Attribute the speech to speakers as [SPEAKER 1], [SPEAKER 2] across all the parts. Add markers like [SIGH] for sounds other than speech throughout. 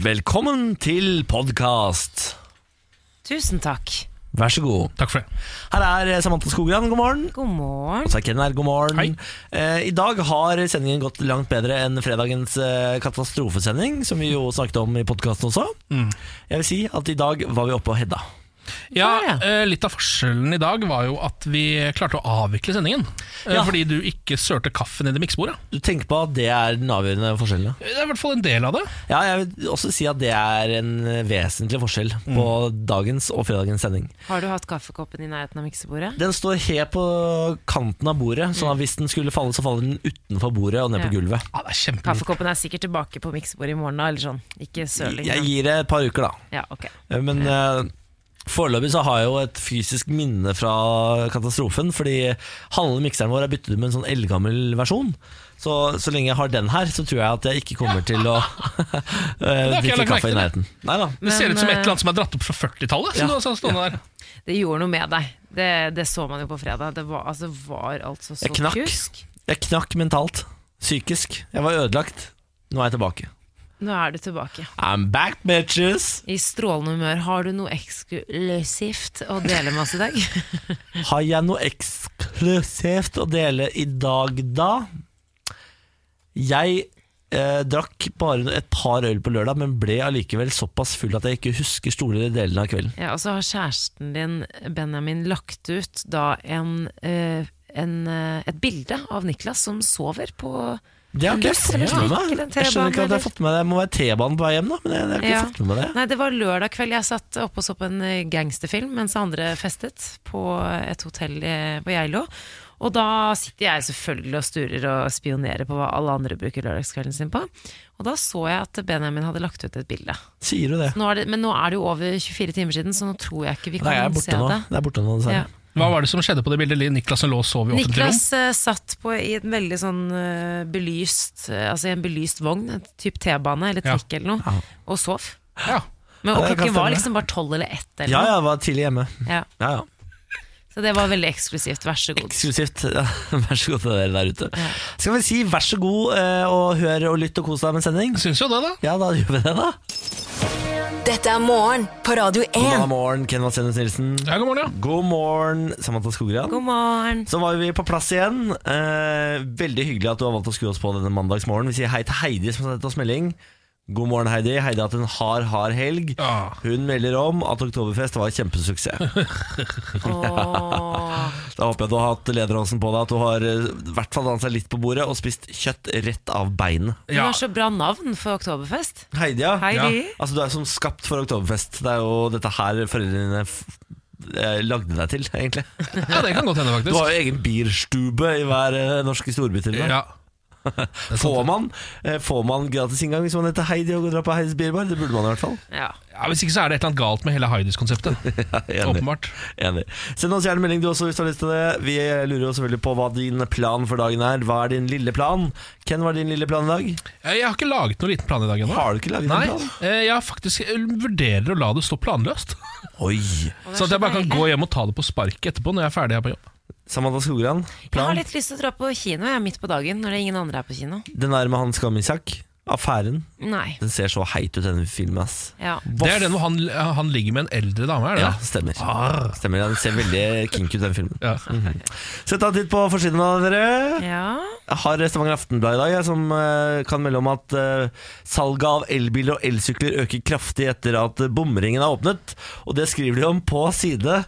[SPEAKER 1] Velkommen til podkast.
[SPEAKER 2] Tusen takk.
[SPEAKER 1] Vær så god.
[SPEAKER 3] Takk for det.
[SPEAKER 1] Her er eh, Samantha Skogran, god morgen.
[SPEAKER 2] God morgen.
[SPEAKER 1] Og så er Ken her, god
[SPEAKER 3] Hei.
[SPEAKER 1] morgen. Eh, I dag har sendingen gått langt bedre enn fredagens eh, katastrofesending, som vi jo snakket om i podkasten også.
[SPEAKER 3] Mm.
[SPEAKER 1] Jeg vil si at i dag var vi oppe og Hedda.
[SPEAKER 3] Ja,
[SPEAKER 2] Ja, ja.
[SPEAKER 3] eh, Litt av forskjellen i dag var jo at vi klarte å avvikle sendingen. eh,
[SPEAKER 1] Ja.
[SPEAKER 3] Fordi du ikke sørte kaffen i det miksebordet.
[SPEAKER 1] Du tenker på at det er den avgjørende forskjellen? ja?
[SPEAKER 3] Det er i hvert fall en del av det.
[SPEAKER 1] Ja, jeg vil også si at det er en eh, vesentlig forskjell på
[SPEAKER 3] Mm.
[SPEAKER 1] dagens og fredagens sending.
[SPEAKER 2] Har du hatt kaffekoppen i nærheten av miksebordet?
[SPEAKER 1] Den står helt på kanten av bordet, sånn at hvis den skulle falle, så faller den utenfor bordet og ned på
[SPEAKER 2] Ja.
[SPEAKER 1] gulvet.
[SPEAKER 3] Mm. Ja, det er kjempe...
[SPEAKER 2] Kaffekoppen er sikkert tilbake på miksebordet i morgen, da, eller sånn. Ikke søling.
[SPEAKER 1] Jeg
[SPEAKER 2] men-
[SPEAKER 1] gir det et par uker, da.
[SPEAKER 2] Ja, ok.
[SPEAKER 1] Men eh, foreløpig så har jeg jo et fysisk minne fra katastrofen, fordi halve mikseren vår er byttet ut med en sånn eldgammel versjon. Så, så lenge jeg har den her, så tror jeg at jeg ikke kommer til å [LAUGHS] eh,
[SPEAKER 3] har ikke jeg
[SPEAKER 1] drikke
[SPEAKER 3] lagt merke
[SPEAKER 1] kaffe i
[SPEAKER 3] til.
[SPEAKER 1] nærheten. Nei da.
[SPEAKER 3] Det ser
[SPEAKER 2] Men,
[SPEAKER 3] ut som
[SPEAKER 2] eh,
[SPEAKER 3] et eller annet som er dratt opp fra 40-tallet.
[SPEAKER 1] Ja.
[SPEAKER 3] som du har satt stående der.
[SPEAKER 2] Det gjorde noe med deg. Det, det så man jo på fredag. Det var, altså, var altså så
[SPEAKER 1] Jeg knakk.
[SPEAKER 2] kusk.
[SPEAKER 1] Jeg knakk mentalt. Psykisk. Jeg var ødelagt. Nå er jeg tilbake.
[SPEAKER 2] Nå er du tilbake.
[SPEAKER 1] I'm back, bitches!
[SPEAKER 2] I strålende humør. Har du noe eksklusivt å dele med oss i dag?
[SPEAKER 1] Har jeg noe eksklusivt å dele i dag, da? Jeg eh, drakk bare et par øl på lørdag, men ble allikevel såpass full at jeg ikke husker store deler av kvelden.
[SPEAKER 2] Ja, og så har kjæresten din, Benjamin, lagt ut da en, eh, en, eh, et bilde av Niklas som sover på
[SPEAKER 1] Det har ikke jeg
[SPEAKER 2] Buss
[SPEAKER 1] fått
[SPEAKER 2] eller
[SPEAKER 1] med
[SPEAKER 2] trikk
[SPEAKER 1] meg.
[SPEAKER 2] eller en
[SPEAKER 1] Jeg skjønner ikke at jeg
[SPEAKER 2] T-bane,
[SPEAKER 1] har fått med det. Det må være T-banen på vei hjem, da. Men jeg, jeg har ikke
[SPEAKER 2] Ja.
[SPEAKER 1] fått med meg det.
[SPEAKER 2] Nei, det var lørdag kveld jeg satt oppe og så på en eh, gangsterfilm mens andre festet på et hotell eh, på Geilo. Og da sitter jeg selvfølgelig og sturer og spionerer på hva alle andre bruker lørdagskvelden sin på. Og da så jeg at Benjamin hadde lagt ut et bilde.
[SPEAKER 1] Sier du det?
[SPEAKER 2] Nå er det, men nå er det jo over 24 timer siden, så nå tror jeg ikke vi
[SPEAKER 1] Nei, jeg er
[SPEAKER 2] kan se
[SPEAKER 1] borte nå.
[SPEAKER 2] det.
[SPEAKER 1] Det er borte nå, dessverre.
[SPEAKER 2] Ja.
[SPEAKER 3] Hva var det som skjedde på det bildet? Niklas som lå og sov i offentlig rom?
[SPEAKER 2] Niklas eh, satt på, i en veldig sånn eh, belyst eh, Altså i en belyst vogn, en type T-bane eller
[SPEAKER 3] Ja.
[SPEAKER 2] trikk eller noe,
[SPEAKER 1] Ja.
[SPEAKER 2] og sov.
[SPEAKER 3] Ja.
[SPEAKER 2] Men
[SPEAKER 1] Ja,
[SPEAKER 2] og
[SPEAKER 1] det kan
[SPEAKER 2] klokken var
[SPEAKER 1] stemme.
[SPEAKER 2] liksom bare tolv eller ett. Eller
[SPEAKER 1] Ja,
[SPEAKER 2] noe.
[SPEAKER 1] jeg var tidlig hjemme.
[SPEAKER 2] Ja.
[SPEAKER 1] Ja, ja.
[SPEAKER 2] Så det var veldig eksklusivt, vær så god.
[SPEAKER 1] Eksklusivt. [LAUGHS] Ja, vær så god til dere der ute. Skal vi si vær så god eh, og hør og lytt og kos deg med sending?
[SPEAKER 3] Syns jo det, da.
[SPEAKER 1] Ja, da gjør vi det, da.
[SPEAKER 4] Dette er morgen på Radio
[SPEAKER 1] God
[SPEAKER 4] 1.
[SPEAKER 1] morgen, Ken Vasenus Nilsen.
[SPEAKER 3] Ja, god morgen, ja.
[SPEAKER 1] God morgen, Samantha Skogran.
[SPEAKER 2] God morgen.
[SPEAKER 1] Så var vi på plass igjen. Eh, veldig hyggelig at du har valgt å skru oss på denne mandagsmorgen. Vi sier hei til Heidi som har sendt oss melding. God morgen, Heidi. Heidi har hatt en hard, hard helg.
[SPEAKER 3] Ja.
[SPEAKER 1] Hun melder om at Oktoberfest var en
[SPEAKER 3] [LAUGHS]
[SPEAKER 1] kjempesuksess.
[SPEAKER 2] Åh.
[SPEAKER 1] Da håper jeg du har hatt lederåsen på deg, at du har eh, i hvert fall dansa litt på bordet og spist kjøtt rett av beinet.
[SPEAKER 2] Hun har så bra navn for Oktoberfest.
[SPEAKER 1] Heidi, ja.
[SPEAKER 2] Hei,
[SPEAKER 3] Ja.
[SPEAKER 2] de.
[SPEAKER 1] Altså, du er som skapt for Oktoberfest. Det er jo dette her foreldrene dine f- eh, lagde deg til, egentlig.
[SPEAKER 3] [LAUGHS] ja, det kan godt hende,
[SPEAKER 1] Du har
[SPEAKER 3] faktisk.
[SPEAKER 1] jo egen bierstube i hver eh, norske storby. til og med. [LAUGHS]
[SPEAKER 3] Ja. Det er sant,
[SPEAKER 1] Får
[SPEAKER 3] det.
[SPEAKER 1] man, eh, får man gratis inngang hvis man heter Heidi og går drar på Heidis bierbar? Det burde man i hvert fall.
[SPEAKER 2] Ja.
[SPEAKER 3] Ja, Hvis ikke så er det et eller annet galt med hele
[SPEAKER 1] [LAUGHS]
[SPEAKER 3] Heidis-konseptet.
[SPEAKER 1] Enig.
[SPEAKER 3] Åpenbart.
[SPEAKER 1] Enig. Send oss gjerne melding du også hvis du har lyst til det. Vi lurer jo selvfølgelig på hva din plan for dagen er. Hva er din lille plan? Ken, hva er din lille plan i dag?
[SPEAKER 3] Jeg har ikke laget noen liten plan i dag ennå.
[SPEAKER 1] Har du ikke laget
[SPEAKER 3] Nei,
[SPEAKER 1] en plan?
[SPEAKER 3] eh, jeg har faktisk jeg vurderer å la det stå planløst.
[SPEAKER 1] [LAUGHS] Oi.
[SPEAKER 3] Sånn at jeg bare kan gå hjem og ta det på sparket etterpå når jeg er ferdig her på jobb.
[SPEAKER 1] Samantha Skogran,
[SPEAKER 2] Jeg har
[SPEAKER 1] plan?
[SPEAKER 2] litt lyst til å dra på kino jeg, midt på dagen, når det ingen andre er på kino.
[SPEAKER 1] Den er med Hans Gamisak. Affæren.
[SPEAKER 2] Nei.
[SPEAKER 1] Den ser så heit ut, denne filmen. ass
[SPEAKER 3] [LAUGHS]
[SPEAKER 2] Ja.
[SPEAKER 3] Det er den hvor han, han ligger med en eldre dame, er det?
[SPEAKER 1] Ja, stemmer.
[SPEAKER 3] Arr.
[SPEAKER 1] stemmer. Den ser veldig kinky ut, den filmen.
[SPEAKER 3] Ah. Ja.
[SPEAKER 1] Så ta en titt på forsiden av dere.
[SPEAKER 2] ja.
[SPEAKER 1] Jeg har Stavanger Aftenblad i dag, jeg, som eh, kan melde om at eh, salget av elbiler og elsykler øker kraftig etter at eh, bomringen er åpnet. Og det skriver de om på side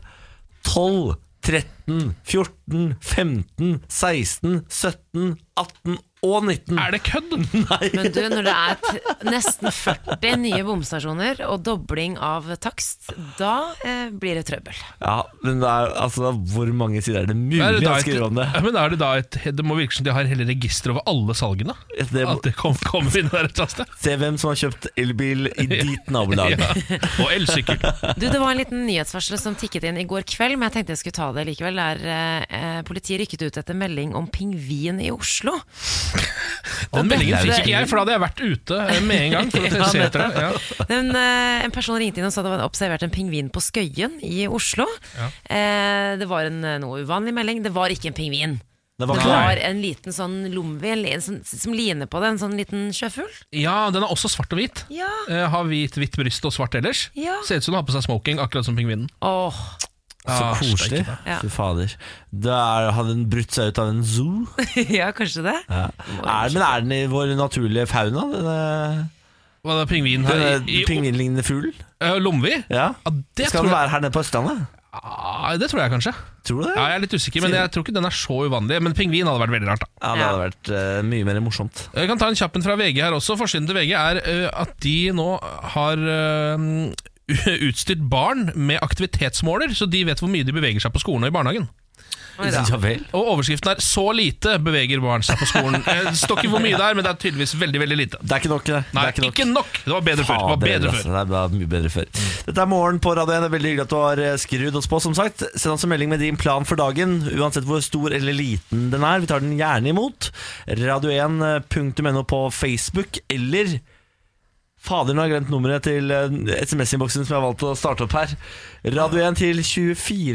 [SPEAKER 1] 12, 13, 14, 15, 16, 17, 18 og 19.
[SPEAKER 3] Er det kødd?
[SPEAKER 1] [LAUGHS]
[SPEAKER 2] Men du, når det er t nesten 40 nye bomstasjoner og dobling av takst, da eh, blir det trøbbel.
[SPEAKER 1] Ja, men det er, altså, hvor mange sider er det mulig
[SPEAKER 3] Er det da
[SPEAKER 1] å
[SPEAKER 3] et-
[SPEAKER 1] skrive om det?
[SPEAKER 3] Ja, Men er det da et Det må virke som de har hele registeret over alle salgene?
[SPEAKER 1] det må-
[SPEAKER 3] At det kom- kommer inn der et eller annet sted?
[SPEAKER 1] Se hvem som har kjøpt elbil i ditt nabolag.
[SPEAKER 3] [LAUGHS] Ja. Og elsykkel.
[SPEAKER 2] Du, Det var en liten nyhetsvarsel som tikket inn i går kveld, men jeg tenkte jeg skulle ta det likevel. Der eh, eh, politiet rykket ut etter melding om pingvin i Oslo.
[SPEAKER 3] Den meldingen
[SPEAKER 1] er jo
[SPEAKER 3] fikk ikke jeg, for da hadde jeg vært ute eh, med en
[SPEAKER 2] [LAUGHS]
[SPEAKER 3] gang. For å se etter det ja.
[SPEAKER 2] Men, eh, en person ringte inn og sa det var observert en pingvin på Skøyen i Oslo. Eh, det var en eh, noe uvanlig melding. Det var ikke en pingvin.
[SPEAKER 1] Det var
[SPEAKER 2] Det
[SPEAKER 1] ikke
[SPEAKER 3] Nei.
[SPEAKER 2] var en liten sånn lomvi en li- en sånn, som ligner på det, en sånn liten sjøfugl.
[SPEAKER 3] Ja, den er også svart og hvit.
[SPEAKER 2] Ja.
[SPEAKER 3] Eh, har hvit, hvitt bryst og svart ellers.
[SPEAKER 2] Ja.
[SPEAKER 3] Ser ut som hun har på seg smoking, akkurat som pingvinen.
[SPEAKER 2] Åh, [LAUGHS]
[SPEAKER 1] så
[SPEAKER 3] Ah,
[SPEAKER 1] koselig.
[SPEAKER 3] steike,
[SPEAKER 2] Ja.
[SPEAKER 1] Fy fader. Da er- hadde den brutt seg ut av en zoo.
[SPEAKER 2] ja, kanskje det.
[SPEAKER 1] Er, men er den i vår naturlige fauna, denne,
[SPEAKER 3] Hva er det, pingvin her?
[SPEAKER 1] denne
[SPEAKER 3] I, i,
[SPEAKER 1] pingvinlignende fuglen?
[SPEAKER 3] eh, Lomvi?
[SPEAKER 1] Ja.
[SPEAKER 3] Ja, det,
[SPEAKER 1] Skal den
[SPEAKER 3] tror jeg,
[SPEAKER 1] være her nede på Østlandet?
[SPEAKER 3] ah, det tror jeg kanskje.
[SPEAKER 1] Tror du det?
[SPEAKER 3] Ja, jeg er litt usikker, men jeg tror ikke den er så uvanlig. Men pingvin hadde vært veldig rart, da.
[SPEAKER 1] Ja, det hadde vært eh, mye mer morsomt.
[SPEAKER 3] Jeg kan ta en kjappen fra VG her også. Forsiden til VG er eh, at de nå har eh, [LAUGHS] utstyrt barn med aktivitetsmåler, så de vet hvor mye de beveger seg på skolen og i barnehagen.
[SPEAKER 2] Oi da.
[SPEAKER 1] Ja vel.
[SPEAKER 3] Og overskriften er 'Så lite beveger barn seg på skolen'. Eh, Det står ikke hvor mye det er, men det er tydeligvis veldig veldig lite.
[SPEAKER 1] Det er ikke nok, det. det
[SPEAKER 3] Nei,
[SPEAKER 1] er
[SPEAKER 3] ikke nok. Det var bedre før. Det var
[SPEAKER 1] Fader,
[SPEAKER 3] bedre
[SPEAKER 1] altså.
[SPEAKER 3] før.
[SPEAKER 1] Det var mye bedre før. Dette er morgen på Radio 1. Det er Veldig hyggelig at du har eh, skrudd oss på. som sagt Send oss en melding med din plan for dagen, uansett hvor stor eller liten den er. Vi tar den gjerne imot. eh, Radio1.no på Facebook eller Fader, nå har jeg glemt nummeret til eh, SMS-innboksen som jeg har valgt å starte opp her. Radio 1 til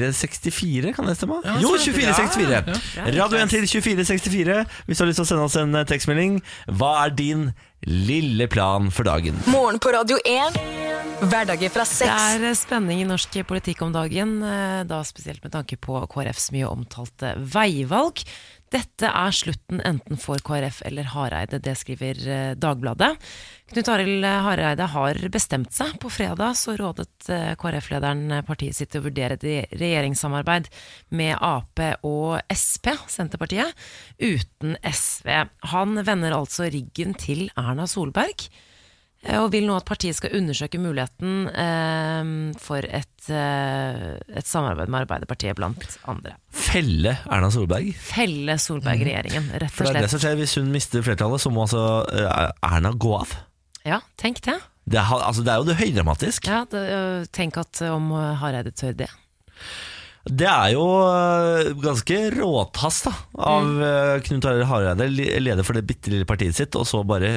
[SPEAKER 1] 2464, kan det stemme? jo, 2464. Radio 1 til 2464, hvis du har lyst til å sende oss en eh, tekstmelding. Hva er din lille plan for dagen?
[SPEAKER 4] Morgen på Radio 1. Hverdager fra
[SPEAKER 2] Det
[SPEAKER 4] seks.
[SPEAKER 2] er eh, spenning i norsk politikk om dagen, eh, da spesielt med tanke på KrFs mye omtalte veivalg. Dette er slutten enten for KrF eller Hareide, det skriver eh, Dagbladet. Knut Arild eh, Hareide har bestemt seg. På fredag så rådet eh, KrF-lederen partiet sitt til å vurdere et re- regjeringssamarbeid med Ap og Sp, Senterpartiet, uten SV. Han vender altså ryggen til Erna Solberg Eh, og vil nå at partiet skal undersøke muligheten eh, for et, eh, et samarbeid med Arbeiderpartiet, blant andre.
[SPEAKER 1] Felle Erna Solberg.
[SPEAKER 2] Felle Solberg-regjeringen, rett
[SPEAKER 1] Mm. For det
[SPEAKER 2] og
[SPEAKER 1] er det
[SPEAKER 2] slett.
[SPEAKER 1] som skjer Hvis hun mister flertallet, så må altså eh, Erna gå av.
[SPEAKER 2] Ja, tenk det.
[SPEAKER 1] Det er, ha- altså, det er jo det høydramatisk.
[SPEAKER 2] Ja, det øh, tenk at øh, om øh, Hareide tør det.
[SPEAKER 1] Det er jo eh, ganske råtass da, av
[SPEAKER 2] Mm.
[SPEAKER 1] eh, Knut Arild Hareide, li- leder for det bitte lille partiet sitt, og så bare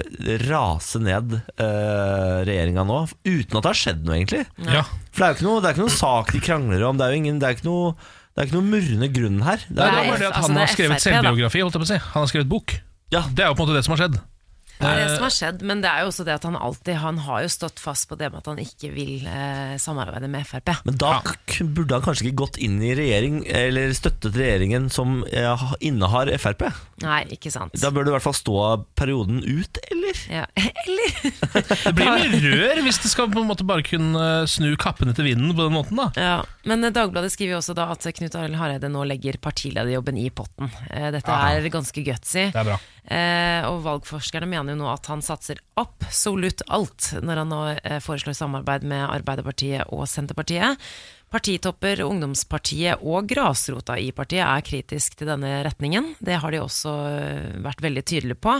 [SPEAKER 1] rase ned eh, regjeringa nå, uten at det har skjedd noe, egentlig.
[SPEAKER 3] Ja.
[SPEAKER 1] For det er jo ikke noe, det er ikke noe sak de krangler om, det er jo ingen, det er ikke noe, det er ikke noe murrende grunn her. Det er,
[SPEAKER 3] Det er
[SPEAKER 2] Nei,
[SPEAKER 3] bare det at
[SPEAKER 2] altså,
[SPEAKER 3] han
[SPEAKER 2] det er
[SPEAKER 3] har skrevet
[SPEAKER 2] FRP, da.
[SPEAKER 3] selvbiografi. Holdt jeg på å si. Han har skrevet bok.
[SPEAKER 1] ja,
[SPEAKER 3] Det er jo på en måte det som har skjedd. Eh,
[SPEAKER 2] Det
[SPEAKER 1] Eh.
[SPEAKER 2] er det som har skjedd, men det er jo også det at han alltid Han har jo stått fast på det med at han ikke vil eh, samarbeide med Frp.
[SPEAKER 1] men da k- burde han kanskje ikke gått inn i regjering, eller støttet regjeringen som eh, ha- innehar Frp.
[SPEAKER 2] Nei, ikke sant.
[SPEAKER 1] Da bør det i hvert fall stå perioden ut, eller?
[SPEAKER 2] Ja. [LAUGHS] Eller
[SPEAKER 3] Det blir mye rør hvis det skal på en måte bare kunne snu kappene til vinden på den måten. da
[SPEAKER 2] Ja, Men eh, Dagbladet skriver jo også da at Knut Arild Hareide nå legger partilederjobben i potten. Eh, Dette
[SPEAKER 3] Aha.
[SPEAKER 2] er ganske gutsy.
[SPEAKER 3] Det er bra.
[SPEAKER 2] Eh, og valgforskerne mener jo nå at han satser absolutt alt når han nå eh, foreslår samarbeid med Arbeiderpartiet og Senterpartiet. Partitopper, ungdomspartiet og grasrota i partiet er kritisk til denne retningen. Det har de også eh, vært veldig tydelige på.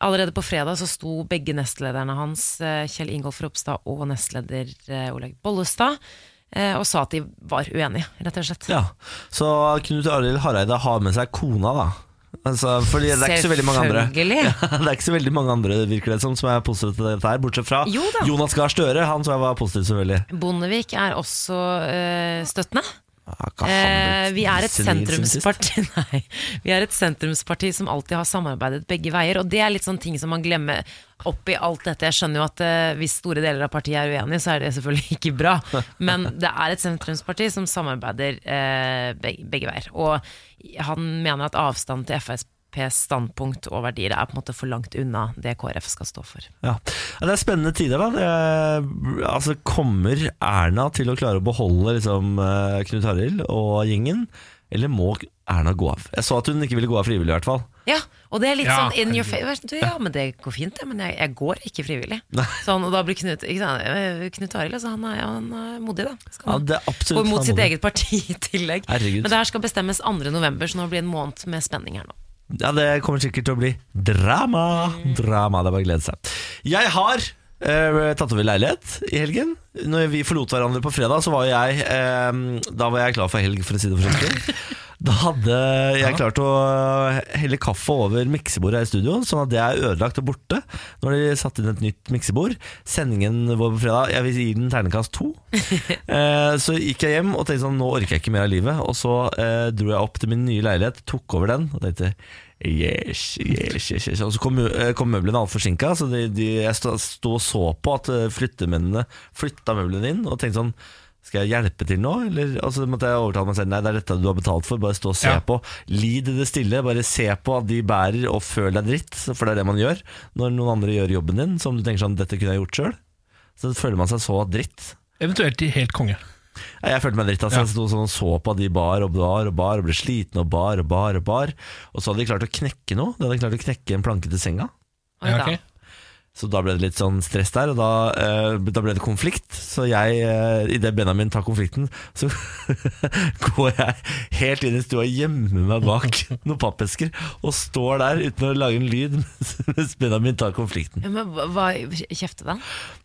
[SPEAKER 2] Allerede på fredag så sto begge nestlederne hans, eh, Kjell Ingolf Ropstad og nestleder eh, Olaug Bollestad, eh, og sa at de var uenige, rett og slett.
[SPEAKER 1] Ja, så Knut Arild Hareide har med seg kona da altså, Fordi det er ikke så veldig mange andre
[SPEAKER 2] Selvfølgelig.
[SPEAKER 1] [LAUGHS] ja, Det er ikke så veldig mange andre virker det som Som er positive til dette her Bortsett fra
[SPEAKER 2] Jo da.
[SPEAKER 1] Jonas Gahr Støre Han som jeg var positiv selvfølgelig
[SPEAKER 2] Bondevik er også eh, støttende.
[SPEAKER 1] Ja, hva han
[SPEAKER 2] Eh,
[SPEAKER 1] ble
[SPEAKER 2] vi er et
[SPEAKER 1] senil siden sist.
[SPEAKER 2] sentrumsparti [LAUGHS] Nei, vi er et sentrumsparti som alltid har samarbeidet begge veier, og det er litt sånn ting som man glemmer oppi alt dette. Jeg skjønner jo at eh, hvis store deler av partiet er uenige, så er det selvfølgelig [LAUGHS] ikke bra, men det er et sentrumsparti som samarbeider eh, begge, begge veier. Og han mener at avstanden til FrPs standpunkt og verdier er på en måte for langt unna det KrF skal stå for.
[SPEAKER 1] ja. Ja, Det er spennende tider da det, altså, Kommer Erna til å klare å beholde liksom, eh, Knut Arild og gjengen Eller må Erna gå av Jeg så at hun ikke ville gå av frivillig i hvert fall
[SPEAKER 2] Ja, og det er litt
[SPEAKER 3] Ja,
[SPEAKER 2] sånn in your face. Du, ja, men det går fint, det, men jeg, jeg går ikke frivillig. Sånn, og da blir Knut ikke sant? eh, Knut Arild altså, han, er- han er modig, da. Skal
[SPEAKER 1] ja,
[SPEAKER 2] han
[SPEAKER 1] det er absolutt
[SPEAKER 2] Går mot sitt
[SPEAKER 1] han må-
[SPEAKER 2] eget parti i tillegg.
[SPEAKER 1] Herregud.
[SPEAKER 2] Men det her skal bestemmes 2. november, så nå blir det en måned med spenning her nå.
[SPEAKER 1] Ja, det kommer sikkert til å bli drama. Drama, det er bare å glede seg. Jeg har eh, tatt over leilighet i helgen. Når vi forlot hverandre på fredag, så var jeg eh, Da var jeg klar for helg, for å si det forsiktig. Da hadde jeg klart å helle kaffe over miksebordet her i studio, sånn at det er ødelagt og borte når de satte inn et nytt miksebord. Sendingen vår på fredag, jeg vil gi den terningkast to. [LAUGHS] Eh, så gikk jeg hjem og tenkte sånn, nå orker jeg ikke mer av livet. Og så eh, dro jeg opp til min nye leilighet, tok over den og tenkte Yes, yes, yes, yes. Og så kom, mø- eh, kom møblene altfor forsinka, så de, de, jeg sto sto og så på at eh, flyttemennene flytta møblene inn, og tenkte sånn skal jeg hjelpe til nå? Eller, og så måtte jeg overtale meg selv Nei, det er dette du har betalt for, bare stå og se
[SPEAKER 3] Ja.
[SPEAKER 1] på Lid i det stille, bare se på at de bærer Og føl deg dritt, for det er det man gjør Når noen andre gjør jobben din Som du tenker sånn, dette kunne jeg gjort selv Så føler man seg så dritt
[SPEAKER 3] Eventuelt i helt konge.
[SPEAKER 1] Nei, Jeg følte meg dritt, altså.
[SPEAKER 3] Ja.
[SPEAKER 1] Jeg sto sånn og så på at de bar og bar og bar og ble sliten og bar og bar og bar. Og så hadde de klart å knekke noe. De hadde klart å knekke en planke til senga.
[SPEAKER 2] Oi da.
[SPEAKER 3] Ja, ok.
[SPEAKER 1] Så da ble det litt sånn stress der, og da, eh, da ble det konflikt. Så jeg, eh, idet Benjamin tar konflikten, så [LAUGHS] går jeg helt inn i stua og gjemmer meg bak
[SPEAKER 3] [LAUGHS]
[SPEAKER 1] noen pappesker. Og står der uten å lage en lyd [LAUGHS] mens Benjamin tar konflikten.
[SPEAKER 2] Ja, Men hva- hva kjefte den?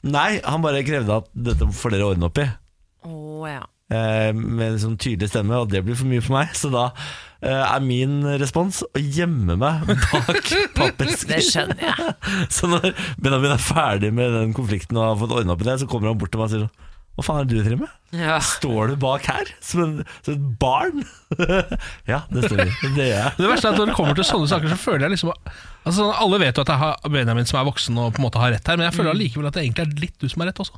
[SPEAKER 1] Nei, han bare krevde at dette får dere ordne opp i.
[SPEAKER 2] Å ja.
[SPEAKER 1] eh, med en sånn tydelig stemme, og det blir for mye for meg. Så da eh, er min respons å gjemme meg [LAUGHS] bak
[SPEAKER 2] Det
[SPEAKER 1] pappesker.
[SPEAKER 2] skjønner jeg.
[SPEAKER 1] Så når Benjamin er ferdig med den konflikten og har fått ordna opp i det, så kommer han bort til meg og sier sånn Hva faen er det du driver med?
[SPEAKER 2] Ja.
[SPEAKER 1] Står du bak her som, en, som et barn? [LAUGHS] ja, det står vi. Det gjør jeg.
[SPEAKER 3] Det verste er at når det kommer til sånne saker, så føler jeg liksom at- altså, sånn, Alle vet jo at det er Benjamin som er voksen og på en måte har rett her, men jeg
[SPEAKER 2] Mm.
[SPEAKER 3] føler allikevel at det egentlig er litt du som har rett også.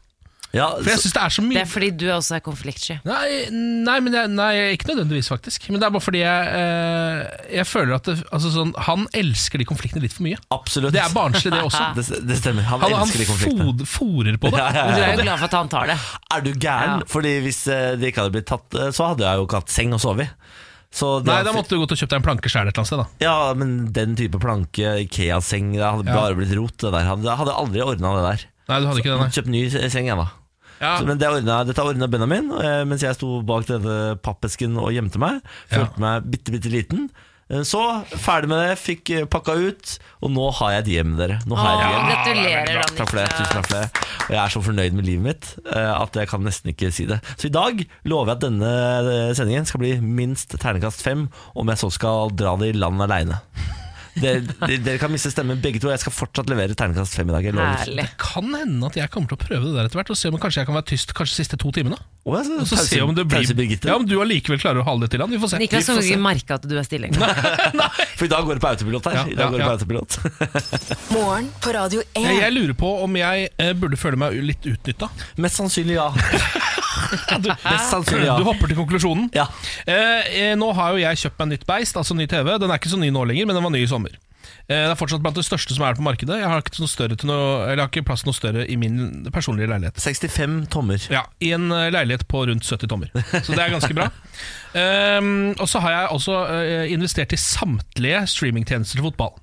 [SPEAKER 1] Ja,
[SPEAKER 3] For jeg
[SPEAKER 1] så,
[SPEAKER 3] synes det er så
[SPEAKER 2] Det
[SPEAKER 3] mye
[SPEAKER 2] er fordi du også er konfliktsky.
[SPEAKER 3] Nei, nei, men jeg, nei, ikke nødvendigvis, faktisk. Men det er bare fordi jeg, eh, jeg føler at det, altså, sånn, han elsker de konfliktene litt for mye.
[SPEAKER 1] absolutt.
[SPEAKER 3] Det er barnslig, det
[SPEAKER 1] [LAUGHS]
[SPEAKER 3] også.
[SPEAKER 1] Det, det stemmer. Han,
[SPEAKER 3] Han, han
[SPEAKER 1] elsker de konfliktene.
[SPEAKER 3] fod- fòrer på det.
[SPEAKER 1] Ja, ja,
[SPEAKER 2] Du
[SPEAKER 1] ja.
[SPEAKER 2] er jo glad for at han tar det.
[SPEAKER 1] Er du gæren?
[SPEAKER 2] Ja.
[SPEAKER 1] Fordi hvis eh, det ikke hadde blitt tatt, eh, så hadde jeg jo ikke hatt seng å sove i. Så det
[SPEAKER 3] Nei,
[SPEAKER 1] er-
[SPEAKER 3] da måtte du gått og kjøpt deg en planke sjæl et eller annet sted, da.
[SPEAKER 1] Ja, men den type planke, Ikea-seng, det hadde
[SPEAKER 3] Ja.
[SPEAKER 1] bare blitt rot. Det der. Hadde, hadde aldri ordna det der.
[SPEAKER 3] Nei, du hadde ikke det, nei.
[SPEAKER 1] Kjøpt ny se- seng, jeg, da.
[SPEAKER 3] Ja.
[SPEAKER 1] Så, men det ordnet, dette ordna Benjamin, eh, mens jeg sto bak denne pappesken og gjemte meg.
[SPEAKER 3] Ja.
[SPEAKER 1] Følte meg bitte, bitte liten. Eh, Så ferdig med det, fikk eh, pakka ut, og nå har jeg et hjem, dere. Nå
[SPEAKER 2] Å,
[SPEAKER 1] har jeg et hjem.
[SPEAKER 2] gratulerer, da,
[SPEAKER 1] Takk for det, tusen takk for det. Og jeg er så fornøyd med livet mitt eh, at jeg kan nesten ikke si det. Så i dag lover jeg at denne eh, sendingen skal bli minst ternekast fem, om jeg så skal dra det i land aleine. Dere, dere dere kan miste stemmen begge to, og jeg skal fortsatt levere ternekast fem i dag. Jeg lover.
[SPEAKER 2] Herlig.
[SPEAKER 3] Kan hende at jeg kommer til å prøve det der etter hvert, og se om kanskje jeg kan være tyst kanskje de siste to timene.
[SPEAKER 1] Og jeg skal
[SPEAKER 3] Og så se om det
[SPEAKER 1] pause
[SPEAKER 3] blir
[SPEAKER 1] Birgitte.
[SPEAKER 3] Ja, om du allikevel klarer å hale det til han. Vi får se.
[SPEAKER 2] Niklas
[SPEAKER 3] Vi
[SPEAKER 2] kan
[SPEAKER 3] får
[SPEAKER 2] ikke merke at du er stille.
[SPEAKER 3] [LAUGHS]
[SPEAKER 2] engang.
[SPEAKER 1] [LAUGHS] For i dag går det på autopilot her.
[SPEAKER 3] Ja,
[SPEAKER 1] I dag går det på
[SPEAKER 3] ja, ja.
[SPEAKER 1] autopilot
[SPEAKER 4] Morgen på Radio
[SPEAKER 3] Jeg,
[SPEAKER 4] 1.
[SPEAKER 3] jeg lurer på om jeg eh, burde føle meg litt utnytta.
[SPEAKER 1] Mest sannsynlig
[SPEAKER 3] [LAUGHS]
[SPEAKER 1] ja. Mest sannsynlig ja.
[SPEAKER 3] Du hopper til konklusjonen.
[SPEAKER 1] ja.
[SPEAKER 3] Eh, eh, nå har jo jeg kjøpt meg nytt beist, altså ny TV. Den er ikke så ny nå lenger, men den var ny i sommer. Eh, det er fortsatt blant det største som er på markedet. Jeg har ikke, noe større til noe, eller jeg har ikke plass til noe større i min personlige leilighet.
[SPEAKER 1] 65 tommer.
[SPEAKER 3] Ja, I en eh, leilighet på rundt 70 tommer, så det er
[SPEAKER 1] [LAUGHS]
[SPEAKER 3] ganske bra. Ehm, og så har jeg også eh, investert i samtlige streamingtjenester til fotball.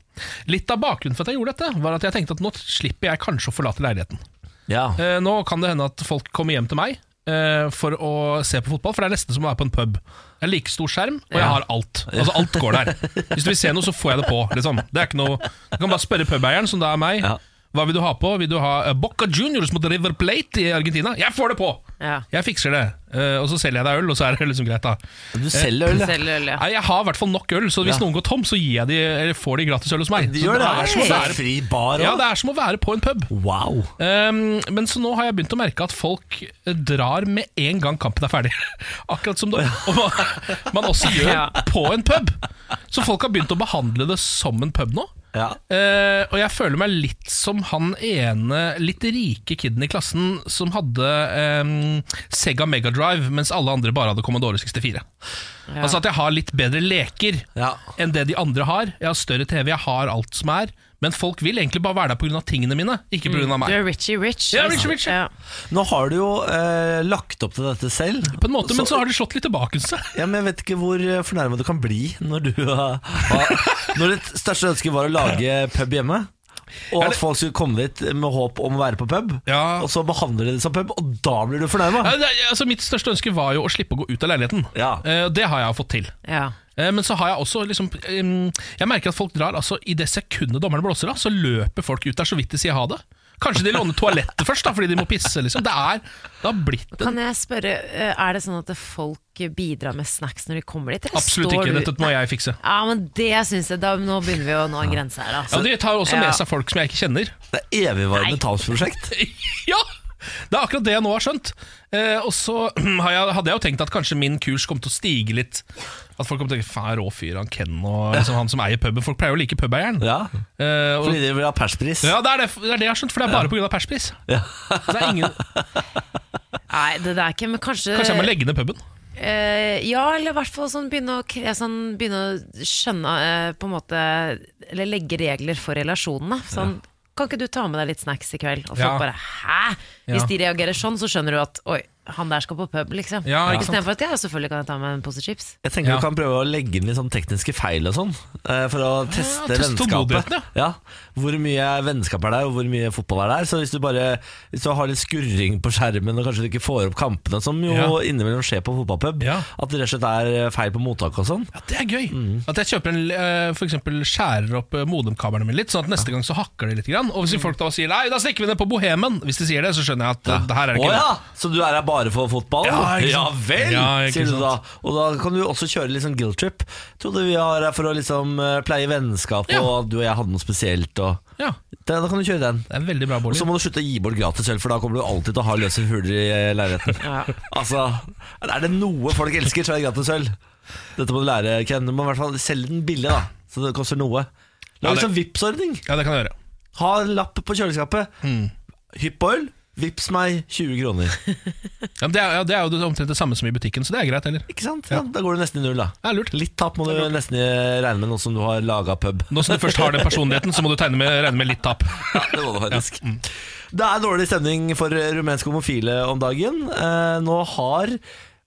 [SPEAKER 3] Litt av bakgrunnen for at jeg gjorde dette, var at jeg tenkte at nå slipper jeg kanskje å forlate leiligheten.
[SPEAKER 1] Ja.
[SPEAKER 3] Eh, nå kan det hende at folk kommer hjem til meg eh, for å se på fotball, for det er nesten som å være på en pub. Jeg har like stor skjerm, og jeg har alt. Altså Alt går der. Hvis du vil se noe, så får jeg det på. Liksom. Det er ikke noe Du kan bare spørre pubeieren, som da er meg.
[SPEAKER 1] Ja.
[SPEAKER 3] Hva vil du ha på? Vil du ha eh, Boca Juniors mot River Plate i Argentina? Jeg får det på!
[SPEAKER 2] Ja.
[SPEAKER 3] Jeg fikser det. Eh, og så selger jeg deg øl, og så er det liksom greit, da. Eh,
[SPEAKER 1] Du selger øl, ja.
[SPEAKER 2] Selv øl, ja.
[SPEAKER 3] Nei, jeg har i hvert fall nok øl, så hvis
[SPEAKER 1] Ja.
[SPEAKER 3] noen går tom, så gir jeg de, eller får de gratis øl hos meg.
[SPEAKER 1] De
[SPEAKER 3] Så
[SPEAKER 1] gjør det.
[SPEAKER 3] er som
[SPEAKER 1] Det
[SPEAKER 3] å
[SPEAKER 1] er
[SPEAKER 3] være-
[SPEAKER 1] fri bar
[SPEAKER 3] ja,
[SPEAKER 1] òg.
[SPEAKER 3] det er som å være på en pub.
[SPEAKER 1] Wow.
[SPEAKER 3] Um, men så nå har jeg begynt å merke at folk eh, drar med en gang kampen er ferdig. [LAUGHS] Akkurat som det, [LAUGHS] og man, man også gjør
[SPEAKER 2] Ja.
[SPEAKER 3] på en pub. Så folk har begynt å behandle det som en pub nå.
[SPEAKER 1] Ja.
[SPEAKER 3] Eh, og jeg føler meg litt som han ene litt rike kiden i klassen som hadde um, Sega Megadrive, mens alle andre bare hadde Commodore 64.
[SPEAKER 2] Ja.
[SPEAKER 3] Altså at jeg har litt bedre leker
[SPEAKER 1] Ja.
[SPEAKER 3] enn det de andre har. Jeg har større TV, jeg har alt som er. Men folk vil egentlig bare være der pga. tingene mine, ikke pga. meg.
[SPEAKER 2] Du er Richie Rich. liksom.
[SPEAKER 3] Ja, Richie Rich, [LAUGHS] ja.
[SPEAKER 2] Ja.
[SPEAKER 1] Nå har du jo eh, lagt opp til dette selv.
[SPEAKER 3] På en måte, men så har de slått litt tilbake seg.
[SPEAKER 1] [LAUGHS] Ja, men Jeg vet ikke hvor fornærma du kan bli når du [LAUGHS] har har- Når ditt største ønske var å lage pub hjemme, og at folk skulle komme dit med håp om å være på pub,
[SPEAKER 3] Ja.
[SPEAKER 1] og så behandler de det som pub, og da blir du fornærma.
[SPEAKER 3] Altså, mitt største ønske var jo å slippe å gå ut av leiligheten.
[SPEAKER 1] Ja.
[SPEAKER 3] Eh, og det har jeg fått til.
[SPEAKER 2] Ja.
[SPEAKER 3] Eh, men så har jeg også liksom eh, Jeg merker at folk drar altså, i det sekundet dommerne blåser av, så løper folk ut der så vidt de sier ha det. Kanskje de låner toalettet [LAUGHS] først, da, fordi de må pisse. liksom Det er, det har blitt en
[SPEAKER 2] Kan jeg spørre, eh, er det sånn at folk bidrar med snacks når de kommer dit? eller
[SPEAKER 3] Absolutt
[SPEAKER 2] står
[SPEAKER 3] ikke.
[SPEAKER 2] du-
[SPEAKER 3] Dette må jeg fikse.
[SPEAKER 2] Ja, men det syns jeg da, Nå begynner vi å nå en grense her,
[SPEAKER 3] Ja,
[SPEAKER 2] altså.
[SPEAKER 3] De tar også
[SPEAKER 2] Ja.
[SPEAKER 3] med seg folk som jeg ikke kjenner.
[SPEAKER 1] Det er evigvarende tapsprosjekt.
[SPEAKER 3] [LAUGHS] ja! Det er akkurat det jeg nå har skjønt. Eh, og så [CLEARS THROAT] har jeg, hadde jeg jo tenkt at kanskje min kurs kom til å stige litt. At folk kom til å tenke faen, rå fyr han Ken
[SPEAKER 1] [LAUGHS]
[SPEAKER 3] og liksom, han som eier puben. Folk pleier jo å like pubeieren.
[SPEAKER 1] Ja,
[SPEAKER 3] Eh, og,
[SPEAKER 1] fordi de vil ha perspris.
[SPEAKER 3] ja, det er det, det er det jeg har skjønt, for det er bare pga. perspris.
[SPEAKER 1] Ja.
[SPEAKER 3] Så Det er
[SPEAKER 1] [LAUGHS]
[SPEAKER 3] ingen,
[SPEAKER 2] Nei, det der er ikke, men kanskje,
[SPEAKER 3] kanskje jeg må legge ned puben.
[SPEAKER 2] eh, Ja, eller i hvert fall sånn begynne å, kre- sånn, begynne å skjønne eh, på en måte Eller legge regler for relasjonene. Sånn, Kan ikke du ta med deg litt snacks i kveld? Og folk
[SPEAKER 3] Ja.
[SPEAKER 2] bare hæ? Hvis
[SPEAKER 3] Ja.
[SPEAKER 2] de reagerer sånn, så skjønner du at oi, han der skal på pub, liksom.
[SPEAKER 3] Ja, ikke sant.
[SPEAKER 2] Istedenfor at ja, selvfølgelig kan jeg ta med en pose chips.
[SPEAKER 1] Jeg tenker
[SPEAKER 3] Ja. Ah,
[SPEAKER 1] du kan prøve å legge inn litt sånn tekniske feil og sånn, eh, for å teste
[SPEAKER 3] teste
[SPEAKER 1] vennskapet.
[SPEAKER 3] tålmodigheten,
[SPEAKER 1] Ja. Hvor mye vennskap er der, og hvor mye fotball er der. Så hvis du bare hvis du har litt skurring på skjermen, og kanskje du ikke får opp kampene, som jo
[SPEAKER 3] Ja.
[SPEAKER 1] innimellom skjer på fotballpub,
[SPEAKER 3] Ja.
[SPEAKER 1] at det rett og slett er feil på mottaket og sånn.
[SPEAKER 3] Ja, Det er gøy. At jeg kjøper en, eh, for eksempel skjærer opp eh, modemkablene mine litt, sånn at neste gang så hakker det litt. Grann. Og hvis folk da sier nei, da stikker vi ned på Bohemen, hvis de sier det, så skjønner jeg at eh, det her er det
[SPEAKER 1] Å
[SPEAKER 3] ikke
[SPEAKER 1] ja! Så du er her bare for fotball?
[SPEAKER 3] Ja, ikke sant.
[SPEAKER 1] vel,
[SPEAKER 3] Ja, ikke
[SPEAKER 1] sier du
[SPEAKER 3] sant.
[SPEAKER 1] da. Og da kan du også kjøre litt sånn guilt trip. Trodde vi var her for å liksom eh, pleie vennskapet,
[SPEAKER 3] Ja.
[SPEAKER 1] og at du og jeg hadde noe spesielt, og
[SPEAKER 3] Ja,
[SPEAKER 1] da, da kan du kjøre den.
[SPEAKER 3] det er veldig bra,
[SPEAKER 1] Og
[SPEAKER 3] Bård.
[SPEAKER 1] så må du slutte å gi bort gratis øl, for da kommer du alltid til å ha løse huler i eh, leiligheten. Altså, Er det noe folk elsker, så er det gratis øl. Dette må du lære, Ken. Du må i hvert fall selge den billig, da. Så det koster noe.
[SPEAKER 3] Ja,
[SPEAKER 1] Lag
[SPEAKER 3] det-
[SPEAKER 1] en sånn Vipps-ordning.
[SPEAKER 3] Ja, det kan jeg gjøre.
[SPEAKER 1] Ha en lapp på kjøleskapet.
[SPEAKER 3] Hmm.
[SPEAKER 1] Hypp på øl. Vips meg 20 kroner.
[SPEAKER 3] [LAUGHS] Ja, men det, er, ja, det er jo det- omtrent det samme som i butikken, så det er greit, eller?
[SPEAKER 1] Ikke sant? Ja, da går du nesten i null, da.
[SPEAKER 3] Det er lurt.
[SPEAKER 1] Litt tap må du nesten regne med, nå som du har laga pub.
[SPEAKER 3] Nå som du først har den personligheten, så må du tegne med, regne med litt tap.
[SPEAKER 1] [LAUGHS]
[SPEAKER 3] mm.
[SPEAKER 1] Ja, det må det faktisk. [LAUGHS] Det er dårlig stemning for rumenske homofile om dagen. Eh, nå har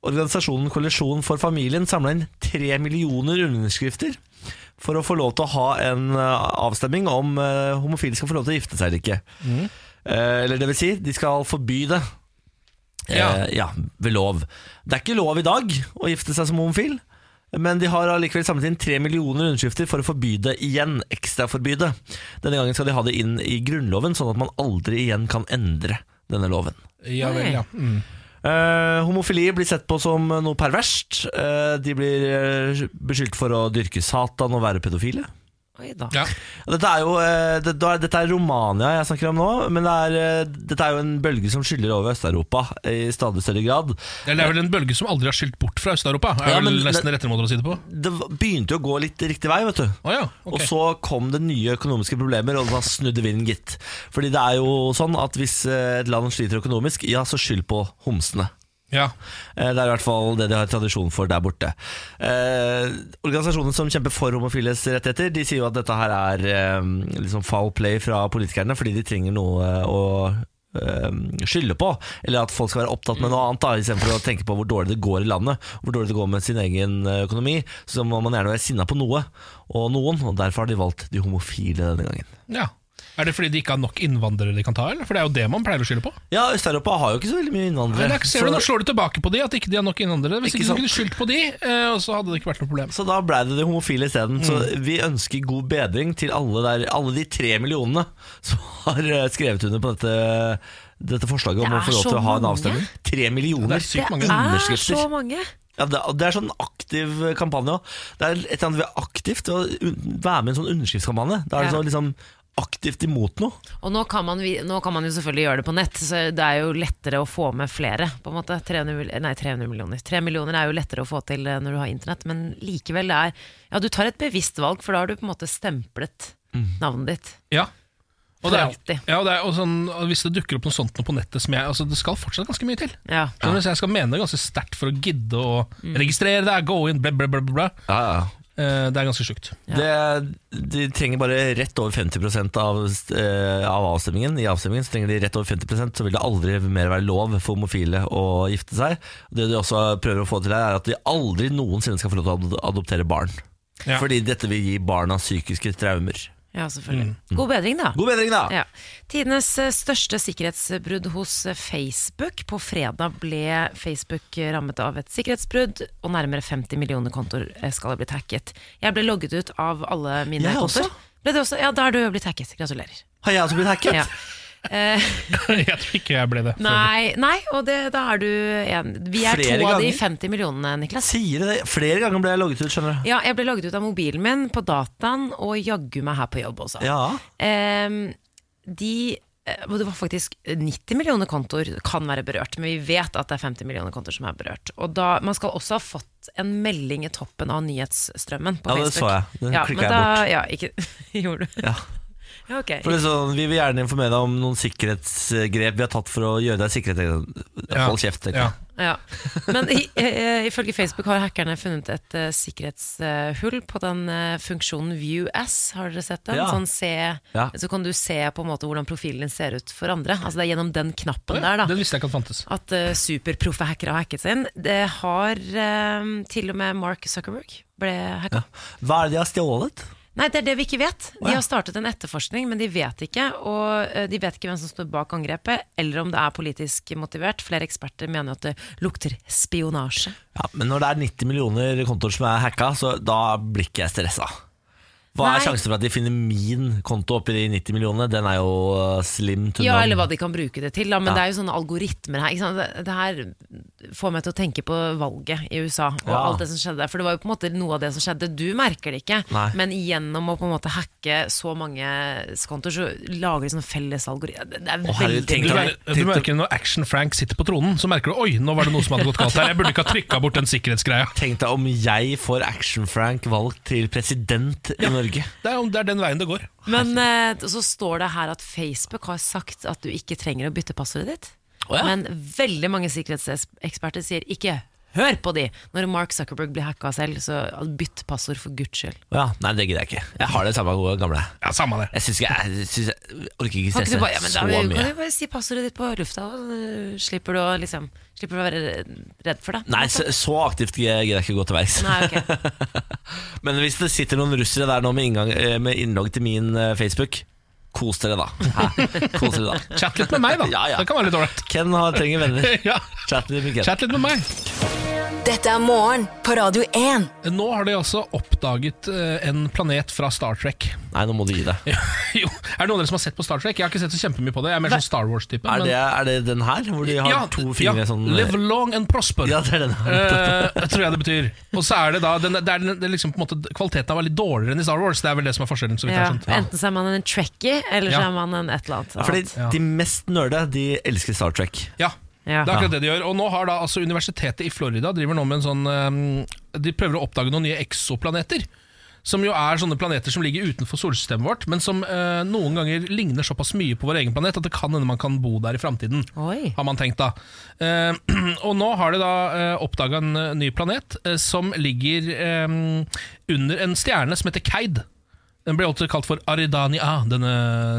[SPEAKER 1] organisasjonen Kollisjon for familien samla inn tre millioner underskrifter for å få lov til å ha en eh, avstemning om eh, homofile skal få lov til å gifte seg eller ikke.
[SPEAKER 3] Mm.
[SPEAKER 1] Eh, eller det vil si, de skal forby det. Eh,
[SPEAKER 3] Ja.
[SPEAKER 1] ja, ved lov. Det er ikke lov i dag å gifte seg som homofil. Men de har allikevel samlet inn tre millioner underskrifter for å forby det igjen. Ekstraforby det. Denne gangen skal de ha det inn i Grunnloven, sånn at man aldri igjen kan endre denne loven.
[SPEAKER 3] Ja vel, ja. Mm.
[SPEAKER 1] Eh, homofili blir sett på som noe perverst. Eh, de blir eh, beskyldt for å dyrke Satan og være pedofile.
[SPEAKER 2] Oi da.
[SPEAKER 3] ja.
[SPEAKER 1] Dette er jo eh, det, da er- Dette er Romania jeg snakker om nå, men det er, eh, dette er jo en bølge som skyller over Øst-Europa i stadig større grad.
[SPEAKER 3] Eller det er vel en bølge som aldri har skylt bort fra Øst-Europa. Er
[SPEAKER 1] Ja,
[SPEAKER 3] vel
[SPEAKER 1] men-
[SPEAKER 3] nesten rettere måter å si det på.
[SPEAKER 1] Det begynte jo å gå litt riktig vei, vet du.
[SPEAKER 3] Å ja, ok.
[SPEAKER 1] Og så kom det nye økonomiske problemer, og da snudde vinden, gitt. Fordi det er jo sånn at hvis eh, et land sliter økonomisk, ja, så skyld på homsene.
[SPEAKER 3] ja.
[SPEAKER 1] Eh, Det er i hvert fall det de har tradisjon for der borte. Eh, organisasjoner som kjemper for homofiles rettigheter, de sier jo at dette her er eh, liksom foul play fra politikerne, fordi de trenger noe eh, å eh, skylde på, eller at folk skal være opptatt med noe annet da, istedenfor å tenke på hvor dårlig det går i landet, hvor dårlig det går med sin egen eh, økonomi. Så må man gjerne være sinna på noe og noen, og derfor har de valgt de homofile denne gangen.
[SPEAKER 3] ja. Er det fordi de ikke har nok innvandrere de kan ta, eller? For det er jo det man pleier å skylde på.
[SPEAKER 1] Ja, Øst-Europa har jo ikke så veldig mye
[SPEAKER 3] Nei,
[SPEAKER 1] innvandrere.
[SPEAKER 3] det er ikke- ser du,
[SPEAKER 1] så-
[SPEAKER 3] Nå slår du tilbake på de, at ikke de har nok innvandrere. Hvis
[SPEAKER 1] Ikke
[SPEAKER 3] ikke,
[SPEAKER 1] sant?
[SPEAKER 3] du kunne skyldt på de, eh, og så hadde det ikke vært noe problem.
[SPEAKER 1] Så da ble det det homofile isteden. Så vi ønsker god bedring til alle, der, alle de tre millionene som har eh, skrevet under på dette, dette forslaget om
[SPEAKER 2] Det
[SPEAKER 1] å få
[SPEAKER 2] er
[SPEAKER 1] lov
[SPEAKER 2] så
[SPEAKER 1] til å ha en
[SPEAKER 2] mange.
[SPEAKER 1] avstemning. Tre millioner.
[SPEAKER 3] Det er sykt mange.
[SPEAKER 2] Det er
[SPEAKER 1] underskrifter.
[SPEAKER 2] så mange!
[SPEAKER 1] Ja, det, det er sånn aktiv kampanje òg. Det er et eller annet vi er aktivt å un- være med i en sånn underskriftskampanje. Da er det
[SPEAKER 2] Ja.
[SPEAKER 1] sånn liksom aktivt imot noe.
[SPEAKER 2] Og nå kan, man, vi- nå kan man jo selvfølgelig gjøre det på nett, så det er jo lettere å få med flere. På en måte. 300, mil- nei, 300 millioner. 3 millioner er jo lettere å få til eh, når du har internett, men likevel det er Ja, du tar et bevisst valg, for da har du på en måte stemplet navnet ditt.
[SPEAKER 3] Mm. Ja. Og
[SPEAKER 2] For
[SPEAKER 3] det er,
[SPEAKER 2] alltid.
[SPEAKER 3] ja, og det er, og sånn, og hvis det dukker opp noe sånt noe på nettet som jeg altså, Det skal fortsatt ganske mye til.
[SPEAKER 2] Ja. Mm.
[SPEAKER 3] Så hvis jeg skal mene det ganske sterkt for å gidde å registrere det, gå inn, bla, bla, bla, bla, bla.
[SPEAKER 1] Ja, ja.
[SPEAKER 3] Eh, det er ganske sjukt.
[SPEAKER 1] Det, de trenger bare rett over 50 av, eh, av avstemningen. I avstemningen så trenger de rett over 50 så vil det aldri mer være lov for homofile å gifte seg. Det de også prøver å få til her, er at de aldri noensinne skal få lov til å ad- adoptere barn.
[SPEAKER 3] Ja.
[SPEAKER 1] Fordi dette vil gi barna psykiske traumer.
[SPEAKER 2] Ja, selvfølgelig. God bedring, da.
[SPEAKER 1] Mm. God bedring, da!
[SPEAKER 2] Ja. Tidenes eh, største sikkerhetsbrudd hos eh, Facebook. På fredag ble Facebook eh, rammet av et sikkerhetsbrudd, og nærmere 50 millioner kontoer eh, skal ha blitt hacket. Jeg ble logget ut av alle mine
[SPEAKER 1] Jeg
[SPEAKER 2] kontoer.
[SPEAKER 1] også.
[SPEAKER 2] Ble det også? Ja, da er du blitt hacket. Gratulerer.
[SPEAKER 1] Har jeg også blitt hacket?
[SPEAKER 2] Ja. Eh,
[SPEAKER 3] [LAUGHS]
[SPEAKER 2] [LAUGHS]
[SPEAKER 3] Jeg tror ikke jeg ble det.
[SPEAKER 2] nei, nei, og det, da er du en. Vi er
[SPEAKER 1] Flere
[SPEAKER 2] to av de
[SPEAKER 1] ganger.
[SPEAKER 2] 50 millionene, Niklas.
[SPEAKER 1] Sier du det? Flere ganger ble jeg logget ut, skjønner du.
[SPEAKER 2] Ja, jeg ble logget ut av mobilen min, på dataen, og jaggu meg her på jobb også.
[SPEAKER 1] Ja.
[SPEAKER 2] Ehm, de eh, og det var faktisk 90 millioner kontoer kan være berørt, men vi vet at det er 50 millioner kontoer som er berørt. Og da, Man skal også ha fått en melding i toppen av nyhetsstrømmen på
[SPEAKER 1] Ja, det
[SPEAKER 2] Facebook.
[SPEAKER 1] så jeg. Den klikket
[SPEAKER 2] men
[SPEAKER 1] jeg bort.
[SPEAKER 2] Ja, ikke, [LAUGHS] gjorde du?
[SPEAKER 1] Ja.
[SPEAKER 2] Ja, ok.
[SPEAKER 1] For det er sånn, Vi vil gjerne informere deg om noen sikkerhetsgrep vi har tatt for å gjøre deg sikkerhet.
[SPEAKER 3] Ja.
[SPEAKER 1] Hold kjeft. tenker jeg.
[SPEAKER 3] Ja.
[SPEAKER 2] Ja. Men i, eh, ifølge Facebook har hackerne funnet et eh, sikkerhetshull på den eh, funksjonen View As. Har dere sett den?
[SPEAKER 1] Ja.
[SPEAKER 2] Sånn se,
[SPEAKER 1] Ja.
[SPEAKER 2] Så kan du se på en måte hvordan profilen din ser ut for andre. Altså Det er gjennom den knappen der. da
[SPEAKER 3] Den visste jeg ikke at fantes.
[SPEAKER 2] at eh, superproffe hackere har hacket sin. Det har eh, til og med Mark Zuckerberg ble hacka.
[SPEAKER 1] Hva er det de har stjålet?
[SPEAKER 2] Nei, det er det vi ikke vet.
[SPEAKER 1] Å,
[SPEAKER 2] De
[SPEAKER 1] ja.
[SPEAKER 2] har startet en etterforskning, men de vet ikke. Og eh, de vet ikke hvem som står bak angrepet, eller om det er politisk motivert. Flere eksperter mener at det lukter spionasje.
[SPEAKER 1] Ja, Men når det er 90 millioner kontoer som er hacka, så da blir ikke jeg stressa. Hva
[SPEAKER 2] Nei.
[SPEAKER 1] er sjansen for at de finner min konto oppi de 90 millionene? Den er jo eh, slim to
[SPEAKER 2] Ja,
[SPEAKER 1] none.
[SPEAKER 2] eller hva de kan bruke det til, da. Men
[SPEAKER 1] Ja.
[SPEAKER 2] det er jo sånne algoritmer her. Ikke sant? Det, det her får meg til å tenke på valget i USA og
[SPEAKER 1] Ja.
[SPEAKER 2] alt det som skjedde der. For det var jo på en måte noe av det som skjedde. Du merker det ikke,
[SPEAKER 1] Nei.
[SPEAKER 2] men gjennom å på en måte hacke så mange kontoer, så lager de sånne felles algoritmer. Det er
[SPEAKER 1] Å, herregud,
[SPEAKER 2] veldig
[SPEAKER 1] tenk
[SPEAKER 3] Du,
[SPEAKER 1] deg-
[SPEAKER 3] mer- du merker når Action Frank sitter på tronen, så merker du oi, nå var det noe som hadde gått galt her. Jeg burde ikke ha trykka bort den sikkerhetsgreia.
[SPEAKER 1] Tenk deg om jeg får Action-Frank valgt til president i Norge.
[SPEAKER 3] Det er, jo- det er den veien det går.
[SPEAKER 2] Men eh, så står det her at Facebook har sagt at du ikke trenger å bytte passordet ditt.
[SPEAKER 1] Å, ja.
[SPEAKER 2] Men veldig mange sikkerhetseksperter sier ikke hør på de! Når Mark Zuckerberg blir hacka selv, så bytt passord for guds skyld.
[SPEAKER 1] Ja, nei, det gidder jeg ikke. Jeg har det samme gode gamle.
[SPEAKER 3] Ja, Samme det.
[SPEAKER 1] Jeg syns ikke jeg, jeg, synes jeg orker ikke
[SPEAKER 2] Kan ikke
[SPEAKER 1] stresse
[SPEAKER 2] du bare, ja, men da
[SPEAKER 1] så
[SPEAKER 2] kan
[SPEAKER 1] mye.
[SPEAKER 2] du bare si passordet ditt på lufta, og så slipper du å, liksom, slipper du å være redd for det.
[SPEAKER 1] Nei, så, så aktivt gidder jeg ikke gå til verks.
[SPEAKER 2] Nei, ok.
[SPEAKER 1] [LAUGHS] Men hvis det sitter noen russere der nå med, inngang, eh, med innlogg til min eh, Facebook, kos dere da. Hæ? [LAUGHS] Kos dere da.
[SPEAKER 3] Chat litt med meg, da.
[SPEAKER 1] Ja, ja.
[SPEAKER 3] Det kan være litt ålreit.
[SPEAKER 1] Ken har, trenger venner.
[SPEAKER 3] [LAUGHS] Ja.
[SPEAKER 1] Chat litt med Ken.
[SPEAKER 3] Chat litt med meg.
[SPEAKER 4] Dette er morgen på Radio 1.
[SPEAKER 3] Nå har de altså oppdaget eh, en planet fra Star Trek.
[SPEAKER 1] Nei, nå må du gi deg.
[SPEAKER 3] [LAUGHS] jo, Er det noen av dere som har sett på Star Trek? Jeg har ikke sett så kjempemye på det. Jeg er mer sånn Star Wars-type.
[SPEAKER 1] Er
[SPEAKER 3] men-
[SPEAKER 1] det, er det den her, hvor de har
[SPEAKER 3] Ja,
[SPEAKER 1] to fingre
[SPEAKER 3] ja,
[SPEAKER 1] sånn
[SPEAKER 3] Live long and prosper.
[SPEAKER 1] Ja, det er den her.
[SPEAKER 3] Eh, jeg tror jeg det betyr. Og så er det da den, det er den, det er liksom på en måte, Kvaliteten er veldig dårligere enn i Star Wars. Det er vel det som er forskjellen. så vidt jeg
[SPEAKER 2] ja.
[SPEAKER 3] har skjønt
[SPEAKER 2] Enten så er man en trekkie, eller så
[SPEAKER 3] Ja.
[SPEAKER 2] er man en et eller annet.
[SPEAKER 1] Fordi
[SPEAKER 3] Ja.
[SPEAKER 1] de mest nerde, de elsker Star Trek.
[SPEAKER 3] Ja,
[SPEAKER 2] Ja.
[SPEAKER 3] det er akkurat det de gjør. Og nå har da altså Universitetet i Florida driver nå med en sånn eh, De prøver å oppdage noen nye eksoplaneter. Som jo er sånne planeter som ligger utenfor solsystemet vårt, men som eh, noen ganger ligner såpass mye på vår egen planet at det kan hende man kan bo der i framtiden.
[SPEAKER 2] Oi.
[SPEAKER 3] har man tenkt da. Eh, [CLEARS THROAT] og nå har de da uh, oppdaga en eh, ny planet eh, som ligger eh, under en stjerne som heter Keid. Den ble også kalt for Aridania, denne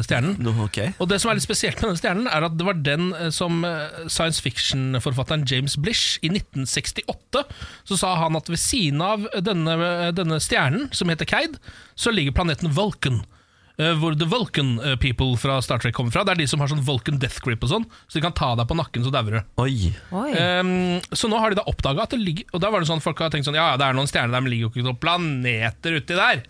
[SPEAKER 3] stjernen.
[SPEAKER 1] No, ok.
[SPEAKER 3] Og det som er litt spesielt med denne stjernen, er at det var den eh, som eh, science fiction-forfatteren James Blish i 1968 Så sa han at ved siden av denne, eh, denne stjernen, som heter Keid, så ligger planeten Vulcan. eh, Hvor The Vulcan eh, People fra Star Trek kommer fra. Det er de som har sånn Vulcan death grip og sånn, så de kan ta deg på nakken, så dauer du.
[SPEAKER 1] Oi.
[SPEAKER 2] Oi.
[SPEAKER 3] Ehm, så nå har de da oppdaga at det ligger Og da var det sånn folk har tenkt sånn Ja, ja, det er noen stjerner der, men ligger jo ikke noen planeter uti der.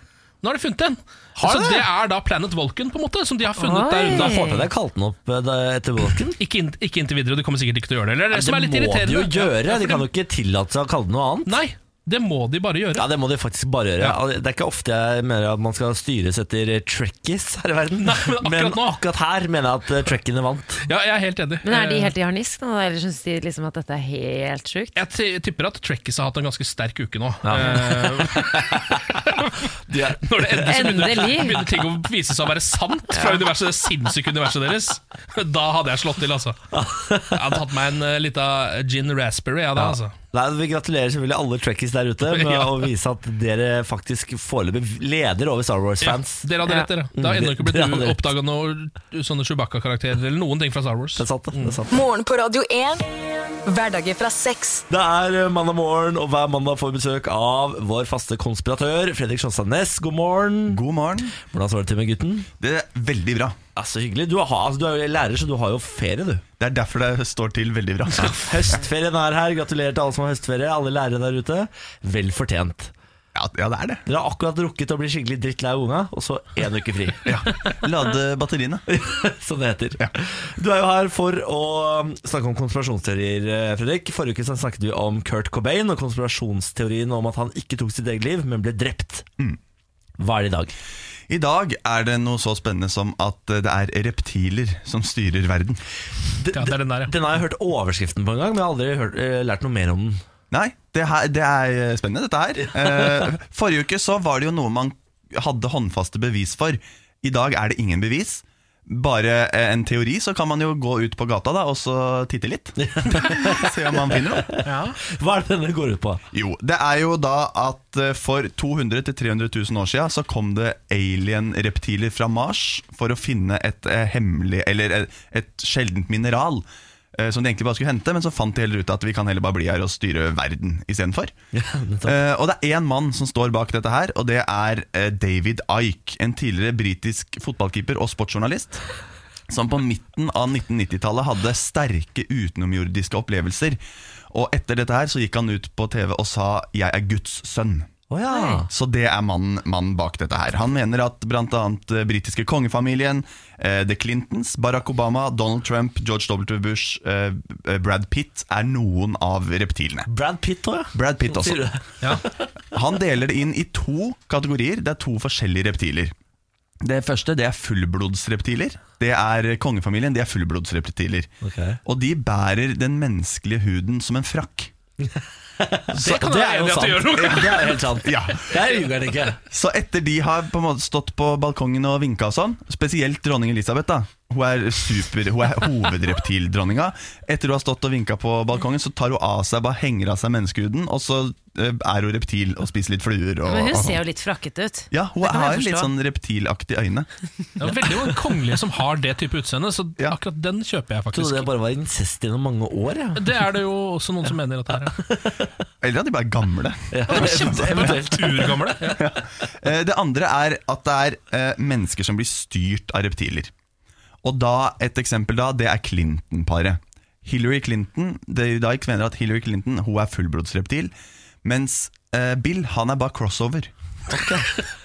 [SPEAKER 3] Nå har de funnet en.
[SPEAKER 1] Har
[SPEAKER 3] så
[SPEAKER 1] de det?
[SPEAKER 3] det er da Planet Vulcan, på en måte, som de har funnet
[SPEAKER 2] Oi.
[SPEAKER 3] der ute.
[SPEAKER 1] Da får du deg kalt den opp eh, da- etter Vulcan.
[SPEAKER 3] Ikke, inn, ikke inntil videre, og de kommer sikkert ikke til å gjøre det. Eller, det, som er litt
[SPEAKER 1] må de
[SPEAKER 3] irriterende
[SPEAKER 1] jo gjøre.
[SPEAKER 3] Ja,
[SPEAKER 1] De kan jo ikke tillate seg å kalle det noe annet.
[SPEAKER 3] Nei, det må de bare gjøre.
[SPEAKER 1] Ja, Det må de faktisk bare gjøre. Altså, Det er ikke ofte jeg mener at man skal styres etter trekkies her i verden.
[SPEAKER 3] Nei, men akkurat nå.
[SPEAKER 1] akkurat her mener jeg at eh, trekkiene vant.
[SPEAKER 3] Ja, jeg er helt enig.
[SPEAKER 2] Men
[SPEAKER 1] Eh.
[SPEAKER 2] er de helt i harnisk, da? eller syns de liksom at dette er helt sjukt?
[SPEAKER 3] Jeg ti- tipper at Trekkies har hatt en ganske sterk uke nå. Eh,
[SPEAKER 1] [LAUGHS] De er,
[SPEAKER 3] [LAUGHS] når det endelig så
[SPEAKER 2] Endelig.
[SPEAKER 3] begynner, begynner ting å vise seg å være sant fra universet, det sinnssyke universet deres, da hadde jeg slått til, altså. Jeg hadde tatt meg en uh, lita gin raspberry, jeg da, altså.
[SPEAKER 1] Nei, vi gratulerer selvfølgelig alle trekkies der ute med
[SPEAKER 3] [LAUGHS] Ja.
[SPEAKER 1] å vise at dere faktisk foreløpig leder over Star Wars-fans.
[SPEAKER 3] Ja, dere hadde
[SPEAKER 2] Ja.
[SPEAKER 3] rett, dere. Det har ennå ikke
[SPEAKER 1] Dere hadde
[SPEAKER 3] blitt
[SPEAKER 1] rett.
[SPEAKER 3] oppdaga noen sånne Chewbacca-karakterer eller noen ting fra Star Wars. Mm.
[SPEAKER 1] Det er sant, det. det er sant.
[SPEAKER 4] Morgen på Radio 1. Hverdager fra seks.
[SPEAKER 1] Det er eh, mandag morgen, og hver mandag får vi besøk av vår faste konspiratør Fredrik Sjåstad Næss. God morgen.
[SPEAKER 5] God morgen.
[SPEAKER 1] Hvordan står det til med gutten?
[SPEAKER 5] Det er veldig bra.
[SPEAKER 1] Ja, Så hyggelig. Du, har, altså, du er jo lærer, så du har jo ferie, du.
[SPEAKER 5] Det er derfor det står til veldig bra.
[SPEAKER 1] Høstferien er her. Gratulerer til alle som har høstferie. Alle lærere der ute. Vel fortjent.
[SPEAKER 5] Ja, ja det er det.
[SPEAKER 1] Dere har akkurat rukket å bli skikkelig drittlei av unga, og så én uke
[SPEAKER 5] [LAUGHS]
[SPEAKER 1] fri.
[SPEAKER 5] Lade
[SPEAKER 1] [LAUGHS]
[SPEAKER 5] batteriene.
[SPEAKER 1] som det heter. Du er jo her for å um, snakke om konspirasjonsteorier, eh, Fredrik. Forrige uke så snakket vi om Kurt Cobain og konspirasjonsteorien om at han ikke tok sitt eget liv, men ble drept.
[SPEAKER 5] Mm.
[SPEAKER 1] Hva er det i dag?
[SPEAKER 5] I dag er det noe så spennende som at eh, det er reptiler som styrer verden.
[SPEAKER 3] Ja, det er den der, ja.
[SPEAKER 1] Den har jeg hørt overskriften på en gang, men jeg har aldri hørt, eh, lært noe mer om den.
[SPEAKER 5] Nei, det, her, det er eh,
[SPEAKER 1] [LAUGHS]
[SPEAKER 5] spennende, dette her. Eh, forrige uke så var det jo noe man hadde håndfaste bevis for. I dag er det ingen bevis. Bare eh, en teori, så kan man jo gå ut på gata da, og så titte
[SPEAKER 1] [LAUGHS]
[SPEAKER 5] litt. Se om man finner noe.
[SPEAKER 3] Ja.
[SPEAKER 1] Hva er det denne går ut på?
[SPEAKER 5] Jo, det er jo da at eh, for 200 000-300 000 år siden så kom det alien-reptiler fra Mars for å finne et eh, hemmelig, eller et, et sjeldent mineral eh, som de egentlig bare skulle hente, men så fant de heller ut at vi kan heller bare bli her og styre verden istedenfor. Eh, og det er én mann som står bak dette her, og det er eh, David Ike, en tidligere britisk fotballkeeper og sportsjournalist som på midten av 1990-tallet hadde sterke utenomjordiske opplevelser. Og etter dette her så gikk han ut på TV og sa 'Jeg er Guds sønn'.
[SPEAKER 1] Å ja.
[SPEAKER 5] Så det er mannen mannen bak dette her. Han mener at bl.a. britiske kongefamilien, eh, The Clintons, Barack Obama, Donald Trump, George W. Bush, eh, Brad Pitt er noen av reptilene.
[SPEAKER 1] Brad Pitt òg, ja.
[SPEAKER 5] Brad Pitt også.
[SPEAKER 1] Sier du det?
[SPEAKER 5] Han deler det inn i to kategorier. Det er to forskjellige reptiler. Det første det er fullblodsreptiler. Det er Kongefamilien de er fullblodsreptiler.
[SPEAKER 1] Ok.
[SPEAKER 5] Og de bærer den menneskelige huden som en frakk.
[SPEAKER 1] [LAUGHS] Så-
[SPEAKER 3] kan være enig i at du gjør noe.
[SPEAKER 1] Ja, Det er helt sant.
[SPEAKER 5] Ja.
[SPEAKER 1] Der ljuger han ikke.
[SPEAKER 5] Så etter de har på en måte stått på balkongen og vinka og sånn, spesielt dronning Elisabeth, da. Hun er, super, hun er hovedreptildronninga. Etter hun har stått og vinka på balkongen, så tar hun av seg, bare henger av seg menneskehuden, og så eh, er hun reptil og spiser litt fluer. Og,
[SPEAKER 2] Men
[SPEAKER 5] og
[SPEAKER 2] hun
[SPEAKER 5] sånn.
[SPEAKER 2] ser jo litt frakket ut.
[SPEAKER 5] Ja, hun
[SPEAKER 2] Det kan jeg
[SPEAKER 5] har litt
[SPEAKER 2] forstå.
[SPEAKER 5] sånn reptilaktig øyne.
[SPEAKER 3] Det er veldig mange kongelige som har det type utseende, så
[SPEAKER 5] Ja.
[SPEAKER 3] akkurat den kjøper jeg
[SPEAKER 1] Trodde
[SPEAKER 3] faktisk.
[SPEAKER 1] det bare var incest gjennom mange år, ja.
[SPEAKER 3] Det er det jo også noen som mener at det
[SPEAKER 5] [LAUGHS]
[SPEAKER 3] er.
[SPEAKER 5] Eller at de bare er gamle. [LAUGHS]
[SPEAKER 1] Eventuelt.
[SPEAKER 3] Urgamle. Ja.
[SPEAKER 5] Eh, Det andre er at det er eh, mennesker som blir styrt av reptiler. Og da, Et eksempel da, det er Clinton-paret. Hillary Clinton David Icke mener at Hillary Clinton hun er fullblodsreptil, mens eh, Bill han er bare crossover.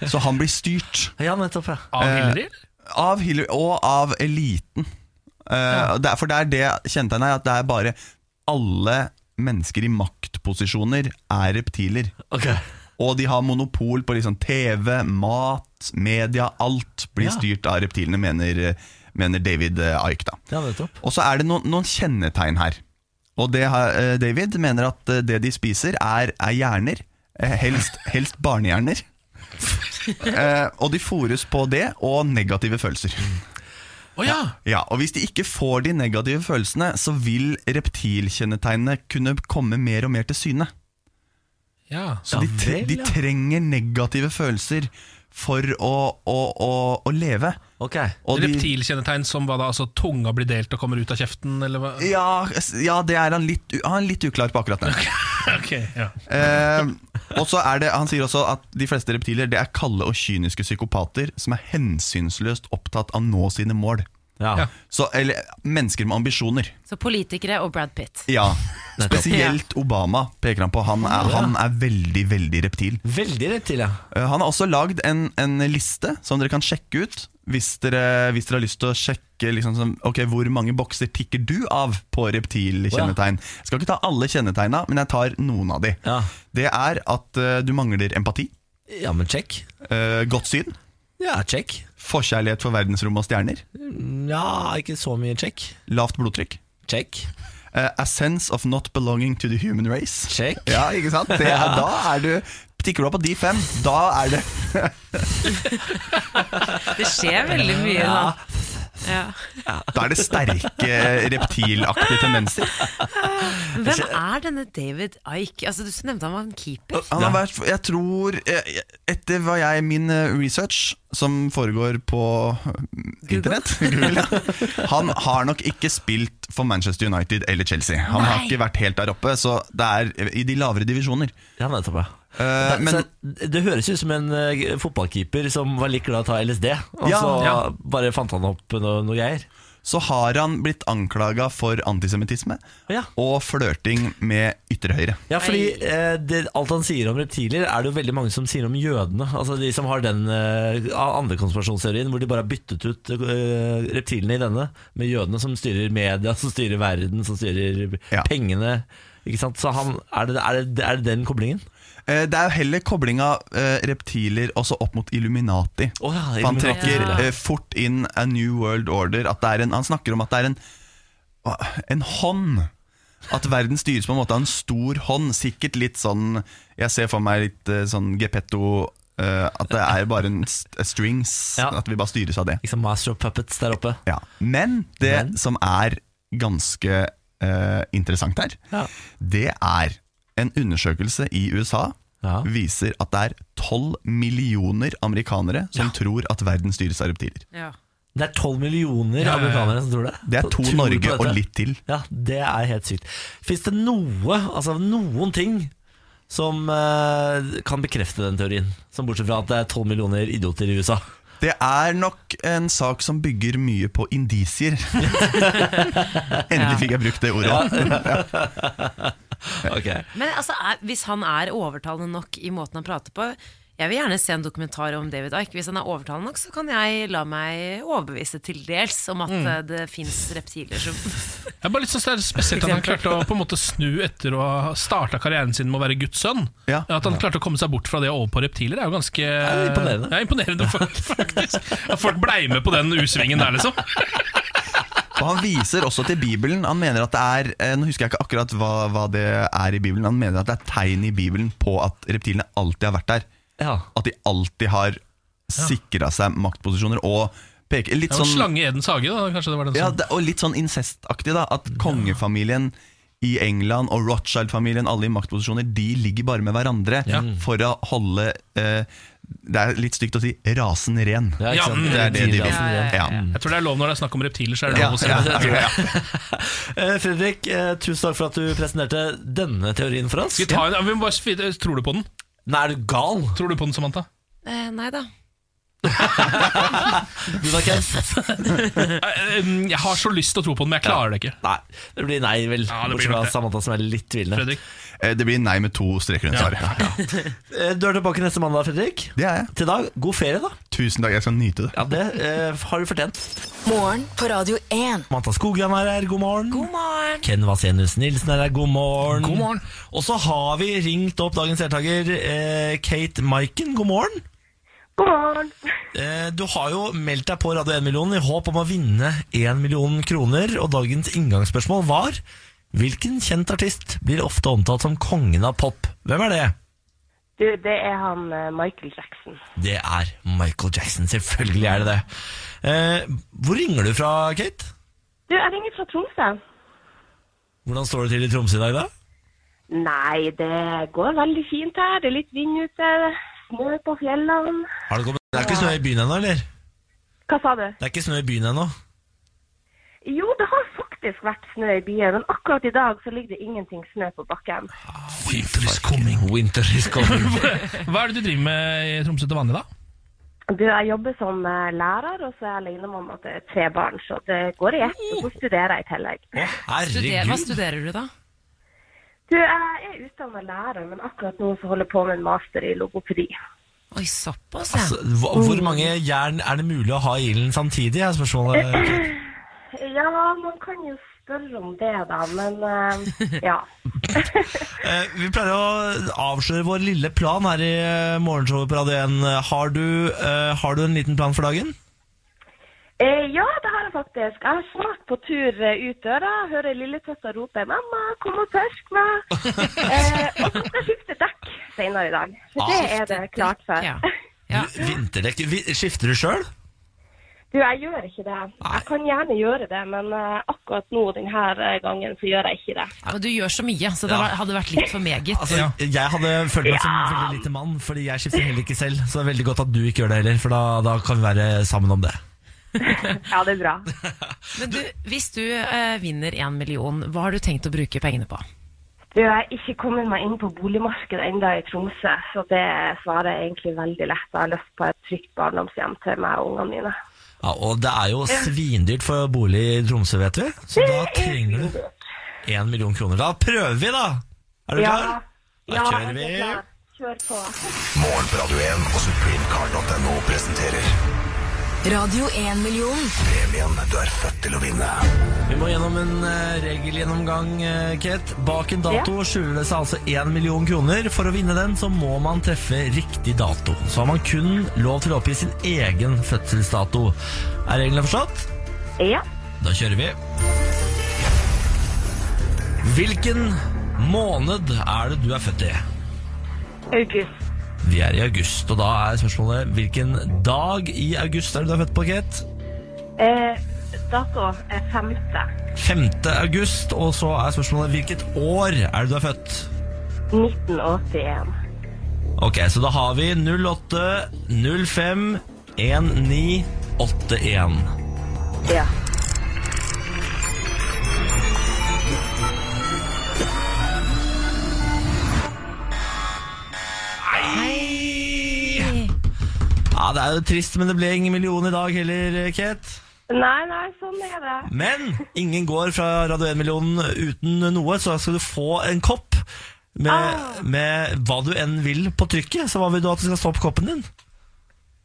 [SPEAKER 5] Så han blir styrt
[SPEAKER 1] Ja, nettopp, ja.
[SPEAKER 3] Av Hillary?
[SPEAKER 5] Eh, av Hillary og av eliten. Eh, og det er- For det er det kjennetegnet her, at det er bare alle mennesker i maktposisjoner er reptiler.
[SPEAKER 1] Ok.
[SPEAKER 5] Og de har monopol på liksom TV, mat, media. Alt blir
[SPEAKER 1] Ja.
[SPEAKER 5] styrt av reptilene, mener, mener David eh, Icke. da.
[SPEAKER 1] Ja, nettopp.
[SPEAKER 5] Og så er det noen, noen kjennetegn her. Og det har, eh, David mener at eh, det de spiser, er, er hjerner. eh, Helst, helst barnehjerner. [LAUGHS] Eh, og de fôres på det og negative følelser.
[SPEAKER 3] Å ja.
[SPEAKER 5] Ja, og Hvis de ikke får de negative følelsene, så vil reptilkjennetegnene kunne komme mer og mer til syne.
[SPEAKER 3] ja.
[SPEAKER 1] Ja
[SPEAKER 5] Så de, tre
[SPEAKER 1] vel,
[SPEAKER 5] de
[SPEAKER 1] ja.
[SPEAKER 5] trenger negative følelser for å, å, å, å leve.
[SPEAKER 1] Ok.
[SPEAKER 5] Og de,
[SPEAKER 3] Reptilkjennetegn som hva da, altså tunga blir delt og kommer ut av kjeften, eller
[SPEAKER 5] [LAUGHS]
[SPEAKER 3] hva?
[SPEAKER 5] ja, s- ja, det er han litt, u- han er litt uklar på akkurat det.
[SPEAKER 3] Ok, ja.
[SPEAKER 5] Eh, og så er det, Han sier også at de fleste reptiler Det er kalde og kyniske psykopater som er hensynsløst opptatt av å nå sine mål.
[SPEAKER 1] Ja.
[SPEAKER 3] Ja.
[SPEAKER 5] Så, eller mennesker med ambisjoner.
[SPEAKER 2] Så politikere og Brad Pitt.
[SPEAKER 5] Ja, Spesielt Obama peker han på. Han er, han er veldig, veldig reptil.
[SPEAKER 1] Veldig rett til, ja.
[SPEAKER 5] Eh, Han har også lagd en, en liste som dere kan sjekke ut hvis dere, hvis dere har lyst til å sjekke liksom, som, ok, hvor mange bokser tikker du av på reptilkjennetegn. Jeg skal ikke ta alle kjennetegna, men jeg tar noen av de.
[SPEAKER 1] Ja.
[SPEAKER 5] Det er at eh, du mangler empati,
[SPEAKER 1] Ja, men check.
[SPEAKER 5] eh, godt syn,
[SPEAKER 1] Ja, check.
[SPEAKER 5] forkjærlighet for verdensrom og stjerner,
[SPEAKER 1] Ja, ikke så mye check.
[SPEAKER 5] lavt blodtrykk,
[SPEAKER 1] Check.
[SPEAKER 5] eh, a sense of not belonging to the human race.
[SPEAKER 1] Check.
[SPEAKER 5] Ja, ikke sant? Det er, da er du, tikker du av på de fem, da er det
[SPEAKER 1] [LAUGHS]
[SPEAKER 2] Det skjer veldig mye da. Ja.
[SPEAKER 5] Da er det sterke reptilaktige tendenser.
[SPEAKER 2] Hvem er denne David Ike? Altså, du nevnte han var en keeper.
[SPEAKER 5] Han har vært, jeg tror, eh, etter hva jeg, min eh, research, som foregår på eh,
[SPEAKER 1] [LAUGHS]
[SPEAKER 5] internett Google, ja. [LAUGHS] Han har nok ikke spilt for Manchester United eller Chelsea. Han har
[SPEAKER 2] Nei.
[SPEAKER 5] ikke vært helt der oppe, så det er eh, i de lavere divisjoner.
[SPEAKER 1] Ja, nettopp, ja.
[SPEAKER 5] Eh,
[SPEAKER 1] Det-
[SPEAKER 5] men
[SPEAKER 1] så det høres ut som en eh, fotballkeeper som var like glad i å ta LSD, og
[SPEAKER 5] Ja,
[SPEAKER 1] så
[SPEAKER 3] ja.
[SPEAKER 1] bare fant han opp noe, noe greier.
[SPEAKER 5] så har han blitt anklaga for antisemittisme
[SPEAKER 1] Ja.
[SPEAKER 5] og flørting med ytre høyre.
[SPEAKER 1] Ja, fordi eh, det, Alt han sier om reptiler, er det jo veldig mange som sier om jødene. Altså De som har den eh, andre konspirasjonsteorien, hvor de bare har byttet ut eh, reptilene i denne med jødene, som styrer media, som styrer verden, som styrer
[SPEAKER 5] Ja.
[SPEAKER 1] pengene. Ikke sant? Så han, er, det, er, det, er det den koblingen?
[SPEAKER 5] Eh, Det er jo heller koblinga eh, reptiler også opp mot Illuminati.
[SPEAKER 1] Å ja,
[SPEAKER 5] For han
[SPEAKER 1] Illuminati,
[SPEAKER 5] trekker
[SPEAKER 1] ja.
[SPEAKER 5] eh, fort inn A New World Order. At det er en, han snakker om at det er en, en hånd. At verden styres på en måte av en stor hånd. Sikkert litt sånn Jeg ser for meg litt eh, sånn Gepetto eh, At det er bare en st eh, strings.
[SPEAKER 1] Ja.
[SPEAKER 5] At vi bare styres av det.
[SPEAKER 1] Liksom Master of Puppets der oppe.
[SPEAKER 5] Ja. Men det
[SPEAKER 1] Men?
[SPEAKER 5] som er ganske eh, interessant her,
[SPEAKER 1] Ja.
[SPEAKER 5] det er en undersøkelse i USA
[SPEAKER 1] Ja.
[SPEAKER 5] viser at det er 12 millioner amerikanere som tror at verden styres av reptiler.
[SPEAKER 2] Ja.
[SPEAKER 1] Det er tolv millioner
[SPEAKER 3] ja, ja.
[SPEAKER 1] amerikanere som tror det.
[SPEAKER 5] Det er
[SPEAKER 1] Så
[SPEAKER 5] to
[SPEAKER 1] tror på
[SPEAKER 5] Norge
[SPEAKER 1] dette.
[SPEAKER 5] og litt til.
[SPEAKER 1] Ja, det er helt sykt. Fins det noe, altså noen ting, som eh, kan bekrefte den teorien? Som bortsett fra at det er 12 millioner idioter i USA.
[SPEAKER 5] Det er nok en sak som bygger mye på indisier. [LAUGHS] Endelig fikk jeg brukt det ordet. [LAUGHS]
[SPEAKER 1] Ok
[SPEAKER 2] Men altså, er, hvis han er overtalende nok i måten han prater på Jeg vil gjerne se en dokumentar om David Icke. Hvis han er overtalende nok, så kan jeg la meg overbevise til dels
[SPEAKER 1] Mm.
[SPEAKER 2] om at eh, det fins reptiler som [LAUGHS]
[SPEAKER 3] Jeg er bare litt sånn det er spesielt at han klarte å på en måte snu etter å ha starta karrieren sin med å være Guds sønn.
[SPEAKER 5] Ja.
[SPEAKER 3] At han klarte å komme seg bort fra det og over på reptiler, er jo ganske
[SPEAKER 1] er imponerende.
[SPEAKER 3] Ja, imponerende fakt- [LAUGHS] faktisk. At folk blei med på den U-svingen der, liksom.
[SPEAKER 5] Og han viser også til Bibelen. Han mener at det er eh, Nå husker jeg ikke akkurat hva, hva det er i Bibelen. Han mener at det er tegn i Bibelen på at reptilene alltid har vært der.
[SPEAKER 1] Ja,
[SPEAKER 5] At de alltid har sikra seg maktposisjoner og peker Litt
[SPEAKER 3] Det var en
[SPEAKER 5] sånn
[SPEAKER 3] slange i Edens hage, da. Kanskje det var den
[SPEAKER 5] Ja,
[SPEAKER 3] som
[SPEAKER 5] det, og litt sånn incestaktig da At kongefamilien i England og Rothschild-familien Alle i maktposisjoner De ligger bare med hverandre
[SPEAKER 3] Ja.
[SPEAKER 1] Mm.
[SPEAKER 5] For å holde eh, Det er litt stygt å si rasen ren
[SPEAKER 1] ja,
[SPEAKER 3] Ja,
[SPEAKER 1] ikke sant?
[SPEAKER 3] mm,
[SPEAKER 5] Det er det de vil
[SPEAKER 1] Tidligere.
[SPEAKER 5] Ja, ja,
[SPEAKER 1] mm.
[SPEAKER 3] Jeg tror det er lov når det er snakk om reptiler, så er det
[SPEAKER 5] ja,
[SPEAKER 3] lov å si
[SPEAKER 5] ja,
[SPEAKER 3] det.
[SPEAKER 5] ja,
[SPEAKER 1] Eh, Fredrik, eh, tusen takk for at du presenterte denne teorien for oss.
[SPEAKER 3] Skal vi ta en, ja, vi må bare, svi- tror du på den?
[SPEAKER 1] Nei, er du gal?
[SPEAKER 3] Tror du på den, Samantha?
[SPEAKER 2] eh, Nei da.
[SPEAKER 1] Du da, Ken?
[SPEAKER 3] [LAUGHS] Eh, eh, Jeg har så lyst til å tro på den, men jeg klarer det ikke.
[SPEAKER 1] Nei, det blir nei, vel.
[SPEAKER 3] Ja, det
[SPEAKER 1] Bortsett
[SPEAKER 3] blir nok
[SPEAKER 1] fra
[SPEAKER 3] det.
[SPEAKER 1] Samantha, som er litt tvilende.
[SPEAKER 3] Fredrik.
[SPEAKER 5] Eh, Det blir nei med to streker rundt
[SPEAKER 3] Ja.
[SPEAKER 5] svaret.
[SPEAKER 1] Eh, Du er tilbake neste mandag, Fredrik.
[SPEAKER 5] Det er jeg
[SPEAKER 1] Til da, god ferie, da.
[SPEAKER 5] Tusen takk, jeg skal nyte det
[SPEAKER 1] Ja, Det eh, har du fortjent.
[SPEAKER 4] Morgen på Radio 1.
[SPEAKER 1] Manta Skogran er her, god morgen.
[SPEAKER 2] God morgen!
[SPEAKER 1] Ken Vasenius Nilsen er her, god morgen.
[SPEAKER 3] God morgen.
[SPEAKER 1] Og så har vi ringt opp dagens deltaker, eh, Kate Maiken. God morgen.
[SPEAKER 6] God morgen.
[SPEAKER 1] Eh, du har jo meldt deg på Radio 1 million i håp om å vinne 1 million kroner, og dagens inngangsspørsmål var Hvilken kjent artist blir ofte omtalt som kongen av pop? Hvem er det?
[SPEAKER 6] Du, det er han eh, Michael Jackson.
[SPEAKER 1] Det er Michael Jackson. Selvfølgelig er det det. Eh, hvor ringer du fra, Kate?
[SPEAKER 6] Du, jeg ringer fra Tromsø.
[SPEAKER 1] Hvordan står det til i Tromsø i dag, da?
[SPEAKER 6] Nei, det går veldig fint her. Det er litt vind ute. Snø på fjellene.
[SPEAKER 1] Har det, kommet... det er ikke snø i byen ennå, eller?
[SPEAKER 6] Hva sa du?
[SPEAKER 1] Det er ikke snø i byen ennå.
[SPEAKER 6] Jo, det har faktisk vært snø i byen, men akkurat i dag så ligger det ingenting snø på bakken.
[SPEAKER 3] Winter is coming.
[SPEAKER 1] Winter is coming.
[SPEAKER 3] [LAUGHS] Hva er det du driver med i Tromsø til vanlig, da?
[SPEAKER 6] Du, jeg jobber som eh, lærer, og så er jeg alenemamma til tre barn, så det går i ett. Og så studerer jeg i tillegg.
[SPEAKER 2] Studer, hva
[SPEAKER 1] Herregud.
[SPEAKER 2] studerer du, da?
[SPEAKER 6] Du, jeg er utdannet lærer, men akkurat nå så holder jeg på med en master i logopedi.
[SPEAKER 2] Oi, såpass, ja. Mm.
[SPEAKER 1] Altså, hva- hvor mange jern er det mulig å ha i ilden samtidig? er spørsmålet.
[SPEAKER 6] Ja, man kan jo spørre om det, da, men eh, ja.
[SPEAKER 1] Eh, Vi pleier å avsløre vår lille plan her i eh, morgenshowet på Radio 1. Har du, eh, har du en liten plan for dagen?
[SPEAKER 6] Eh, ja, det har jeg faktisk. Jeg er snart på tur eh, ut døra. Hører lillesøster rope 'mamma, kom og tørk meg'. eh, og så skal jeg skifte dekk senere i dag. Så det er det klart for.
[SPEAKER 2] Ja. Ja.
[SPEAKER 1] Du, Vinterdekk vi- Skifter du sjøl?
[SPEAKER 6] [LAUGHS] Du, jeg gjør ikke det. Jeg kan gjerne gjøre det, men eh, akkurat nå denne gangen så gjør jeg ikke det.
[SPEAKER 2] Ja, Men du gjør så mye, så det var- hadde vært litt for meget.
[SPEAKER 1] Altså, Jeg hadde følt meg som en veldig lite mann, fordi jeg skifter heller ikke selv. Så det er veldig godt at du ikke gjør det heller, for da, da kan vi være sammen om det.
[SPEAKER 6] [LAUGHS] Ja, det er
[SPEAKER 1] [LAUGHS]
[SPEAKER 6] bra.
[SPEAKER 2] Men du, hvis du eh, vinner én million, hva har du tenkt å bruke pengene på?
[SPEAKER 6] Du, jeg er ikke kommet meg inn på boligmarkedet enda i Tromsø, så det svarer jeg egentlig veldig lett. Jeg har lyst på et trygt barndomshjem til meg og ungene mine.
[SPEAKER 1] Ja, og det er jo svindyrt for bolig i Tromsø, vet vi. Så da trenger du én million kroner. Da prøver vi, da! Er du klar? Da
[SPEAKER 6] Ja,
[SPEAKER 1] kjører vi.
[SPEAKER 6] jeg er klar. Kjør på.
[SPEAKER 7] Morgen på Radio 1 og supremecard.no presenterer
[SPEAKER 4] Radio 1-million.
[SPEAKER 7] premien du er født til å vinne.
[SPEAKER 1] Vi må gjennom en eh, regelgjennomgang, eh, Kate. Bak en dato skjuler det seg altså én million kroner. For å vinne den så må man treffe riktig dato. Så har man kun lov til å oppgi sin egen fødselsdato. Er reglene forstått?
[SPEAKER 6] Ja.
[SPEAKER 1] Da kjører vi. Hvilken måned er det du er født i?
[SPEAKER 6] August.
[SPEAKER 1] Vi er i august, og da er spørsmålet hvilken dag i august er det du er født på, Kate?
[SPEAKER 6] Eh, dato er femte.
[SPEAKER 1] 5. august, og så er spørsmålet hvilket år er det du er født?
[SPEAKER 6] 1981.
[SPEAKER 1] Ok, så da har vi 08 05 19 81.
[SPEAKER 6] Ja.
[SPEAKER 1] Ja, det er jo trist, men det ble ingen million i dag heller, Kate.
[SPEAKER 6] Nei, nei, sånn er det.
[SPEAKER 1] Men ingen går fra Radio 1-millionen uten noe, så da skal du få en kopp med, med hva du enn vil på trykket. Så hva vil du at det skal stå på koppen din?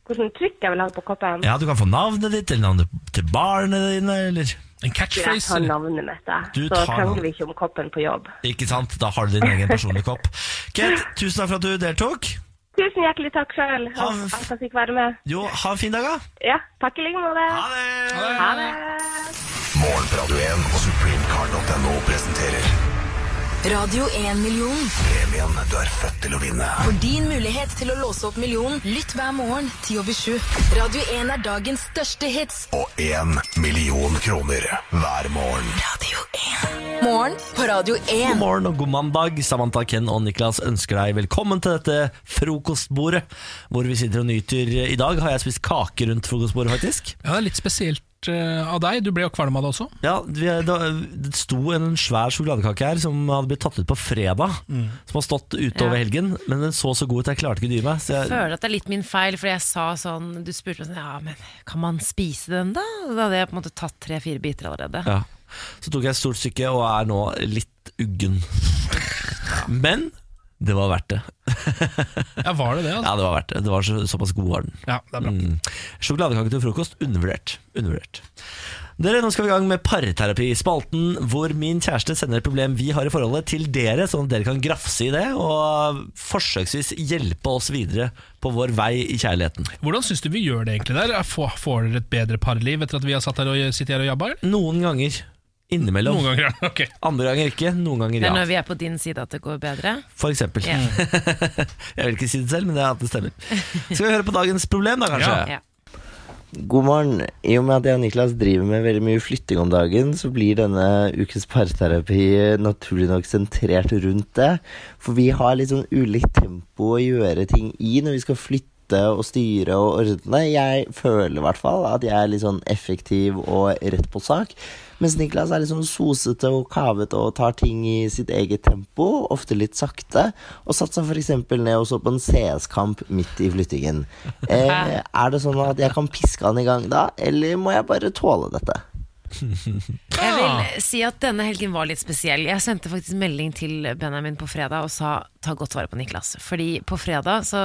[SPEAKER 6] Hvordan trykk jeg vil ha på koppen?
[SPEAKER 1] Ja, Du kan få navnet ditt, eller navnet til barna dine, eller
[SPEAKER 6] Jeg
[SPEAKER 3] En catchphrase.
[SPEAKER 6] tar
[SPEAKER 3] eller?
[SPEAKER 6] navnet mitt,
[SPEAKER 1] Du
[SPEAKER 6] jeg. Så
[SPEAKER 1] tar navnet.
[SPEAKER 6] krangler vi ikke om koppen på jobb.
[SPEAKER 1] Ikke sant? Da har du din egen personlige kopp. Kate, tusen takk for at du deltok.
[SPEAKER 6] Tusen hjertelig takk sjøl
[SPEAKER 1] Ha
[SPEAKER 6] for
[SPEAKER 1] en f-
[SPEAKER 6] at jeg fikk være med.
[SPEAKER 1] Jo, ha en fin dag, da.
[SPEAKER 6] Ja, takk i like måte.
[SPEAKER 1] Ha det!
[SPEAKER 6] Ha det.
[SPEAKER 7] Morgen på Radio 1 og supremecard.no presenterer
[SPEAKER 4] Radio 1-million.
[SPEAKER 7] premien du er født til å vinne.
[SPEAKER 4] For din mulighet til å låse opp millionen, lytt hver morgen 10 over 7. Radio 1 er dagens største hits.
[SPEAKER 7] Og én million kroner hver morgen.
[SPEAKER 4] Radio 1. Morgen på Radio 1.
[SPEAKER 1] God morgen og god mandag. Samantha, Ken og Niklas ønsker deg velkommen til dette frokostbordet, hvor vi sitter og nyter. I dag har jeg spist kake rundt frokostbordet, faktisk.
[SPEAKER 3] Ja, det er litt spesielt eh, av deg. Du ble jo kvalm av det også.
[SPEAKER 1] Ja, vi, da, Eh, Det sto en svær sjokoladekake her som hadde blitt tatt ut på fredag. Som har stått utover
[SPEAKER 2] Ja.
[SPEAKER 1] helgen, men den så så god ut at jeg klarte ikke å dy meg. Så jeg,
[SPEAKER 2] føler at det er litt min feil, fordi jeg sa sånn Du spurte meg sånn Ja, men kan man spise den, da? Da hadde jeg på en måte tatt tre-fire biter allerede.
[SPEAKER 1] ja. så tok jeg et stort stykke og er nå litt
[SPEAKER 2] [LAUGHS]
[SPEAKER 1] uggen. Men det var verdt det.
[SPEAKER 3] Ja, var det det? Altså?
[SPEAKER 1] Ja, Det var verdt det. Det var så, såpass god var den.
[SPEAKER 3] Ja, det er bra.
[SPEAKER 1] Mm. Sjokoladekake til frokost, undervurdert. Undervurdert. Dere, Nå skal vi i gang med parterapi. Spalten hvor min kjæreste sender et problem vi har i forholdet til dere, sånn at dere kan grafse i det og forsøksvis hjelpe oss videre på vår vei i kjærligheten.
[SPEAKER 3] Hvordan syns du vi gjør det egentlig der? Er- Får, får dere et bedre parliv etter at vi har satt her og sitter her og jabba? eller?
[SPEAKER 1] Noen ganger. Innimellom.
[SPEAKER 3] Noen ganger, ja. [LAUGHS] ok.
[SPEAKER 1] Andre ganger ikke. Noen
[SPEAKER 2] Det
[SPEAKER 1] ganger
[SPEAKER 2] er
[SPEAKER 1] ja.
[SPEAKER 2] når vi er på din side at det går bedre.
[SPEAKER 1] For eksempel.
[SPEAKER 2] Ja.
[SPEAKER 1] [LAUGHS] Jeg vil ikke si det selv, men det er at det stemmer. Skal vi høre på dagens problem, da, kanskje?
[SPEAKER 3] Ja.
[SPEAKER 2] Ja.
[SPEAKER 8] God morgen. I og med at jeg og Niklas driver med veldig mye flytting om dagen, så blir denne ukens parterapi naturlig nok sentrert rundt det. For vi har litt sånn ulikt tempo å gjøre ting i når vi skal flytte og styre og ordne. Jeg føler i hvert fall at jeg er litt sånn effektiv og rett på sak. Mens Niklas er litt sånn sosete og kavete og tar ting i sitt eget tempo, ofte litt sakte. Og satt seg f.eks. ned og så på en CS-kamp midt i flyttingen. Eh, er det sånn at jeg kan piske han i gang da, eller må jeg bare tåle dette?
[SPEAKER 2] Jeg vil si at denne helgen var litt spesiell. Jeg sendte faktisk melding til Benjamin på fredag og sa ta godt vare på Niklas. Fordi på fredag så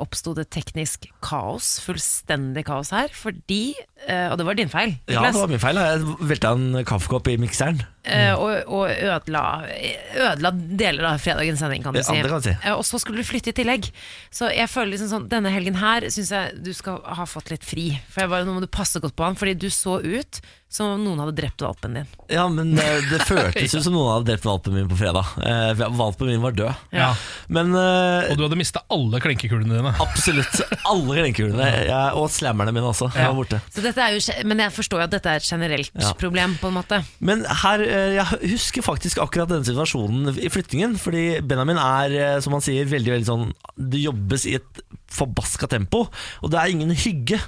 [SPEAKER 2] oppsto det teknisk kaos, fullstendig kaos her, fordi eh, Og det var din feil,
[SPEAKER 1] Ja,
[SPEAKER 2] Niklas.
[SPEAKER 1] det var min feil. da. Jeg velta en kaffekopp i mikseren.
[SPEAKER 2] Eh,
[SPEAKER 1] Mm.
[SPEAKER 2] og, og ødela, ødela deler av fredagens sending, kan du
[SPEAKER 1] Ja,
[SPEAKER 2] si.
[SPEAKER 1] det kan du si.
[SPEAKER 2] Eh, og så skulle du flytte i tillegg. Så jeg føler liksom sånn denne helgen her syns jeg du skal ha fått litt fri. For jeg bare, Nå må du passe godt på han, fordi du så ut som om noen hadde drept valpen din.
[SPEAKER 1] Ja, men eh, det føltes jo som noen hadde drept valpen min på fredag. Eh, Valpen min var død.
[SPEAKER 3] Ja.
[SPEAKER 1] Men eh,
[SPEAKER 3] Og du hadde mista alle klinkekulene dine.
[SPEAKER 1] absolutt alle grenkulene,
[SPEAKER 3] [LAUGHS]
[SPEAKER 1] jeg- og slammerne mine også, jeg var borte.
[SPEAKER 2] Så dette er jo, ge- men jeg forstår jo at dette er et generelt
[SPEAKER 1] Ja.
[SPEAKER 2] problem, på en måte.
[SPEAKER 1] Men her, eh, jeg husker faktisk akkurat denne situasjonen i flyttingen. Fordi Benjamin er, eh, som han sier, veldig veldig sånn Det jobbes i et forbaska tempo. Og det er ingen hygge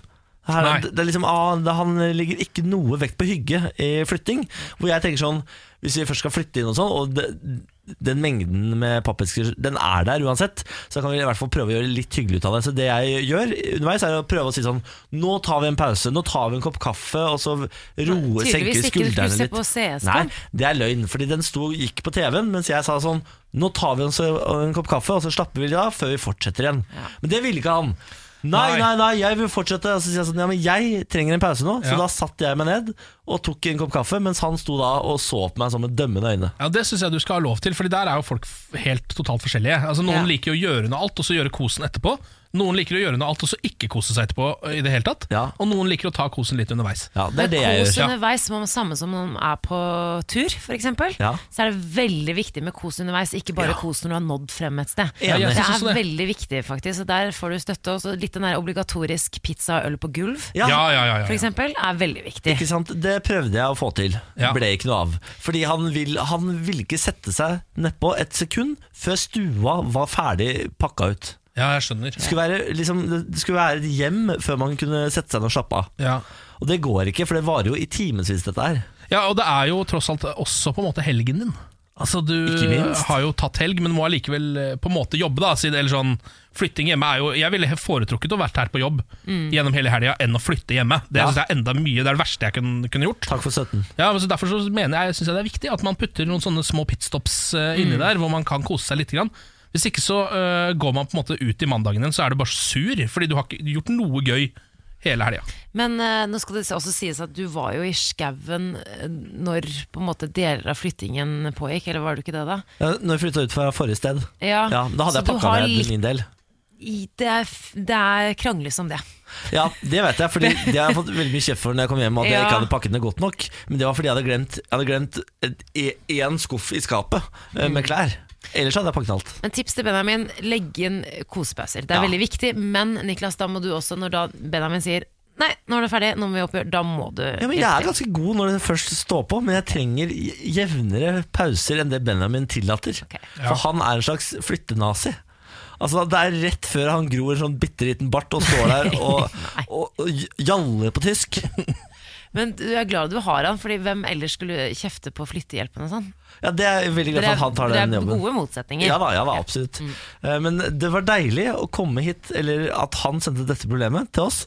[SPEAKER 1] Her,
[SPEAKER 3] Nei.
[SPEAKER 1] det, det er liksom, ah, det, han legger ikke noe vekt på hygge i flytting. Hvor jeg tenker sånn Hvis vi først skal flytte inn og sånn, og det, den mengden med pappesker Den er der uansett, så kan vi i hvert fall prøve å gjøre litt hyggelig ut av det. Så det jeg gjør underveis, er å prøve å si sånn Nå tar vi en pause, nå tar vi en kopp kaffe, og så roe, senker vi
[SPEAKER 2] Tydeligvis ikke du skulle
[SPEAKER 1] skuldrene
[SPEAKER 2] se
[SPEAKER 1] litt.
[SPEAKER 2] på CS-kamp.
[SPEAKER 1] Nei, det er løgn, fordi den sto, gikk på TV-en mens jeg sa sånn Nå tar vi oss en kopp kaffe, og så slapper vi litt av før vi fortsetter igjen. Men det ville ikke han. Nei,
[SPEAKER 3] Nei.
[SPEAKER 1] nei, nei, jeg vil fortsette. Og så sier jeg sånn, ja, men jeg trenger en pause nå. Så
[SPEAKER 3] Ja.
[SPEAKER 1] da satt jeg meg ned og tok en kopp kaffe, mens han sto da og så på meg som med dømmende øyne.
[SPEAKER 3] Ja, Det syns jeg du skal ha lov til, Fordi der er jo folk f- helt totalt forskjellige. Altså
[SPEAKER 2] Ja.
[SPEAKER 3] Noen liker å gjøre noe alt, og så gjøre kosen etterpå. Noen liker å gjøre noe alt, og så ikke kose seg etterpå. ø, I det hele tatt
[SPEAKER 1] Ja.
[SPEAKER 3] Og noen liker å ta kosen litt underveis.
[SPEAKER 1] Ja, det er det jeg
[SPEAKER 2] Men
[SPEAKER 1] gjør.
[SPEAKER 2] kos
[SPEAKER 3] ja.
[SPEAKER 2] underveis, som om- samme som når man er på tur, f.eks.,
[SPEAKER 1] Ja.
[SPEAKER 2] så er det veldig viktig med kos underveis, ikke bare kos når du har nådd frem et sted.
[SPEAKER 1] Ja, sånn jeg
[SPEAKER 2] det
[SPEAKER 3] synes
[SPEAKER 2] er
[SPEAKER 3] også det.
[SPEAKER 2] veldig viktig, faktisk. Og der får du støtte. Og så litt den der obligatorisk pizza og øl på gulv,
[SPEAKER 1] Ja,
[SPEAKER 3] Ja, ja, ja, ja,
[SPEAKER 2] for
[SPEAKER 3] ja.
[SPEAKER 2] eksempel, er veldig viktig.
[SPEAKER 1] Ikke sant? Det prøvde jeg å få til.
[SPEAKER 3] Ja.
[SPEAKER 1] Ble ikke noe av. Fordi han vil, han vil ikke sette seg nedpå et sekund før stua var ferdig pakka ut.
[SPEAKER 3] ja jeg skjønner.
[SPEAKER 1] Det skulle, være, liksom, det skulle være et hjem før man kunne sette seg ned og slappe av.
[SPEAKER 3] Ja.
[SPEAKER 1] Og det går ikke, for det varer jo i timevis, dette her.
[SPEAKER 3] ja, Og det er jo tross alt også på en måte helgen din. Altså Du
[SPEAKER 1] Ikke minst.
[SPEAKER 3] har jo tatt helg, men må allikevel ø, på en måte jobbe. da siden- Eller sånn Flytting hjemme er jo Jeg ville foretrukket å vært her på jobb gjennom hele helga enn å flytte hjemme. Det
[SPEAKER 1] Mm. Ja.
[SPEAKER 3] synes jeg er enda mye, det er det verste jeg kunne, kunne gjort.
[SPEAKER 1] Takk for støtten.
[SPEAKER 3] Ja, men så Derfor så mener jeg, synes jeg det er viktig at man putter noen sånne små pitstops eh,
[SPEAKER 1] Mm.
[SPEAKER 3] inni der, hvor man kan kose seg litt. Grann. Hvis ikke så eh, går man på en måte ut i mandagen igjen, så er du bare sur, fordi du har ikke gjort noe gøy hele helga.
[SPEAKER 2] Men eh, nå skal det også sies at du var jo i skauen eh, når på en måte deler av flyttingen pågikk, eller var du ikke det da?
[SPEAKER 1] Ja, Når jeg flytta ut fra forrige sted,
[SPEAKER 2] Ja,
[SPEAKER 1] ja, da hadde
[SPEAKER 2] så
[SPEAKER 1] jeg
[SPEAKER 2] du
[SPEAKER 1] pakka
[SPEAKER 2] har
[SPEAKER 1] ned
[SPEAKER 2] litt-
[SPEAKER 1] min del.
[SPEAKER 2] i- Det er, f- det er krangles om det.
[SPEAKER 1] Ja, Det vet jeg, fordi det har jeg fått veldig mye kjeft for når jeg kom hjem. At jeg
[SPEAKER 2] Ja.
[SPEAKER 1] ikke hadde pakket ned godt nok Men det var fordi jeg hadde glemt, jeg hadde glemt et- e- én skuff i skapet eh,
[SPEAKER 2] Mm.
[SPEAKER 1] med klær. Ellers hadde jeg pakket alt.
[SPEAKER 2] Men tips til Benjamin, legg inn kosepauser. Det er
[SPEAKER 1] Ja.
[SPEAKER 2] veldig viktig. Men Niklas, da må du også, når da Benjamin sier Nei, nå er det ferdig, nå må vi oppgjøre. Da må du
[SPEAKER 1] Ja, men Jeg er ganske god når det først står på, men jeg trenger jevnere pauser enn det Benjamin tillater.
[SPEAKER 2] Ok.
[SPEAKER 1] For han er en slags flyttenazi. Altså Det er rett før han gror en sånn bitte liten bart og står
[SPEAKER 2] [LAUGHS]
[SPEAKER 1] der og, og, og jaller på tysk.
[SPEAKER 2] Men du er glad du har han, Fordi hvem ellers skulle kjefte på flyttehjelpen og sånn?
[SPEAKER 1] Ja, Det er veldig glad for
[SPEAKER 2] Dere er-
[SPEAKER 1] at han tar
[SPEAKER 2] dere
[SPEAKER 1] den
[SPEAKER 2] er
[SPEAKER 1] jobben.
[SPEAKER 2] gode motsetninger. Mm.
[SPEAKER 1] Ja da, ja da, absolutt. Eh, Men det var deilig å komme hit, eller at han sendte dette problemet til oss.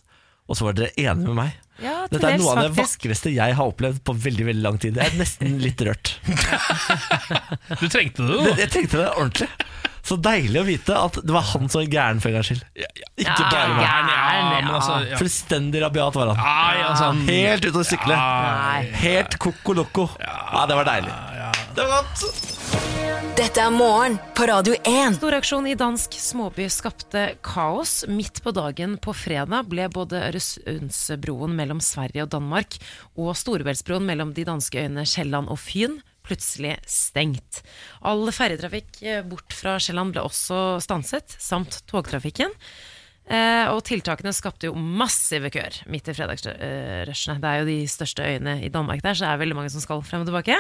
[SPEAKER 1] Og så var dere enige med meg.
[SPEAKER 2] Ja, til
[SPEAKER 1] Dette er
[SPEAKER 2] dels,
[SPEAKER 1] noe av det
[SPEAKER 2] faktisk.
[SPEAKER 1] vakreste jeg har opplevd på veldig veldig lang tid. Jeg er nesten litt rørt.
[SPEAKER 3] [LAUGHS] Du
[SPEAKER 1] Det,
[SPEAKER 3] trengte det, du.
[SPEAKER 1] jeg tenkte det ordentlig. Så deilig å vite at det var han som var gæren for en gangs skyld. Ikke
[SPEAKER 2] Ja,
[SPEAKER 1] bare meg.
[SPEAKER 2] gæren,
[SPEAKER 3] Ja, men altså, ja.
[SPEAKER 1] Fullstendig rabiat var han.
[SPEAKER 3] Nei, altså, han-
[SPEAKER 1] Helt ute å sykle.
[SPEAKER 2] Nei.
[SPEAKER 1] Helt koko loco. Ja, det var deilig. Det var godt.
[SPEAKER 4] Dette er morgen på Radio 1.
[SPEAKER 2] Storaksjon i dansk småby skapte kaos. Midt på dagen på fredag ble både Øresundsbroen mellom Sverige og Danmark og Storebeltsbroen mellom de danske øyene Sjælland og Fyn plutselig stengt. All ferjetrafikk eh, bort fra Sjælland ble også stanset, samt togtrafikken. Eh, og tiltakene skapte jo massive køer midt i fredagsrushene. Det er jo de største øyene i Danmark der, så det er veldig mange som skal frem og tilbake.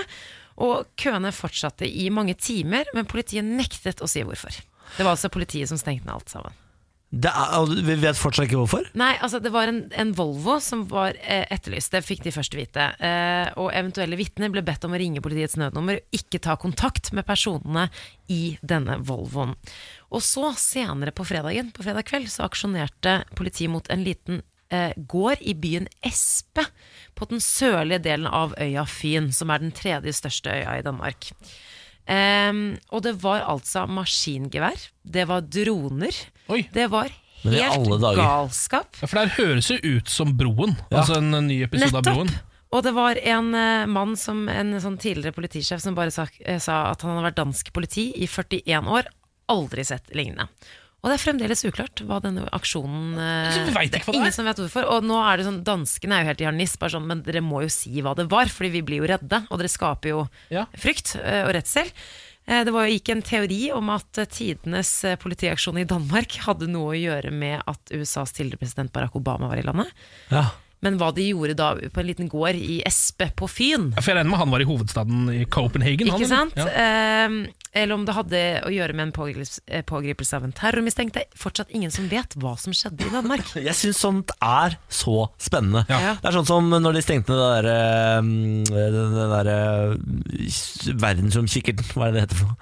[SPEAKER 2] Og køene fortsatte i mange timer, men politiet nektet å si hvorfor. Det var altså politiet som stengte ned alt sammen.
[SPEAKER 1] Det er, og vi vet fortsatt ikke hvorfor.
[SPEAKER 2] Nei, altså det var en, en Volvo som var eh, etterlyst. Det fikk de først vite. Eh, og eventuelle vitner ble bedt om å ringe politiets nødnummer og ikke ta kontakt med personene i denne Volvoen. Og så senere på fredagen, på fredag kveld, så aksjonerte politiet mot en liten eh, gård i byen Espe på den sørlige delen av øya Fyn, som er den tredje største øya i Danmark. Ehm, og det var altså maskingevær, det var droner,
[SPEAKER 3] Oi.
[SPEAKER 2] det var
[SPEAKER 1] Men i alle
[SPEAKER 2] helt
[SPEAKER 1] dager.
[SPEAKER 2] galskap.
[SPEAKER 3] Ja, for det her høres jo ut som Broen.
[SPEAKER 1] Ja.
[SPEAKER 3] Altså en ny episode av Broen.
[SPEAKER 2] Nettopp! Og det var en eh, mann, som, en sånn tidligere politisjef, som bare sa, eh, sa at han hadde vært dansk politi i 41 år. Aldri sett lignende. Og det er fremdeles uklart hva denne aksjonen eh,
[SPEAKER 3] Så vi vet ikke hva det er.
[SPEAKER 2] Ingen som vet hvorfor. Og nå er det sånn, danskene er jo helt i harnisk, bare sånn, men dere må jo si hva det var, fordi vi blir jo redde, og dere skaper jo
[SPEAKER 3] Ja.
[SPEAKER 2] frykt eh, og redsel. Eh, Det var jo ikke en teori om at eh, tidenes eh, politiaksjon i Danmark hadde noe å gjøre med at USAs tidligere president Barack Obama var i landet.
[SPEAKER 1] Ja.
[SPEAKER 2] Men hva de gjorde da på en liten gård i Espe på Fyn,
[SPEAKER 3] Ja, for jeg regner med han var i hovedstaden i Copenhagen. han,
[SPEAKER 2] ikke
[SPEAKER 3] eller?
[SPEAKER 2] sant?
[SPEAKER 3] Ja.
[SPEAKER 2] Ehm, eller om det hadde å gjøre med en pågripelse, eh, pågripelse av en terrormistenkt. Det er fortsatt ingen som vet hva som skjedde i Danmark.
[SPEAKER 1] [LAUGHS] Jeg syns sånt er så spennende.
[SPEAKER 2] Ja.
[SPEAKER 1] Det er sånn som når de stengte den der, um, den den der uh, verdensromkikkerten, hva er det det heter for noe?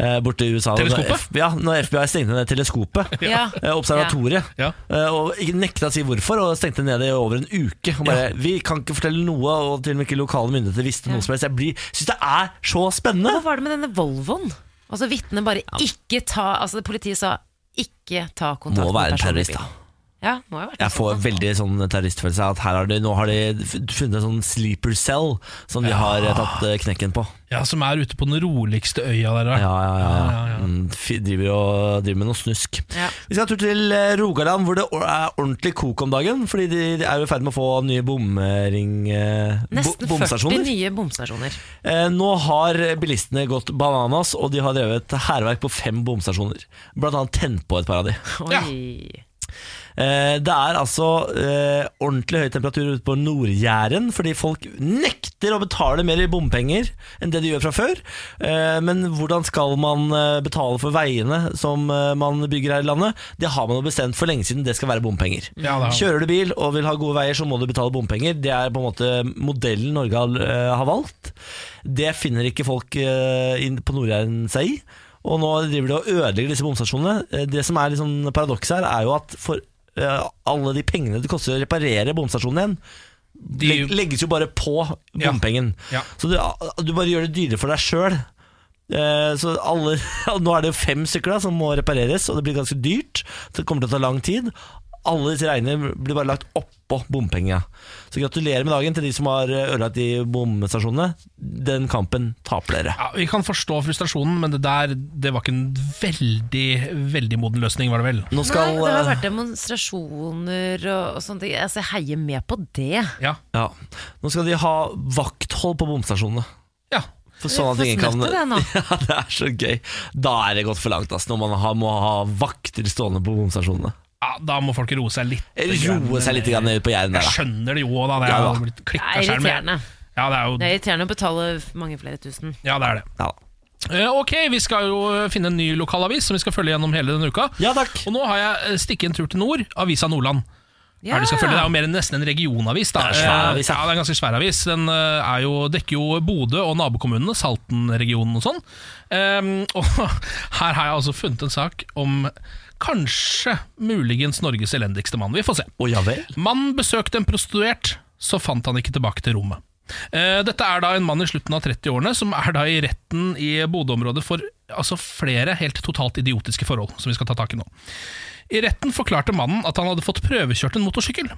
[SPEAKER 1] Eh, Borte i USA.
[SPEAKER 3] Teleskopet?
[SPEAKER 1] Når F- ja, når FBI stengte ned teleskopet.
[SPEAKER 2] Ja.
[SPEAKER 1] eh, Observatoriet.
[SPEAKER 3] Ja.
[SPEAKER 1] Eh, Og ikke nekta å si hvorfor, og stengte ned det i over en uke. Og bare, Vi kan ikke fortelle noe, og til og med ikke lokale myndigheter visste
[SPEAKER 2] Ja.
[SPEAKER 1] noe som helst. Jeg blir- syns det er så spennende!
[SPEAKER 2] Hva var det med denne Volvoen? Altså Vitnet bare ikke ta Altså Politiet sa ikke ta kontakt
[SPEAKER 1] Må være en
[SPEAKER 2] med personen i
[SPEAKER 1] terrorist, da.
[SPEAKER 2] bilen. Ja, må jo være
[SPEAKER 1] Jeg får veldig sånn terroristfølelse av at her har de, nå har de f- funnet en sånn sleeper cell som de har eh, tatt eh, knekken på.
[SPEAKER 3] Ja, Som er ute på den roligste øya der. da.
[SPEAKER 1] Ja, ja, ja.
[SPEAKER 3] ja, ja.
[SPEAKER 1] Mm, fi- Driver, og, driver med noe snusk.
[SPEAKER 2] Ja.
[SPEAKER 1] Vi skal en tur til eh, Rogaland, hvor det or- er ordentlig kok om dagen. Fordi de, de er jo i ferd med å få nye bomring... eh, bo-
[SPEAKER 2] Nesten 40
[SPEAKER 1] bomstasjoner.
[SPEAKER 2] nye bomstasjoner.
[SPEAKER 1] Eh, nå har bilistene gått bananas, og de har drevet hærverk på fem bomstasjoner. Blant annet tent på et par av de.
[SPEAKER 2] Oi.
[SPEAKER 3] Ja.
[SPEAKER 1] Eh, Det er altså eh, ordentlig høy temperatur ute på Nord-Jæren, fordi folk nekter å betale mer i bompenger enn det de gjør fra før. Eh, men hvordan skal man eh, betale for veiene som eh, man bygger her i landet? Det har man jo bestemt for lenge siden, det skal være bompenger.
[SPEAKER 3] Ja, det er-
[SPEAKER 1] Kjører du bil og vil ha gode veier, så må du betale bompenger. Det er på en måte modellen Norge har, eh, har valgt. Det finner ikke folk eh, inn på Nord-Jæren seg i. Og nå driver de og ødelegger disse bomstasjonene. Eh, Det som er litt sånn paradokset her, er jo at for eh, alle de pengene det koster å reparere bomstasjonen igjen,
[SPEAKER 3] De-
[SPEAKER 1] leg- legges jo bare på
[SPEAKER 3] Ja.
[SPEAKER 1] bompengen.
[SPEAKER 3] Ja.
[SPEAKER 1] Så du, du bare gjør det dyrere for deg sjøl. Eh, Så alle, [LAUGHS] Nå er det jo fem stykker da som må repareres, og det blir ganske dyrt. Så det kommer til å ta lang tid. Alle disse regnene blir bare lagt oppå bompengene. Så gratulerer med dagen til de som har ødelagt de bomstasjonene. Den kampen taper dere.
[SPEAKER 3] Ja, vi kan forstå frustrasjonen, men det der det var ikke en veldig veldig moden løsning, var det vel?
[SPEAKER 1] Nå skal
[SPEAKER 2] Nei, det har
[SPEAKER 1] eh,
[SPEAKER 2] vært demonstrasjoner og, og sånt. Altså, jeg heier med på det.
[SPEAKER 3] Ja.
[SPEAKER 1] ja, Nå skal de ha vakthold på bomstasjonene.
[SPEAKER 3] ja.
[SPEAKER 1] For sånn at
[SPEAKER 2] Få
[SPEAKER 1] ingen kan
[SPEAKER 2] snøtte det nå.
[SPEAKER 1] [LAUGHS] Ja, det er så gøy. Da er det gått for langt ass, når man har, må ha vakter stående på bomstasjonene.
[SPEAKER 3] ja da må folk roe seg litt.
[SPEAKER 1] Roe seg litt grann ned på Jæren. der, da.
[SPEAKER 3] Jeg skjønner det jo òg, da. Det
[SPEAKER 1] Ja,
[SPEAKER 3] er
[SPEAKER 1] da.
[SPEAKER 3] jo blitt
[SPEAKER 2] Det
[SPEAKER 3] klikka
[SPEAKER 2] er
[SPEAKER 3] skjerm.
[SPEAKER 2] irriterende.
[SPEAKER 3] Ja, det er jo
[SPEAKER 2] Det er irriterende å betale mange flere tusen.
[SPEAKER 3] Ja, det er det.
[SPEAKER 1] Ja.
[SPEAKER 3] Eh, Ok, vi skal jo eh, finne en ny lokalavis som vi skal følge gjennom hele denne uka.
[SPEAKER 1] Ja, takk.
[SPEAKER 3] Og nå har jeg eh, stikket en tur til nord, Avisa Nordland.
[SPEAKER 2] Ja.
[SPEAKER 3] Er det, selvfølgelig, det er jo mer enn nesten en regionavis. Da.
[SPEAKER 1] Det er en svær avis,
[SPEAKER 3] Eh,
[SPEAKER 1] ja.
[SPEAKER 3] ja, det er en ganske svær avis. Den eh, er jo, dekker jo Bodø og nabokommunene, Salten-regionen og sånn. Ehm, [LAUGHS] og her har jeg altså funnet en sak om kanskje muligens Norges elendigste mann. Vi får se.
[SPEAKER 1] Å ja vel?
[SPEAKER 3] Mannen besøkte en prostituert, så fant han ikke tilbake til rommet. Eh, Dette er da en mann i slutten av 30-årene som er da i retten i Bodø-området for altså flere helt totalt idiotiske forhold, som vi skal ta tak i nå. I retten forklarte mannen at han hadde fått prøvekjørt en motorsykkel.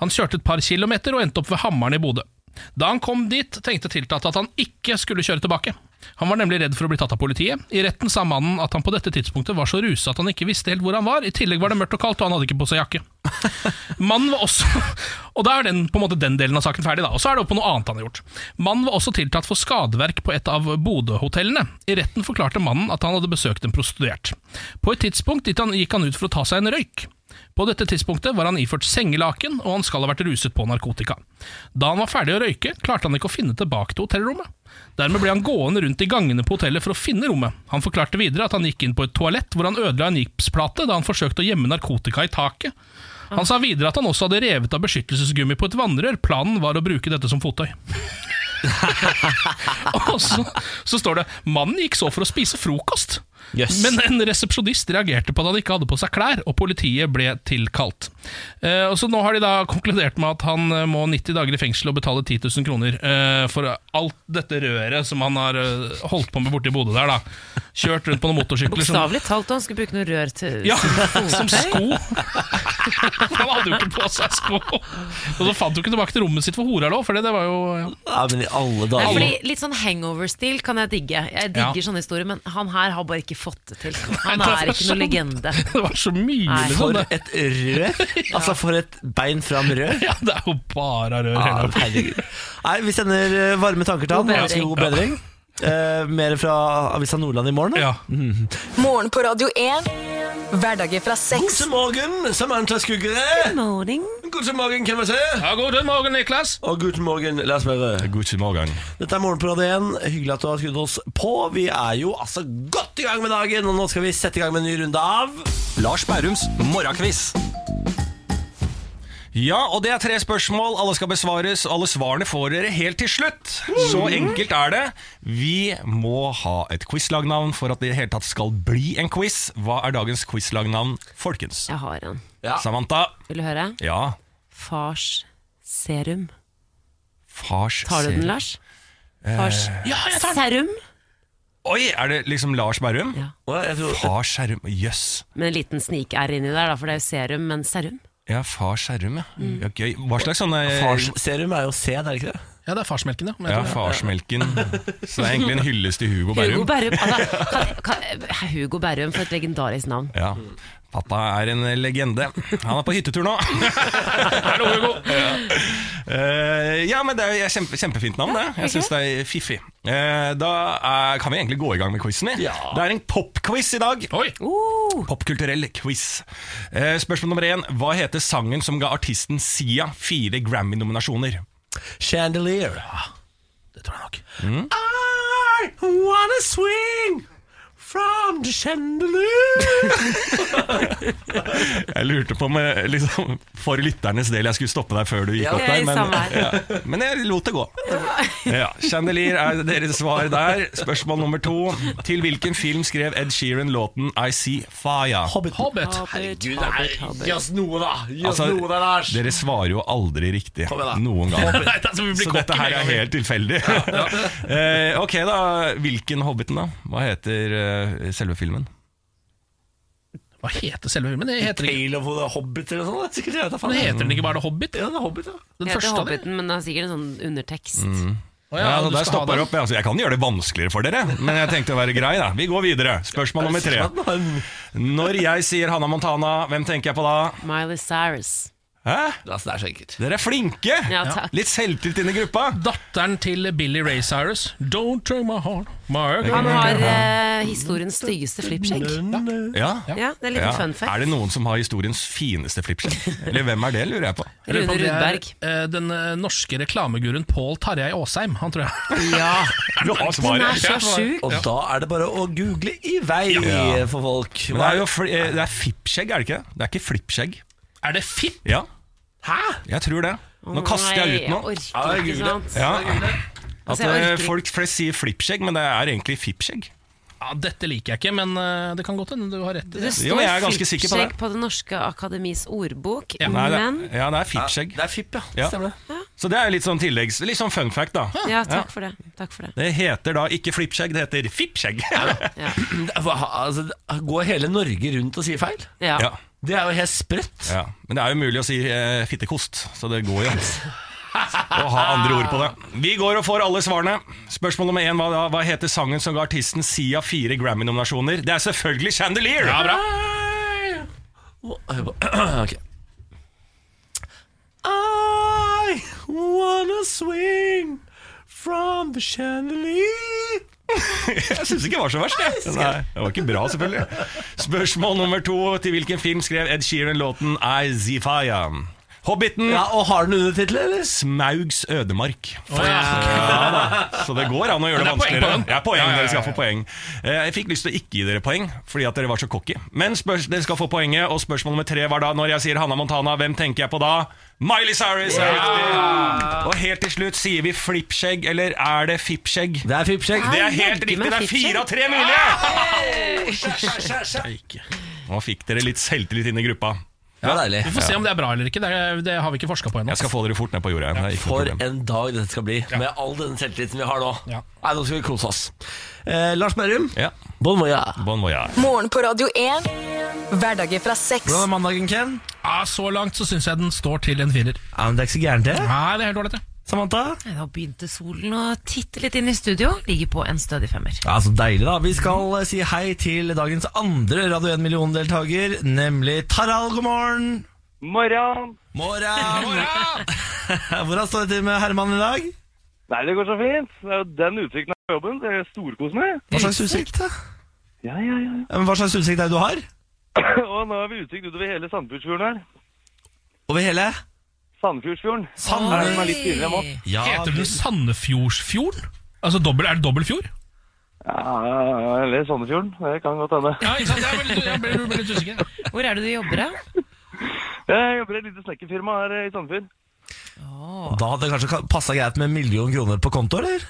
[SPEAKER 3] Han kjørte et par kilometer og endte opp ved Hammaren i Bodø. Da han kom dit, tenkte tiltalte at han ikke skulle kjøre tilbake. Han var nemlig redd for å bli tatt av politiet. I retten sa mannen at han på dette tidspunktet var så rusa at han ikke visste helt hvor han var. I tillegg var det mørkt og kaldt, og han hadde ikke på seg jakke. Mannen var også Og da er den, på en måte den delen av saken ferdig, da. Og så er det opp på noe annet han har gjort. Mannen var også tiltalt for skadeverk på et av Bodø-hotellene. I retten forklarte mannen at han hadde besøkt en prostituert. På et tidspunkt dit han, gikk han ut for å ta seg en røyk. På dette tidspunktet var han iført sengelaken, og han skal ha vært ruset på narkotika. Da han var ferdig å røyke, klarte han ikke å finne tilbake til hotellrommet. Dermed ble han gående rundt i gangene på hotellet for å finne rommet. Han forklarte videre at han gikk inn på et toalett hvor han ødela en gipsplate da han forsøkte å gjemme narkotika i taket. Han sa videre at han også hadde revet av beskyttelsesgummi på et vannrør. Planen var å bruke dette som fottøy. Og så, så står det Mannen gikk så for å spise frokost.
[SPEAKER 1] Jøss.
[SPEAKER 3] Men en resepsjonist reagerte på at han ikke hadde på seg klær, og politiet ble tilkalt. Eh, og så Nå har de da konkludert med at han eh, må 90 dager i fengsel og betale 10 000 kroner eh, for alt dette røret som han har eh, holdt på med borti Bodø der. da Kjørt rundt på noen motorsykler. som-
[SPEAKER 2] Bokstavelig talt, og han skulle bruke noe rør til
[SPEAKER 3] liksom- ja,
[SPEAKER 2] som
[SPEAKER 3] [LAUGHS] som
[SPEAKER 2] fottøy.
[SPEAKER 3] sko. [LAUGHS] Han hadde jo ikke på seg sko. Og så fant du ikke tilbake til rommet sitt for hora lå, for det, det var jo ja.
[SPEAKER 1] Ja, men i alle
[SPEAKER 2] Nei,
[SPEAKER 1] dager
[SPEAKER 2] fordi Litt sånn hangover-stil kan jeg digge. Jeg digger sånne historier, men han her har bare ikke fått det til. Han
[SPEAKER 3] Nei, det
[SPEAKER 2] er
[SPEAKER 3] var
[SPEAKER 2] ikke noen
[SPEAKER 3] sånn.
[SPEAKER 2] legende.
[SPEAKER 3] [LAUGHS] Det var så mye,
[SPEAKER 2] Nei.
[SPEAKER 3] liksom.
[SPEAKER 1] For
[SPEAKER 3] Det.
[SPEAKER 1] et
[SPEAKER 3] [LAUGHS]
[SPEAKER 1] rør! Altså, for et bein fram rør. Ah,
[SPEAKER 3] Ja, det er jo bare rør
[SPEAKER 1] Ja,
[SPEAKER 3] hele veien.
[SPEAKER 1] herregud. Nei, vi sender eh, varme tanker til han.
[SPEAKER 2] God
[SPEAKER 1] og ønsker
[SPEAKER 2] bedring.
[SPEAKER 1] God bedring. Eh, mer fra Avisa Nordland i morgen. da.
[SPEAKER 3] Ja.
[SPEAKER 4] Morgen på Radio 1. Hverdager fra seks.
[SPEAKER 1] God morgen, Samantha Skuggere.
[SPEAKER 2] Morning.
[SPEAKER 1] God morgen, hvem vil se?
[SPEAKER 3] ja, god morgen, Niklas.
[SPEAKER 1] Og god morgen, Lars Børre.
[SPEAKER 5] God morgen.
[SPEAKER 1] Dette er Morgen på Radio 1. Hyggelig at du har skrudd oss på. Vi er jo altså godt i gang med dagen, og nå skal vi sette i gang med en ny runde av
[SPEAKER 9] Lars Bærums morgenkviss. Ja, og det er tre spørsmål. Alle skal besvares. Alle svarene får dere helt til slutt. Så enkelt er det. Vi må ha et quizlagnavn for at det i det hele tatt skal bli en quiz. Hva er dagens quizlagnavn, folkens?
[SPEAKER 2] Jeg har en.
[SPEAKER 1] Ja.
[SPEAKER 9] Samantha?
[SPEAKER 2] Vil du høre?
[SPEAKER 9] Ja.
[SPEAKER 2] Fars serum.
[SPEAKER 9] Fars
[SPEAKER 2] Tar du den,
[SPEAKER 9] serum.
[SPEAKER 2] Lars? Fars serum.
[SPEAKER 9] Oi, er det liksom Lars Bærum?
[SPEAKER 2] Ja.
[SPEAKER 1] Å, jeg tror,
[SPEAKER 9] Fars serum. Jøss.
[SPEAKER 2] Med en liten snik-r inni der, da, for det er jo serum, men serum.
[SPEAKER 9] Ja, fars serum, ja.
[SPEAKER 2] Mm.
[SPEAKER 9] ja gøy. Hva slags sånne
[SPEAKER 1] Farsserum er jo C, det er ikke det?
[SPEAKER 3] Ja, det er farsmelken, ja. Men jeg
[SPEAKER 9] Ja,
[SPEAKER 3] tror-
[SPEAKER 9] farsmelken. Så det er egentlig en hyllest til Hugo Bærum.
[SPEAKER 2] Hugo Berrum. Altså, kan, kan, Hugo Berrum, for et legendarisk navn.
[SPEAKER 9] Ja. Pappa er en legende. Han er på hyttetur nå.
[SPEAKER 3] Hallo, Hugo.
[SPEAKER 9] Eh, ja, men det er jo kjempe, kjempefint navn, det. Jeg syns det er fiffig. Eh, da er, kan vi egentlig gå i gang med quizen. vi.
[SPEAKER 1] Ja.
[SPEAKER 9] Det er en popquiz i dag.
[SPEAKER 3] Oi.
[SPEAKER 2] Oh,
[SPEAKER 9] Popkulturell quiz. Eh, spørsmål nummer én. Hva heter sangen som ga artisten Sia fire Grammy-nominasjoner?
[SPEAKER 1] Chandelier. Ah, det tror jeg nok.
[SPEAKER 9] Mm.
[SPEAKER 1] I wanna swing from the chandelier.
[SPEAKER 9] Jeg lurte på om jeg, liksom, for lytternes del jeg skulle stoppe deg før du gikk
[SPEAKER 1] Ja.
[SPEAKER 9] opp der,
[SPEAKER 2] Jeg, samme
[SPEAKER 9] men,
[SPEAKER 2] her.
[SPEAKER 9] ja, men jeg lot det gå. Ja, Chandelier er deres svar der. Spørsmål nummer to. Til hvilken film skrev Ed Sheeran låten I See Fire?
[SPEAKER 1] Hobbit.
[SPEAKER 3] Hobbit.
[SPEAKER 2] Herregud, Hobbit, Hobbit.
[SPEAKER 1] Gi oss noe, da. Gi
[SPEAKER 9] Altså, dere svarer jo aldri riktig
[SPEAKER 1] Kom igjen da.
[SPEAKER 9] noen gang.
[SPEAKER 3] Nei, altså, vi blir
[SPEAKER 9] Så dette
[SPEAKER 3] kokken
[SPEAKER 9] her
[SPEAKER 3] med
[SPEAKER 9] er
[SPEAKER 3] en gang.
[SPEAKER 9] helt tilfeldig. Eh, ok, da. Hvilken Hobbiten, da? Hva heter eh, selve filmen?
[SPEAKER 3] Hva heter selve filmen? Det heter ikke
[SPEAKER 1] Tale of the Hobbit eller noe sånt. det er Sikkert jeg vet da
[SPEAKER 3] men
[SPEAKER 1] faen.
[SPEAKER 3] heter den ikke bare The Hobbit?
[SPEAKER 1] Ja, det er Hobbit, ja.
[SPEAKER 3] Den
[SPEAKER 2] Det heter
[SPEAKER 3] første av dem?
[SPEAKER 2] Hobbiten, men det er sikkert en sånn undertekst.
[SPEAKER 3] Å,
[SPEAKER 9] Mm. Ja,
[SPEAKER 3] du
[SPEAKER 9] så der
[SPEAKER 3] skal ha
[SPEAKER 9] stopper
[SPEAKER 3] den.
[SPEAKER 9] det opp. ja. Altså, jeg kan gjøre det vanskeligere for dere, men jeg tenkte å være grei. da Vi går videre. Spørsmål
[SPEAKER 1] [LAUGHS]
[SPEAKER 9] nummer tre. Når jeg sier Hanna Montana, hvem tenker jeg på da?
[SPEAKER 2] Miley Cyrus.
[SPEAKER 9] Hæ?
[SPEAKER 1] Altså, det er så enkelt.
[SPEAKER 9] Dere er flinke!
[SPEAKER 2] Ja, takk.
[SPEAKER 9] Litt selvtillit inn i gruppa.
[SPEAKER 3] Datteren til Billy Ray Cyrus. Don't turn my heart. Margaret.
[SPEAKER 2] Han har eh, historiens styggeste flippskjegg.
[SPEAKER 9] Ja.
[SPEAKER 2] Ja, det er en liten
[SPEAKER 9] Ja.
[SPEAKER 2] fun fact.
[SPEAKER 9] Er det noen som har historiens fineste flippskjerm? Eller hvem er det, lurer jeg på.
[SPEAKER 3] Jeg lurer på
[SPEAKER 2] Rune
[SPEAKER 3] om det er,
[SPEAKER 2] Rudberg.
[SPEAKER 3] eh, Den eh, norske reklameguruen Pål Tarjei Aasheim, han tror jeg. [LAUGHS]
[SPEAKER 2] Ja,
[SPEAKER 9] Du har
[SPEAKER 2] den er
[SPEAKER 9] svaret.
[SPEAKER 2] så sjuk.
[SPEAKER 1] Og da er det bare å google i vei for folk.
[SPEAKER 9] Men det er jo fli, eh, det er fippskjegg, er det ikke det? Det er ikke flippskjegg.
[SPEAKER 3] Er det fipp?
[SPEAKER 9] Ja,
[SPEAKER 1] Hæ?
[SPEAKER 9] jeg tror det. Nå kaster jeg ut noe.
[SPEAKER 2] Nei, jeg orker ikke, sant?
[SPEAKER 9] Ja. At
[SPEAKER 2] Altså, jeg
[SPEAKER 9] eh,
[SPEAKER 2] orker ikke.
[SPEAKER 9] folk flest sier flippskjegg, men det er egentlig fippskjegg.
[SPEAKER 3] Ja, dette liker jeg ikke, men eh, det kan godt hende du har rett i
[SPEAKER 2] Det
[SPEAKER 3] det.
[SPEAKER 2] står
[SPEAKER 9] Jo, men jeg er ganske sikker på det.
[SPEAKER 2] flippskjegg på Det Norske Akademis ordbok,
[SPEAKER 3] Ja,
[SPEAKER 9] Nei, det,
[SPEAKER 2] men
[SPEAKER 9] ja, det er fippskjegg.
[SPEAKER 1] Det er fipp, ja.
[SPEAKER 9] Ja.
[SPEAKER 1] Stemmer det.
[SPEAKER 9] Så det er litt sånn tilleggs... Litt sånn fun fact, da.
[SPEAKER 2] Ja, takk for det. Takk for det.
[SPEAKER 9] Det heter da ikke flippskjegg, det heter fippskjegg.
[SPEAKER 1] [LAUGHS]
[SPEAKER 2] Ja.
[SPEAKER 1] Hva, altså, går hele Norge rundt og sier feil?
[SPEAKER 2] Ja.
[SPEAKER 9] Ja,
[SPEAKER 1] Det er jo helt sprøtt. [CLEARS THROAT]
[SPEAKER 9] ja. Men det er jo mulig å si eh, fittekost, så det [LAUGHS] går jo. Å ha andre ord på det. Vi går og får alle svarene. Spørsmål nummer én, hva, da? hva heter sangen som ga artisten Sia fire Grammy-nominasjoner? Det er selvfølgelig 'Chandelier'! Ja, bra.
[SPEAKER 1] Ok. I wanna swing from the chandelier.
[SPEAKER 9] [LAUGHS] Jeg syns ikke det var så verst. Jeg. Nei, det var ikke bra, selvfølgelig. Spørsmål nummer to. Til hvilken film skrev Ed Sheeran låten I Zifaya? Hobbiten.
[SPEAKER 1] Ja, og har den undertittel, eller?
[SPEAKER 9] Smaugs ødemark.
[SPEAKER 3] Å, ja.
[SPEAKER 9] Så det går an å gjøre det,
[SPEAKER 3] Men det er poeng på den.
[SPEAKER 9] vanskeligere. Ja, poeng,
[SPEAKER 3] Ja, ja, ja,
[SPEAKER 9] Dere skal
[SPEAKER 3] ja.
[SPEAKER 9] få poeng. Eh, Jeg fikk lyst til å ikke gi dere poeng, fordi at dere var så cocky. Men spørs, dere skal få poenget, og spørsmål nummer tre var da når jeg sier Hanna Montana, hvem tenker jeg på da? Miley Cyrus! er riktig. Og helt til slutt, sier vi flippskjegg, eller er det fippskjegg?
[SPEAKER 1] Det er fippskjegg.
[SPEAKER 9] Det er helt
[SPEAKER 2] jaggu
[SPEAKER 9] riktig!
[SPEAKER 2] meg
[SPEAKER 9] Det er
[SPEAKER 2] fippskjegg.
[SPEAKER 9] fire av tre mulige! Nå fikk dere litt selvtillit inn i gruppa.
[SPEAKER 1] Det var deilig.
[SPEAKER 3] Vi får se om det er bra eller ikke. Det, er, det har vi ikke forska på ennå.
[SPEAKER 9] Jeg skal få dere fort ned på jorda igjen. det er ikke noe
[SPEAKER 1] For
[SPEAKER 9] [LAUGHS] problem.
[SPEAKER 1] en dag dette skal bli, med all den selvtilliten vi har nå.
[SPEAKER 3] Ja.
[SPEAKER 1] Nei, Nå skal vi kose oss. Eh, Lars Berrum,
[SPEAKER 9] Ja,
[SPEAKER 1] bon voyage.
[SPEAKER 9] bon voyage.
[SPEAKER 4] Morgen på Radio 1. Hverdager fra seks.
[SPEAKER 1] Hvordan er mandagen, Ken?
[SPEAKER 3] Ja, så langt så syns jeg den står til en firer.
[SPEAKER 1] Ja, men Det er ikke så gærent, det.
[SPEAKER 3] Nei, det er helt ålreit, det.
[SPEAKER 1] Samantha?
[SPEAKER 2] Nei, Da begynte solen å titte litt inn i studio. Ligger på en stødig femmer.
[SPEAKER 1] Ja, så deilig da Vi skal eh, si hei til dagens andre Radio 1 million-deltaker Nemlig Taral, god morgen
[SPEAKER 10] Morgen.
[SPEAKER 1] [LAUGHS] Morgen Hvordan står det til med Herman i dag?
[SPEAKER 9] Nei, det går så fint. Det er jo den utsikten jeg har på jobben. så Jeg storkoser meg.
[SPEAKER 1] Hva slags utsikt, da?
[SPEAKER 9] Ja, ja, ja.
[SPEAKER 1] Ja, men Hva slags utsikt er det du har?
[SPEAKER 9] Og nå har vi utsikt utover hele Sandfjordsfjorden her.
[SPEAKER 1] Over hele?
[SPEAKER 9] Sandfjordsfjorden.
[SPEAKER 1] Sandfjord?
[SPEAKER 9] Den er litt tidligere enn oss.
[SPEAKER 1] Ja,
[SPEAKER 3] Heter
[SPEAKER 1] vel.
[SPEAKER 3] den Sandefjordsfjorden? Altså dobbel, Er det dobbel fjord?
[SPEAKER 9] Ja, ja, eller Sandefjorden. Det kan godt hende.
[SPEAKER 3] Ja, ikke sant? Jeg ble, jeg ble, jeg ble litt usikker.
[SPEAKER 2] Hvor er det du jobber, da?
[SPEAKER 9] Eh, Jeg jobber i et lite snekkerfirma her i Sandfjord.
[SPEAKER 1] Da hadde det kanskje passa greit med en million kroner på konto, eller?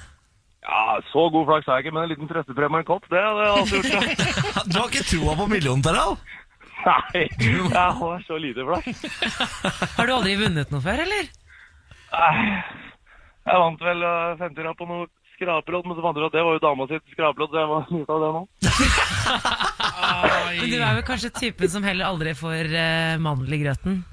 [SPEAKER 9] Ja, så god flaks har jeg ikke, men en liten trøstepremie og en kopp, det hadde jeg alltid gjort. ja.
[SPEAKER 1] [LAUGHS] Du har ikke troa på millionen, Terral?
[SPEAKER 9] Nei, jeg har så lite flaks.
[SPEAKER 2] Har du aldri vunnet noe før, eller?
[SPEAKER 9] Jeg vant vel 50 på noe skrapelodd, men så fant jeg ut at det var jo dama sitt skrapelodd, så jeg [LAUGHS] var litt av det nå.
[SPEAKER 2] Men du er vel kanskje typen som heller aldri får eh, mandel i grøten?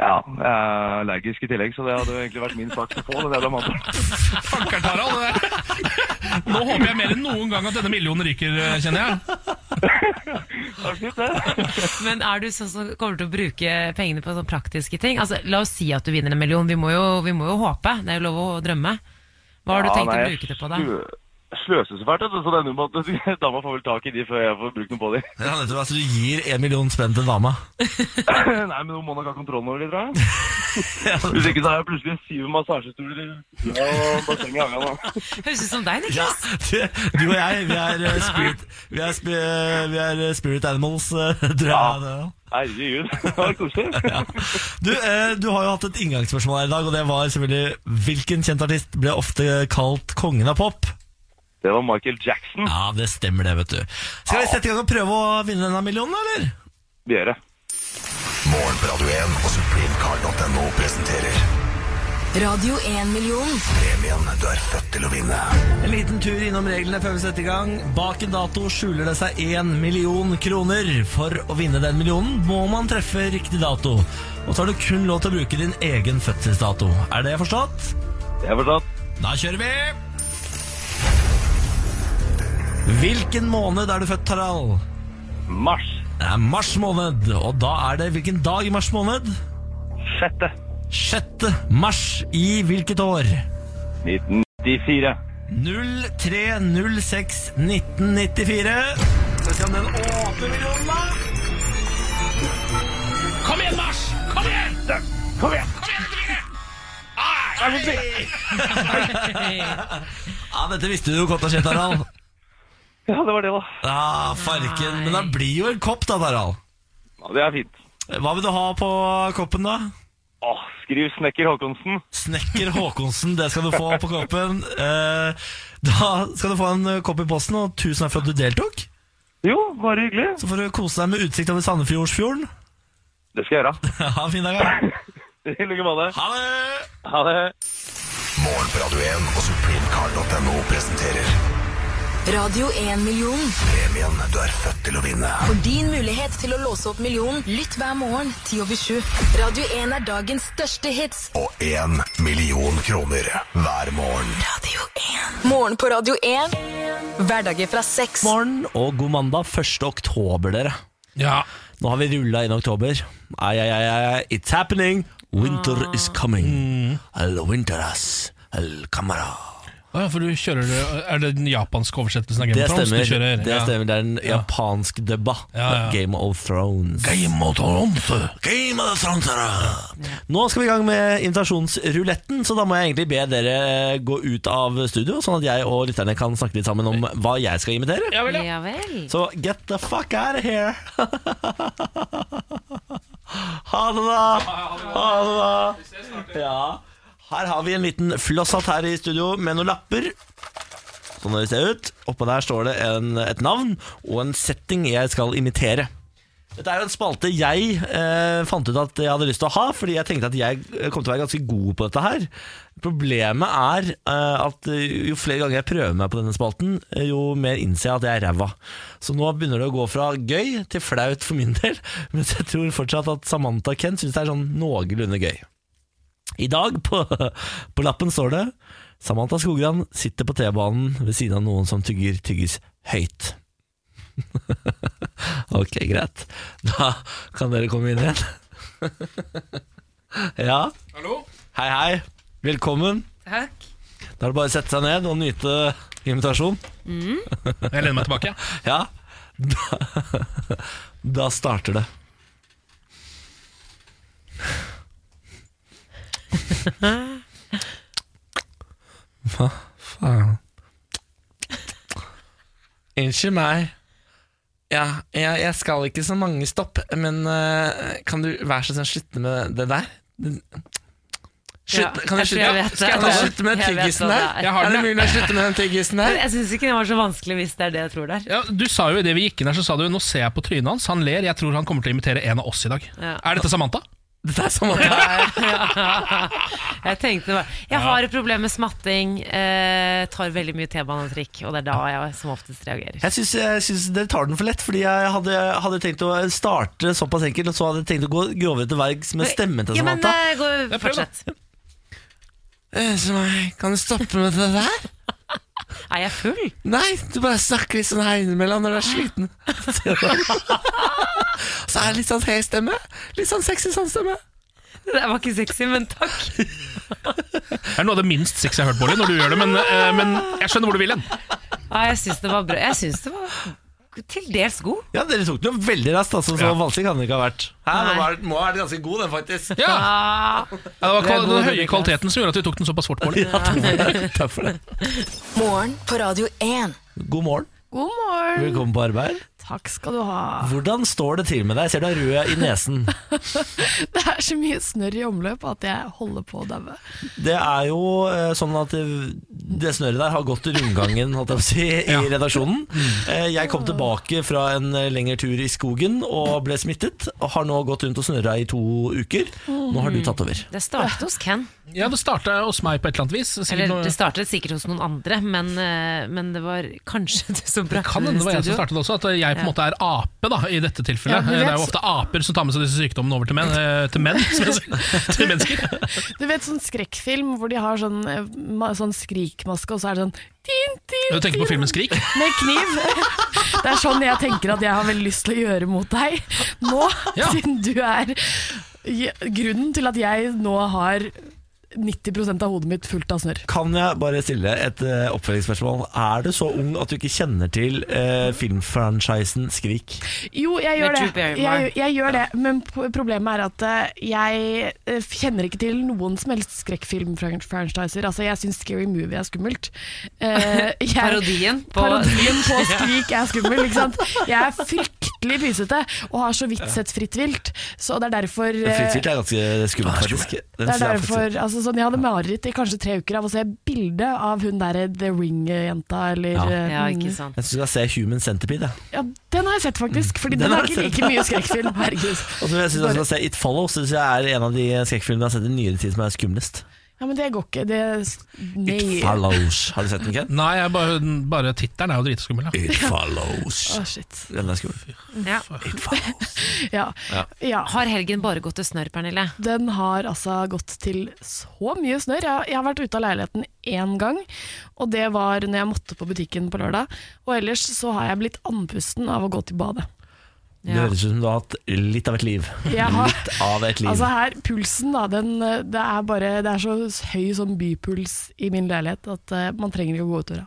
[SPEAKER 9] Ja, jeg er allergisk i tillegg, så det hadde jo egentlig vært min sak å få den jævla mandelen.
[SPEAKER 3] Fankeren, Harald. det der. [LAUGHS] Nå håper jeg mer enn noen gang at denne millionen ryker, eh, kjenner jeg.
[SPEAKER 9] Det er fint, det.
[SPEAKER 2] [LAUGHS] Men er du sånn som kommer til å bruke pengene på sånne praktiske ting? Altså, La oss si at du vinner en million. Vi må jo, vi må jo håpe. Det er jo lov å drømme. Hva har du tenkt å bruke det på, da?
[SPEAKER 9] Sløse så fælt, vet du, så denne måten, [LAUGHS] dama får vel tak i de før jeg får brukt noe på de.
[SPEAKER 1] Ja, nettopp, altså Du gir en million spenn til dama.
[SPEAKER 9] [LAUGHS] Nei, men hun må nok ha kontrollen
[SPEAKER 1] [LAUGHS]
[SPEAKER 9] over det, tror jeg. Hvis ikke så har jeg plutselig syv massasjestoler i ja, og basseng i hagen. da.
[SPEAKER 2] [LAUGHS] Høres ut som deg,
[SPEAKER 1] Ja,
[SPEAKER 2] Niklas.
[SPEAKER 1] du, du og jeg, vi er eh, spirit, vi er, spi- vi er eh, spirit animals, eh, [LAUGHS] tror jeg. det er.
[SPEAKER 9] Herregud, [LAUGHS] det var koselig.
[SPEAKER 1] Ja. Du, eh, du har jo hatt et inngangsspørsmål her i dag, og det var selvfølgelig Hvilken kjent artist ble ofte kalt kongen av pop?
[SPEAKER 9] Det var Michael Jackson.
[SPEAKER 1] Ja, det stemmer det, vet du. Skal vi sette i gang og prøve å vinne denne millionen, eller?
[SPEAKER 9] Vi gjør det.
[SPEAKER 7] Morgen på Radio 1 og supremecard.no presenterer
[SPEAKER 4] Radio 1-million.
[SPEAKER 7] premien du er født til å vinne.
[SPEAKER 1] En liten tur innom reglene før vi setter i gang. Bak en dato skjuler det seg én million kroner. For å vinne den millionen må man treffe riktig dato. Og så har du kun lov til å bruke din egen fødselsdato. Er det forstått?
[SPEAKER 9] Jeg har forstått.
[SPEAKER 1] Da kjører vi! Hvilken måned er du født, Tarald?
[SPEAKER 9] Mars.
[SPEAKER 1] Det er mars måned, og da er det hvilken dag i mars måned?
[SPEAKER 9] Sjette.
[SPEAKER 1] 6. mars i hvilket år?
[SPEAKER 9] 1994.
[SPEAKER 1] 03061994. Skal vi se om den åpner millionen, da?
[SPEAKER 3] Kom igjen, Mars! Kom igjen!
[SPEAKER 9] Kom igjen!
[SPEAKER 2] [LAUGHS]
[SPEAKER 1] Ja, dette visste du jo godt, da, Kjent Harald.
[SPEAKER 9] [LAUGHS] Ja, det var det, da.
[SPEAKER 1] Ja, farken. Men da blir jo en kopp, da, Harald.
[SPEAKER 9] Ja, det er fint.
[SPEAKER 1] Hva vil du ha på koppen, da?
[SPEAKER 9] Åh, skriv Snekker Håkonsen.
[SPEAKER 1] Snekker Håkonsen, det skal du få på koppen. Eh, Da skal du få en eh, kopp i posten, og tusen takk for at du deltok.
[SPEAKER 9] Jo, bare hyggelig.
[SPEAKER 1] Så får du kose deg med utsikt over Sandefjordsfjorden.
[SPEAKER 9] Det skal jeg gjøre.
[SPEAKER 1] [LAUGHS] Ha en fin dag. da.
[SPEAKER 9] [LAUGHS] I like måte.
[SPEAKER 1] Ha det!
[SPEAKER 9] Ha det.
[SPEAKER 7] Morgen på Radio 1 og supremecard.no presenterer
[SPEAKER 4] Radio 1-million.
[SPEAKER 7] premien du er født til å vinne.
[SPEAKER 4] For din mulighet til å låse opp millionen, lytt hver morgen 10 over 7. Radio 1 er dagens største hits.
[SPEAKER 7] Og én million kroner hver morgen.
[SPEAKER 4] Radio 1. Morgen på Radio 1. Hverdager fra seks.
[SPEAKER 1] morgen og god mandag 1. oktober, dere.
[SPEAKER 3] Ja,
[SPEAKER 1] Nå har vi rulla inn oktober. Ai, ai, ai, ai, it's happening. Winter
[SPEAKER 3] Ah.
[SPEAKER 1] is
[SPEAKER 3] Mm.
[SPEAKER 1] coming. Al winteras al camara.
[SPEAKER 3] Å ja, for du kjører Er det den japanske oversettelsen av Game
[SPEAKER 1] Det
[SPEAKER 3] of Thrones?
[SPEAKER 1] stemmer.
[SPEAKER 3] Du kjører,
[SPEAKER 1] Det
[SPEAKER 3] ja.
[SPEAKER 1] stemmer, det er den japansk dubba.
[SPEAKER 3] Ja, ja.
[SPEAKER 1] Game of Thrones.
[SPEAKER 3] Game of Thrones.
[SPEAKER 1] Game of Thrones, dere. Nå skal vi i gang med invitasjonsruletten, så da må jeg egentlig be dere gå ut av studio, sånn at jeg og lytterne kan snakke litt sammen
[SPEAKER 3] Eh.
[SPEAKER 1] om hva jeg skal invitere.
[SPEAKER 3] Ja vel, ja.
[SPEAKER 2] Ja vel.
[SPEAKER 1] Så get the fuck out of here. [LAUGHS] ha det, da. Ha det, da. Ja. Her har vi en liten flosshatt her i studio med noen lapper. Sånn det ser ut. Oppå der står det en, et navn og en setting jeg skal imitere. Dette er jo en spalte jeg eh, fant ut at jeg hadde lyst til å ha, fordi jeg tenkte at jeg kom til å være ganske god på dette her. Problemet er eh, at jo flere ganger jeg prøver meg på denne spalten, eh, jo mer innser jeg at jeg er ræva. Så nå begynner det å gå fra gøy til flaut for min del, [LAUGHS] mens jeg tror fortsatt at Samantha og Ken syns det er sånn noenlunde gøy. I dag på, på lappen står det Samantha Skogran sitter på T-banen ved siden av noen som tygger tyggis høyt. [LAUGHS] ok, greit. Da kan dere komme inn igjen. [LAUGHS] ja,
[SPEAKER 3] Hallo?
[SPEAKER 1] hei hei. Velkommen.
[SPEAKER 2] Takk.
[SPEAKER 1] Da er det bare å sette seg ned og nyte invitasjon.
[SPEAKER 3] Jeg lener meg tilbake.
[SPEAKER 1] [LAUGHS] Ja. Da, [LAUGHS] da starter det. Hva faen? Unnskyld meg. Ja, jeg, jeg skal ikke så mange stopp, men eh, kan du være så snill slutte med det der? Slutt,
[SPEAKER 2] Ja,
[SPEAKER 1] kan du
[SPEAKER 2] jeg
[SPEAKER 1] slutte,
[SPEAKER 2] tror jeg vet det.
[SPEAKER 1] kan du slutte med
[SPEAKER 2] Jeg vet
[SPEAKER 1] tyggisen
[SPEAKER 2] hva
[SPEAKER 1] der?
[SPEAKER 2] det er.
[SPEAKER 3] Jeg har
[SPEAKER 1] Er det
[SPEAKER 3] det.
[SPEAKER 1] mulig å slutte med den tyggisen der?
[SPEAKER 2] Men jeg syns ikke det var så vanskelig hvis det er det jeg tror det er.
[SPEAKER 3] Ja, du sa jo i det vi gikk inn her, så sa du Nå ser jeg på trynet hans, han ler, jeg tror han kommer til å invitere en av oss i dag.
[SPEAKER 2] Ja.
[SPEAKER 3] Er dette Samantha?
[SPEAKER 1] Dette er sånn at
[SPEAKER 2] Jeg tenkte bare Jeg har et problem med smatting, eh, tar veldig mye T-banetrikk, og det er da jeg som oftest reagerer.
[SPEAKER 1] Jeg syns, jeg syns dere tar den for lett, fordi jeg hadde, hadde tenkt å starte såpass enkelt, og så hadde jeg tenkt å gå grovere til verks med stemmen til
[SPEAKER 2] ja, men
[SPEAKER 1] Samantha.
[SPEAKER 2] eh, gå,
[SPEAKER 3] prøv da.
[SPEAKER 2] fortsett.
[SPEAKER 1] Unnskyld meg, kan du stoppe med det der?
[SPEAKER 2] [LAUGHS] Er jeg full?
[SPEAKER 1] Nei, du bare snakker litt sånn her innimellom når du er sliten.
[SPEAKER 2] [LAUGHS]
[SPEAKER 1] Så er det litt sånn høy stemme. Litt sånn sexy sånn stemme.
[SPEAKER 2] Det der var ikke sexy, men takk.
[SPEAKER 3] Det er noe av det minst sexy jeg har hørt, Bårdli, når du gjør det, men, eh, men jeg skjønner hvor du vil hen.
[SPEAKER 2] Ja, jeg syns det var bra. Jeg syns det var til dels god.
[SPEAKER 1] Ja, dere tok den jo veldig raskt, altså, så
[SPEAKER 3] Ja.
[SPEAKER 1] vanskelig kan det ikke ha vært. Hæ,
[SPEAKER 2] Nei.
[SPEAKER 1] nå var den må ha vært ganske god, den, faktisk. [LAUGHS]
[SPEAKER 3] Ja,
[SPEAKER 2] Ah,
[SPEAKER 3] ja, Det var
[SPEAKER 2] Det er
[SPEAKER 3] kval-
[SPEAKER 2] god
[SPEAKER 3] den høye
[SPEAKER 2] Niklas.
[SPEAKER 3] kvaliteten som gjorde at vi tok den såpass
[SPEAKER 1] [LAUGHS]
[SPEAKER 3] fort, Bårdli.
[SPEAKER 1] Takk for det.
[SPEAKER 4] Morgen på Radio 1.
[SPEAKER 1] [LAUGHS] God morgen.
[SPEAKER 11] God morgen.
[SPEAKER 1] Velkommen på arbeid.
[SPEAKER 11] Takk skal du ha.
[SPEAKER 1] Hvordan står det til med deg? Jeg Ser du er rød i nesen.
[SPEAKER 11] Det er så mye snørr i omløp at jeg holder på å daue.
[SPEAKER 1] Det er jo eh, sånn at det, det snøret der har gått rundgangen holdt jeg på å si, i redaksjonen.
[SPEAKER 3] Mm.
[SPEAKER 1] Eh, Jeg kom tilbake fra en eh, lengre tur i skogen og ble smittet. Og har nå gått rundt og snørra i to uker.
[SPEAKER 11] Mm.
[SPEAKER 1] Nå
[SPEAKER 3] Mm.
[SPEAKER 1] har du tatt over.
[SPEAKER 2] det startet hos Ken.
[SPEAKER 3] Ja, det starta hos meg på et eller annet vis. sikkert
[SPEAKER 2] Eller
[SPEAKER 3] noe-
[SPEAKER 2] det startet sikkert hos noen andre, men, eh, men det var kanskje [LAUGHS] du som brakte
[SPEAKER 3] kan hende det var jeg som
[SPEAKER 2] studio.
[SPEAKER 3] startet også, at jeg på en måte er ape da, i dette tilfellet.
[SPEAKER 11] Ja, men
[SPEAKER 3] det er
[SPEAKER 11] vet-
[SPEAKER 3] jo ofte aper som tar med seg disse sykdommene over til menn. eh,
[SPEAKER 11] [LAUGHS]
[SPEAKER 3] Til, menn, som jeg sier. til mennesker.
[SPEAKER 11] Du vet sånn skrekkfilm hvor de har sånn, eh, ma- sånn skrikmaske, og så er det sånn tin, tin,
[SPEAKER 3] Du tenker på filmen 'Skrik'?
[SPEAKER 11] tin, Med kniv. [LAUGHS] Det er sånn jeg tenker at jeg har veldig lyst til å gjøre mot deg nå,
[SPEAKER 3] [LAUGHS] Ja.
[SPEAKER 11] siden du er je- grunnen til at jeg nå har 90 av hodet mitt fullt av snørr.
[SPEAKER 1] Kan jeg bare stille et eh, oppfølgingsspørsmål? Er du så ung at du ikke kjenner til eh, filmfranchisen Skrik?
[SPEAKER 11] Jo, jeg gjør
[SPEAKER 2] Med Drew
[SPEAKER 11] det.
[SPEAKER 2] Barrymore.
[SPEAKER 11] Jeg, jeg gjør det. Men p- problemet er at eh, jeg eh, kjenner ikke til noen som helst skrekkfilm-franchiser. Altså, jeg syns Scary Movie er skummelt.
[SPEAKER 2] [LAUGHS]
[SPEAKER 11] Eh, jeg-
[SPEAKER 2] Parodien på
[SPEAKER 11] Parodien
[SPEAKER 2] [LAUGHS]
[SPEAKER 11] på Skrik er skummel, ikke sant? Jeg er fryktelig pysete og har så vidt sett Fritt vilt, så det er derfor eh,
[SPEAKER 1] Fritt vilt er ganske skummelt, faktisk. Den
[SPEAKER 11] det er
[SPEAKER 1] synes jeg faktisk-
[SPEAKER 11] derfor, altså sånn, Jeg hadde mareritt i kanskje tre uker av å se bilde av hun derre The Ring-jenta, eller
[SPEAKER 1] Ja.
[SPEAKER 11] eh,
[SPEAKER 2] Ja,
[SPEAKER 11] mm.
[SPEAKER 2] ikke sant.
[SPEAKER 1] Jeg syns du skal se Human Centipede. jeg.
[SPEAKER 11] ja, Den har jeg sett, faktisk, Fordi
[SPEAKER 1] Den
[SPEAKER 11] den
[SPEAKER 1] har
[SPEAKER 11] er
[SPEAKER 1] du
[SPEAKER 11] ikke
[SPEAKER 1] sett.
[SPEAKER 11] like mye skrekkfilm. Herregud.
[SPEAKER 1] [LAUGHS] Og så syns jeg du skal se It Follows. Synes jeg er en av de skrekkfilmene jeg har sett i nyere tid som er skumlest.
[SPEAKER 11] Ja, men det går ikke. Det Nei.
[SPEAKER 1] It Follows. Har du sett den, Ken?
[SPEAKER 3] Nei, jeg bare, bare tittelen er jo dritskummel. Ja.
[SPEAKER 1] It follows.
[SPEAKER 11] Å, shit.
[SPEAKER 1] Den er skummel.
[SPEAKER 2] Ja.
[SPEAKER 11] [LAUGHS] Ja. ja.
[SPEAKER 2] Har helgen bare gått til snørr, Pernille?
[SPEAKER 11] Den har altså gått til så mye snørr. Jeg, jeg har vært ute av leiligheten én gang, og det var når jeg måtte på butikken på lørdag. Og ellers så har jeg blitt andpusten av å gå til badet.
[SPEAKER 1] Det
[SPEAKER 2] Ja.
[SPEAKER 1] høres ut som du har hatt litt av et liv.
[SPEAKER 11] Jeg har,
[SPEAKER 1] Litt av et liv.
[SPEAKER 11] altså her, pulsen da, den, eh, det er bare det er så høy sånn bypuls i min leilighet at eh, man trenger ikke å gå ut døra.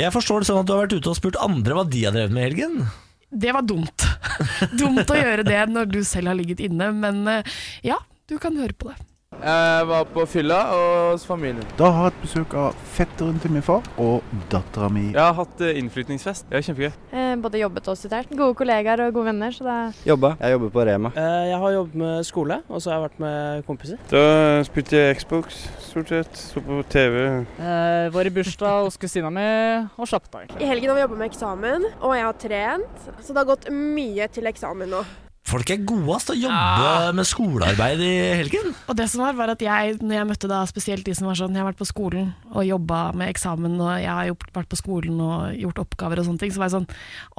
[SPEAKER 1] Jeg forstår det sånn at du har vært ute og spurt andre hva de har drevet med i helgen.
[SPEAKER 11] Det var dumt. [LAUGHS] dumt å gjøre det når du selv har ligget inne, men eh, ja, du kan høre på det.
[SPEAKER 10] Jeg var på fylla og hos familien.
[SPEAKER 7] Da har jeg hatt besøk av fetteren til min far og dattera mi.
[SPEAKER 10] Jeg har hatt eh, innflytningsfest. Det er kjempegøy.
[SPEAKER 11] Eh, både jobbet og studert. Gode kollegaer og gode venner. Så det er
[SPEAKER 10] Jobba.
[SPEAKER 7] Jeg jobber på Rema.
[SPEAKER 10] Eh, Jeg har jobbet med skole, og så har jeg vært med kompiser.
[SPEAKER 7] Da spilte jeg Xbox stort sett. Så på TV.
[SPEAKER 10] Eh, var i bursdag hos kusina mi og slapp av, egentlig.
[SPEAKER 11] I helgen har vi jobba med eksamen, og jeg har trent. Så det har gått mye til eksamen nå.
[SPEAKER 1] Folk er gode ass, til å jobbe med skolearbeid i helgen.
[SPEAKER 11] Og det som var, var at jeg, når jeg møtte da spesielt de som var sånn, jeg har vært på skolen og jobba med eksamen, og jeg har gjort, vært på skolen og gjort oppgaver og sånne ting, så var jeg sånn,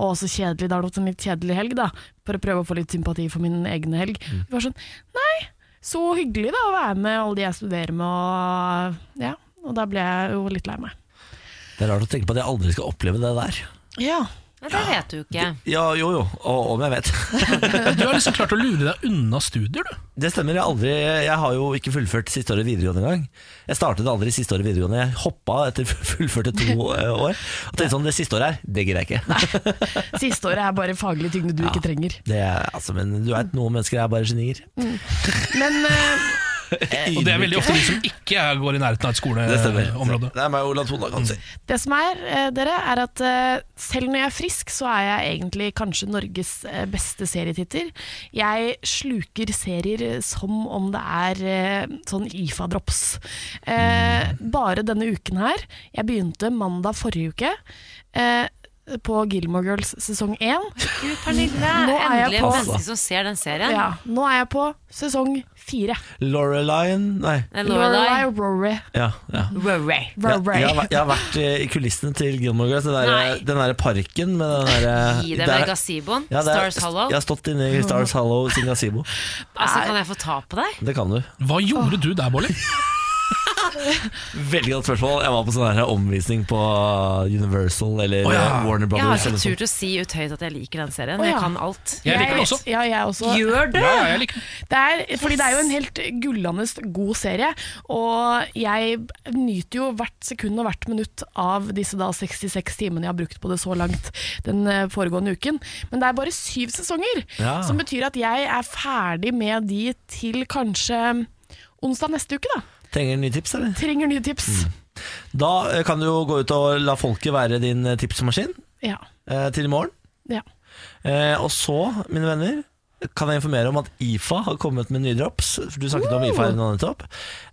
[SPEAKER 11] å så kjedelig, da har det vært en litt kjedelig helg da, for å prøve å få litt sympati for min egen helg.
[SPEAKER 3] Mm.
[SPEAKER 11] Det var sånn, nei, så hyggelig da å være med alle de jeg studerer med, og ja, og da ble jeg jo litt lei meg.
[SPEAKER 1] Det er rart å tenke på at jeg aldri skal oppleve det der.
[SPEAKER 11] Ja,
[SPEAKER 2] Men det vet du jo ikke.
[SPEAKER 1] Ja, jo jo, og om jeg vet.
[SPEAKER 3] Du har liksom klart å lure deg unna studier, du.
[SPEAKER 1] Det stemmer. Jeg, har aldri, jeg har jo ikke fullført siste året videregående engang. Jeg startet aldri siste året videregående. Jeg hoppa etter [LAUGHS] fullførte to eh, år. Og tenkte sånn, det siste året her, det gidder jeg ikke.
[SPEAKER 11] Siste året er bare faglige tyngde du ikke trenger. Mm.
[SPEAKER 1] Det er, altså, men du vet, noen mennesker er bare genier.
[SPEAKER 11] Men eh,
[SPEAKER 3] [LAUGHS] Og det er veldig ofte de som ikke går i nærheten av et
[SPEAKER 1] Det stemmer.
[SPEAKER 3] skoleområde.
[SPEAKER 1] Det er meg og Ola Tona, kan du si.
[SPEAKER 2] Mm.
[SPEAKER 11] Det som er, eh, dere, er at eh, selv når jeg er frisk, så er jeg egentlig kanskje Norges eh, beste serietitter. Jeg sluker serier som om det er eh, sånn IFA-drops. Eh,
[SPEAKER 1] Mm.
[SPEAKER 11] bare denne uken her. Jeg begynte mandag forrige uke. Eh, på Gilmore Girls sesong 1
[SPEAKER 2] Gud, Pernille,
[SPEAKER 11] Nå er jeg
[SPEAKER 2] endelig et
[SPEAKER 11] på-
[SPEAKER 2] menneske som ser den serien.
[SPEAKER 11] ja, Nå er jeg på sesong 4
[SPEAKER 1] Loreleyen Nei.
[SPEAKER 2] Det er
[SPEAKER 11] Lorelai
[SPEAKER 2] Lorelai.
[SPEAKER 11] og Rory
[SPEAKER 1] Ja, ja.
[SPEAKER 2] Rory.
[SPEAKER 1] Ja,
[SPEAKER 11] Rory.
[SPEAKER 1] jeg, har, væ- jeg har vært eh, i kulissene til Gilmore Girls, den
[SPEAKER 2] Nei.
[SPEAKER 1] der, den der parken med den der eh,
[SPEAKER 2] Gi
[SPEAKER 1] der-
[SPEAKER 2] dem med gazeboen.
[SPEAKER 1] Ja, det er-
[SPEAKER 2] Stars Hollow.
[SPEAKER 1] Jeg har stått inne i Stars Hollow sin gazebo.
[SPEAKER 2] Altså, kan jeg få ta på deg?
[SPEAKER 1] Det kan du.
[SPEAKER 3] Hva gjorde du der, Bolli?
[SPEAKER 1] [LAUGHS] Veldig godt spørsmål. Jeg var på sånn her omvisning på Universal eller
[SPEAKER 3] Å, ja.
[SPEAKER 1] eh, Warner
[SPEAKER 2] Jeg har
[SPEAKER 1] Brothers.
[SPEAKER 2] ikke
[SPEAKER 1] eller
[SPEAKER 2] tur
[SPEAKER 1] sånt.
[SPEAKER 2] til å si ut høyt at jeg liker den serien.
[SPEAKER 11] Å, ja.
[SPEAKER 2] Jeg kan alt.
[SPEAKER 3] Jeg liker den også.
[SPEAKER 11] Ja, jeg også
[SPEAKER 2] Gjør det!
[SPEAKER 3] Ja, ja, jeg liker den.
[SPEAKER 11] Det er, fordi det er jo en helt gullende god serie, og jeg nyter jo hvert sekund og hvert minutt av disse da 66 timene jeg har brukt på det så langt den eh, foregående uken. Men det er bare syv sesonger,
[SPEAKER 1] Ja.
[SPEAKER 11] som betyr at jeg er ferdig med de til kanskje onsdag neste uke, da.
[SPEAKER 1] Trenger du nye tips, eller?
[SPEAKER 11] Trenger nye tips.
[SPEAKER 3] Mm.
[SPEAKER 1] Da eh, kan du jo gå ut og la folket være din eh, tipsmaskin
[SPEAKER 11] Ja.
[SPEAKER 1] eh, til i morgen.
[SPEAKER 11] ja.
[SPEAKER 1] Eh, og så, mine venner, kan jeg informere om at IFA har kommet med nye drops. For Du snakket om IFA her nå nettopp.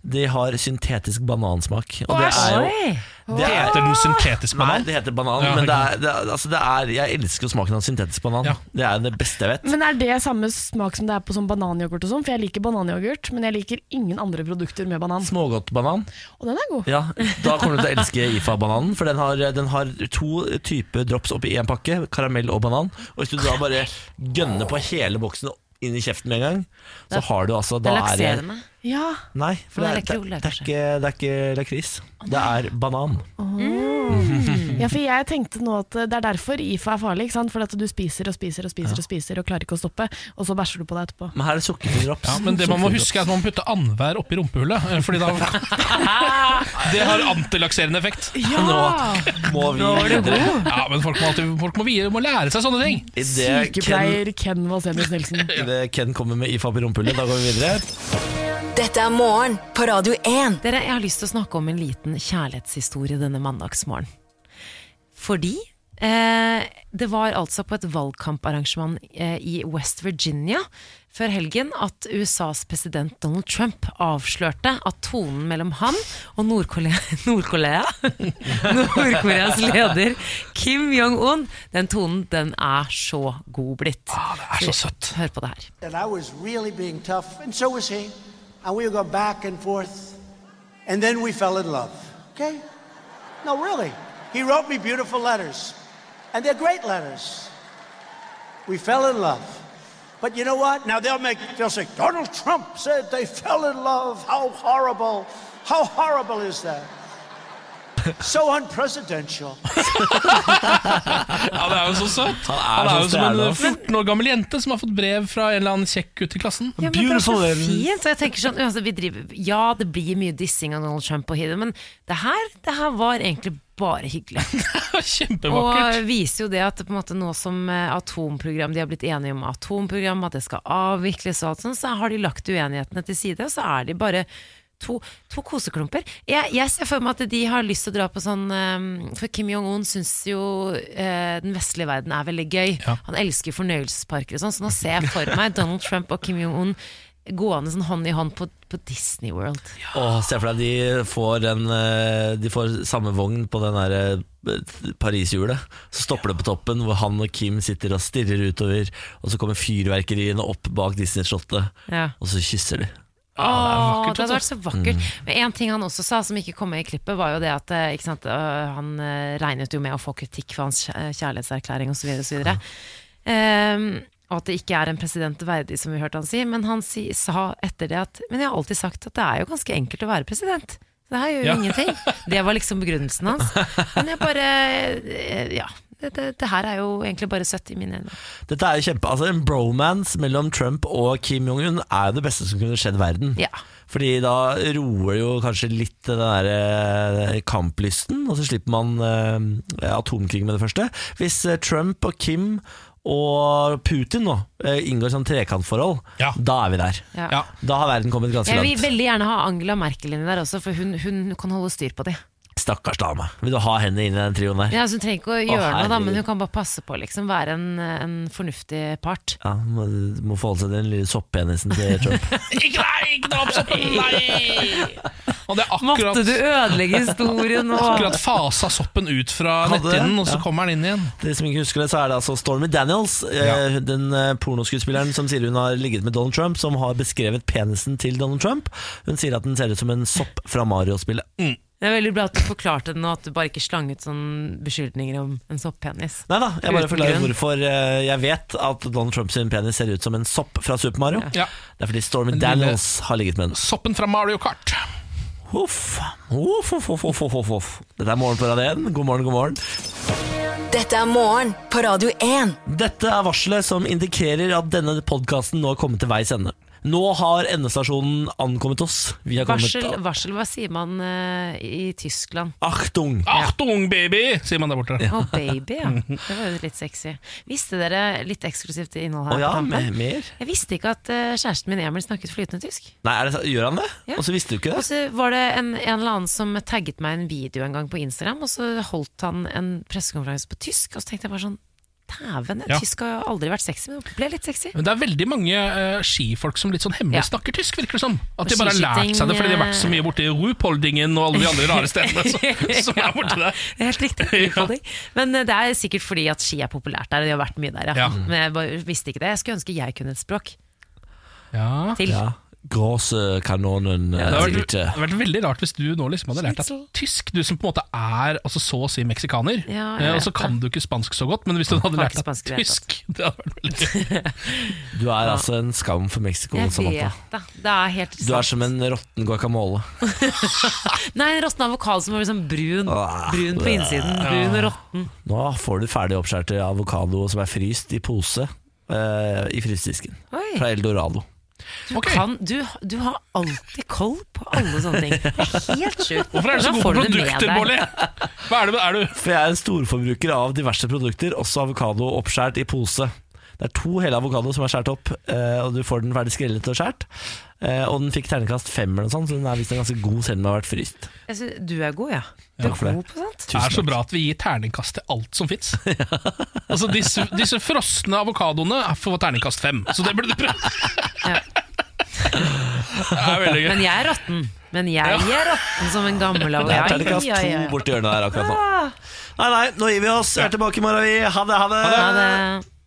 [SPEAKER 1] De har syntetisk banansmak. Og det er jo
[SPEAKER 2] Oi.
[SPEAKER 1] det er,
[SPEAKER 3] Heter den syntetisk
[SPEAKER 1] Nei,
[SPEAKER 3] banan?
[SPEAKER 1] det heter banan,
[SPEAKER 3] Ja,
[SPEAKER 1] men det
[SPEAKER 3] det
[SPEAKER 1] er, det, er, altså det er Jeg elsker jo smaken av syntetisk banan.
[SPEAKER 3] Ja.
[SPEAKER 1] Det er det beste jeg vet.
[SPEAKER 11] Men er det samme smak som det er på sånn bananyoghurt og sånn? For jeg liker bananyoghurt, men jeg liker ingen andre produkter med banan.
[SPEAKER 1] Smågodtbanan.
[SPEAKER 11] Og den er god.
[SPEAKER 1] Ja, da kommer du til å elske IFA-bananen, for den har, den har to typer drops oppi én pakke, karamell og banan. Og hvis du da bare gønner på hele boksen inn i kjeften med en gang, så har du altså
[SPEAKER 2] Det
[SPEAKER 1] da
[SPEAKER 2] er
[SPEAKER 1] er det-
[SPEAKER 2] lakserende.
[SPEAKER 11] Ja.
[SPEAKER 1] Nei, for det
[SPEAKER 2] Nei,
[SPEAKER 1] er, det,
[SPEAKER 2] det er ikke
[SPEAKER 1] det, er
[SPEAKER 2] kanskje.
[SPEAKER 1] ikke, det er ikke lakris. Det er banan.
[SPEAKER 3] [LAUGHS]
[SPEAKER 11] Ja, for jeg tenkte nå at eh, det er derfor IFA er farlig, ikke sant? Fordi at du spiser og spiser og spiser og spiser og klarer ikke å stoppe, og så bæsjer du på deg etterpå.
[SPEAKER 1] Men her er det sukkerfri drops.
[SPEAKER 3] Ja, men det man må huske er at man må putte annenhver oppi rumpehullet. eh,
[SPEAKER 2] [LAUGHS]
[SPEAKER 3] Fordi da Det har antilakserende effekt.
[SPEAKER 11] Ja!
[SPEAKER 1] må vi videre.
[SPEAKER 3] Ja, men folk må, alltid, folk må, vie- må lære seg sånne ting.
[SPEAKER 1] I det Ken,
[SPEAKER 11] Sykepleier Ken Vasenius Nilsen.
[SPEAKER 1] i det Ken kommer med IFA på rumpehullet, da går vi videre.
[SPEAKER 4] Dette er morgen på Radio 1.
[SPEAKER 2] Dere, jeg har lyst til å snakke om en liten kjærlighetshistorie denne mandagsmorgen. Fordi eh, det var altså på et valgkamparrangement eh, i West Virginia før helgen at USAs president Donald Trump avslørte at tonen mellom han og Nord-Korea [LAUGHS] Nord-Korea? Nord-Koreas leder Kim Jong-un, den tonen, den er så god blitt.
[SPEAKER 3] Ah, det er så søtt.
[SPEAKER 2] Hør på det her.
[SPEAKER 12] And I was really being tough, and so was he. And we would go back and forth. And then we fell in love. Okay? No, really. He wrote me beautiful letters. And they're great letters. We fell in love. But you know what? Now they'll make they'll say, Donald Trump said they fell in love. How horrible. How horrible is that? So unpresidential.
[SPEAKER 3] Ja, det er jo så søtt.
[SPEAKER 1] Han er
[SPEAKER 3] Han er jo
[SPEAKER 1] så
[SPEAKER 3] som en
[SPEAKER 1] stjerne,
[SPEAKER 3] eh,
[SPEAKER 1] ass.
[SPEAKER 3] 14 år gammel jente som har fått brev fra en eller annen kjekk gutt i klassen.
[SPEAKER 2] Ja, men det er så
[SPEAKER 1] Beautiful Ellen.
[SPEAKER 2] fint. Og jeg tenker sånn, altså, vi driver, ja, det blir mye dissing av Donald Trump og Hidde, men det her, det her var egentlig bare hyggelig.
[SPEAKER 3] Kjempevakkert.
[SPEAKER 2] Og viser jo det at på en måte nå som eh, atomprogram, de har blitt enige om atomprogram, at det skal avvikles og alt sånt, så har de lagt uenighetene til side, og så er de bare To, to koseklumper. Jeg, jeg ser for meg at de har lyst til å dra på sånn eh, For Kim Jong-un syns jo eh, den vestlige verden er veldig gøy.
[SPEAKER 3] Ja.
[SPEAKER 2] Han elsker fornøyelsesparker og sånn, så nå ser jeg for meg Donald Trump og Kim Jong-un gående sånn hånd i hånd på, på Disney World.
[SPEAKER 1] Åh, se for deg, de får, en, eh, de får samme vogn på den der eh, Paris-hjulet. Så stopper det på toppen, hvor han og Kim sitter og stirrer utover. Og så kommer fyrverkeriene opp bak Disney-slottet,
[SPEAKER 2] Ja.
[SPEAKER 1] og så kysser de.
[SPEAKER 2] Åh,
[SPEAKER 3] det er vakkert,
[SPEAKER 2] det
[SPEAKER 3] altså. Mm.
[SPEAKER 2] hadde vært så vakkert. Men en ting han også sa som ikke kom med i klippet, var jo det at eh, ikke sant, øh, han eh, regnet jo med å få kritikk for hans kjæ- kjærlighetserklæring osv. Og, så videre. Ehm, og at det ikke er en president verdig, som vi hørte han si. Men han si, sa etter det at Men jeg har alltid sagt at det er jo ganske enkelt å være president. Det her gjør jo
[SPEAKER 3] Ja.
[SPEAKER 2] ingenting. Det var liksom begrunnelsen hans. Men jeg bare eh, Ja. det, det, det her er jo egentlig bare søtt i mine øyne.
[SPEAKER 1] Dette er jo kjempe Altså En bromance mellom Trump og Kim Jong-un er jo det beste som kunne skjedd verden. Fordi da roer det jo kanskje litt den der eh, kamplysten, og så slipper man eh, atomkrig med det første. Hvis eh, Trump og Kim og Putin nå eh, inngår sånn trekantforhold, da er vi der.
[SPEAKER 2] Ja.
[SPEAKER 1] Da har verden kommet ganske
[SPEAKER 2] Jeg vil
[SPEAKER 1] langt.
[SPEAKER 2] veldig gjerne ha Angela Merkel inni der også, for hun, hun kan holde styr på det.
[SPEAKER 1] Stakkars dame. Vil du ha henne inn i den trioen der?
[SPEAKER 2] Ja, altså, hun trenger ikke å
[SPEAKER 1] Å,
[SPEAKER 2] gjøre noe, da,
[SPEAKER 1] herregud.
[SPEAKER 2] men hun kan bare passe på, liksom. Være en, en fornuftig part.
[SPEAKER 1] Ja, må, må forholde seg til den lille soppenisen til Trump.
[SPEAKER 3] [LAUGHS] Ikke nei, ikke ta opp soppen! Nei! Og det er akkurat,
[SPEAKER 2] Måtte du ødelegge historien nå?
[SPEAKER 3] Akkurat fasa soppen ut fra
[SPEAKER 1] Hadde det?
[SPEAKER 3] netthinnen, og så
[SPEAKER 1] Ja.
[SPEAKER 3] kommer den inn igjen.
[SPEAKER 1] Dere som ikke husker det, så er det altså Stormy Daniels, eh, den eh, pornoskuespilleren som sier hun har ligget med Donald Trump, som har beskrevet penisen til Donald Trump. Hun sier at den ser ut som en sopp fra Mario-spillet.
[SPEAKER 2] Det er veldig bra at du forklarte det nå, at du bare ikke slang ut sånne beskyldninger om en sopppenis.
[SPEAKER 1] Nei da, jeg bare
[SPEAKER 2] Uten
[SPEAKER 1] forklarer
[SPEAKER 2] grunn.
[SPEAKER 1] hvorfor eh, jeg vet at Donald Trumps penis ser ut som en sopp fra Super Mario.
[SPEAKER 3] Ja.
[SPEAKER 1] Det er fordi Stormy
[SPEAKER 3] Den lille
[SPEAKER 1] Daniels har ligget med den.
[SPEAKER 3] Soppen fra Mario Kart.
[SPEAKER 1] Huff, huff, huff, huff, huff, huff, huff. Dette er Morgen på Radio 1. God morgen, god morgen.
[SPEAKER 4] Dette er morgen på Radio 1.
[SPEAKER 1] Dette er varselet som indikerer at denne podkasten nå har kommet til veis ende. Nå har endestasjonen ankommet oss. Vi har kommet
[SPEAKER 2] Varsel, varsel, hva sier man eh, i Tyskland?
[SPEAKER 1] Ah, Achtung!
[SPEAKER 3] Achtung, baby! sier man der borte.
[SPEAKER 2] Å, baby,
[SPEAKER 1] [LAUGHS]
[SPEAKER 2] ja. Det var jo litt sexy. Visste dere litt eksklusivt innhold her?
[SPEAKER 1] Å ja,
[SPEAKER 2] på tampen?
[SPEAKER 1] me- mer?
[SPEAKER 2] Jeg visste ikke at eh, kjæresten min Emil snakket flytende tysk.
[SPEAKER 1] Nei, er det, sa- gjør han det?
[SPEAKER 2] Ja.
[SPEAKER 1] Og så visste du ikke
[SPEAKER 2] Og
[SPEAKER 1] det?
[SPEAKER 2] så var det en, en eller annen som tagget meg i en video en gang på Instagram, og så holdt han en pressekonferanse på tysk, og så tenkte jeg bare sånn Dæven,
[SPEAKER 3] Ja.
[SPEAKER 2] tysk har jo aldri vært sexy, men det ble litt sexy.
[SPEAKER 3] Men det er veldig mange eh, skifolk som litt sånn hemmelig snakker tysk, virker det som. At
[SPEAKER 2] Og
[SPEAKER 3] de
[SPEAKER 2] eh,
[SPEAKER 3] bare har lært seg det fordi de
[SPEAKER 2] skiskyting,
[SPEAKER 3] har vært så mye borti Rupoldingen og alle de andre rare stedene.
[SPEAKER 2] [LAUGHS]
[SPEAKER 3] som- som er borte der.
[SPEAKER 2] Det er Helt riktig. utfordring. Men eh, det er sikkert fordi at ski er populært der, og de har vært mye der, ja. Mm.
[SPEAKER 1] Ja.
[SPEAKER 2] Men jeg bare visste ikke det. Jeg skulle ønske jeg kunne et språk. Til.
[SPEAKER 1] Ja. Gråsekanonen
[SPEAKER 3] Det
[SPEAKER 1] ja,
[SPEAKER 3] hadde vært,
[SPEAKER 2] [LAUGHS]
[SPEAKER 3] det hadde vært veldig rart hvis du nå liksom hadde lært deg tysk, du som på en måte er altså så å si meksikaner.
[SPEAKER 2] Ja, jeg
[SPEAKER 3] eh, og
[SPEAKER 2] vet
[SPEAKER 3] så kan du ikke spansk så godt, men hvis du
[SPEAKER 2] Kan
[SPEAKER 3] hadde lært
[SPEAKER 2] ikke
[SPEAKER 3] deg
[SPEAKER 2] spansk i det hele tatt.
[SPEAKER 3] tysk det hadde vært veldig
[SPEAKER 1] Du er altså en skam for Mexico.
[SPEAKER 2] Jeg
[SPEAKER 3] sånn
[SPEAKER 1] Samantha.
[SPEAKER 2] vet det. Det er helt
[SPEAKER 1] Du er som en råtten guacamole.
[SPEAKER 2] Nei, en råtten avokado som var liksom brun, brun på innsiden. Brun og råtten.
[SPEAKER 1] Nå får du ferdig oppskjærte avokado som er fryst i pose eh, i frysedisken.
[SPEAKER 2] Oi.
[SPEAKER 1] Fra Eldorado.
[SPEAKER 2] Du, kan, du, du har alltid koll på alle sånne ting. Det er helt sjukt.
[SPEAKER 3] Hvorfor er du så
[SPEAKER 2] Hvordan
[SPEAKER 3] god på
[SPEAKER 2] får det med
[SPEAKER 3] produkter,
[SPEAKER 2] deg?
[SPEAKER 3] Bolli? Hva er det, er du?
[SPEAKER 1] For jeg er en storforbruker av diverse produkter, også avokado oppskjært i pose. Det er to hele avokado som er skjært opp, eh, og du får den ferdig skrellet og skjært. Eh, Og den fikk ternekast fem, eller noe sånt, så den er visst en ganske god selv om den har vært fryst.
[SPEAKER 2] Jeg synes- Du er god, ja. Du
[SPEAKER 1] Takk for
[SPEAKER 2] er
[SPEAKER 1] det.
[SPEAKER 2] god på sånt.
[SPEAKER 3] Det er så bra at vi gir terningkast til alt som fins. [LAUGHS] Altså, disse, disse frosne avokadoene er for terningkast fem, så det burde du prøve. Det er veldig gøy.
[SPEAKER 2] Men jeg er råtten. Men jeg er råtten som en gammel
[SPEAKER 1] Det er
[SPEAKER 2] avokado.
[SPEAKER 1] ternekast
[SPEAKER 2] Ja, ja, ja.
[SPEAKER 1] to borti hjørnet her akkurat nå. Nei, nei, nå gir vi oss. Vi er tilbake i morgen, vi. Ha det, ha det.
[SPEAKER 2] Ha det.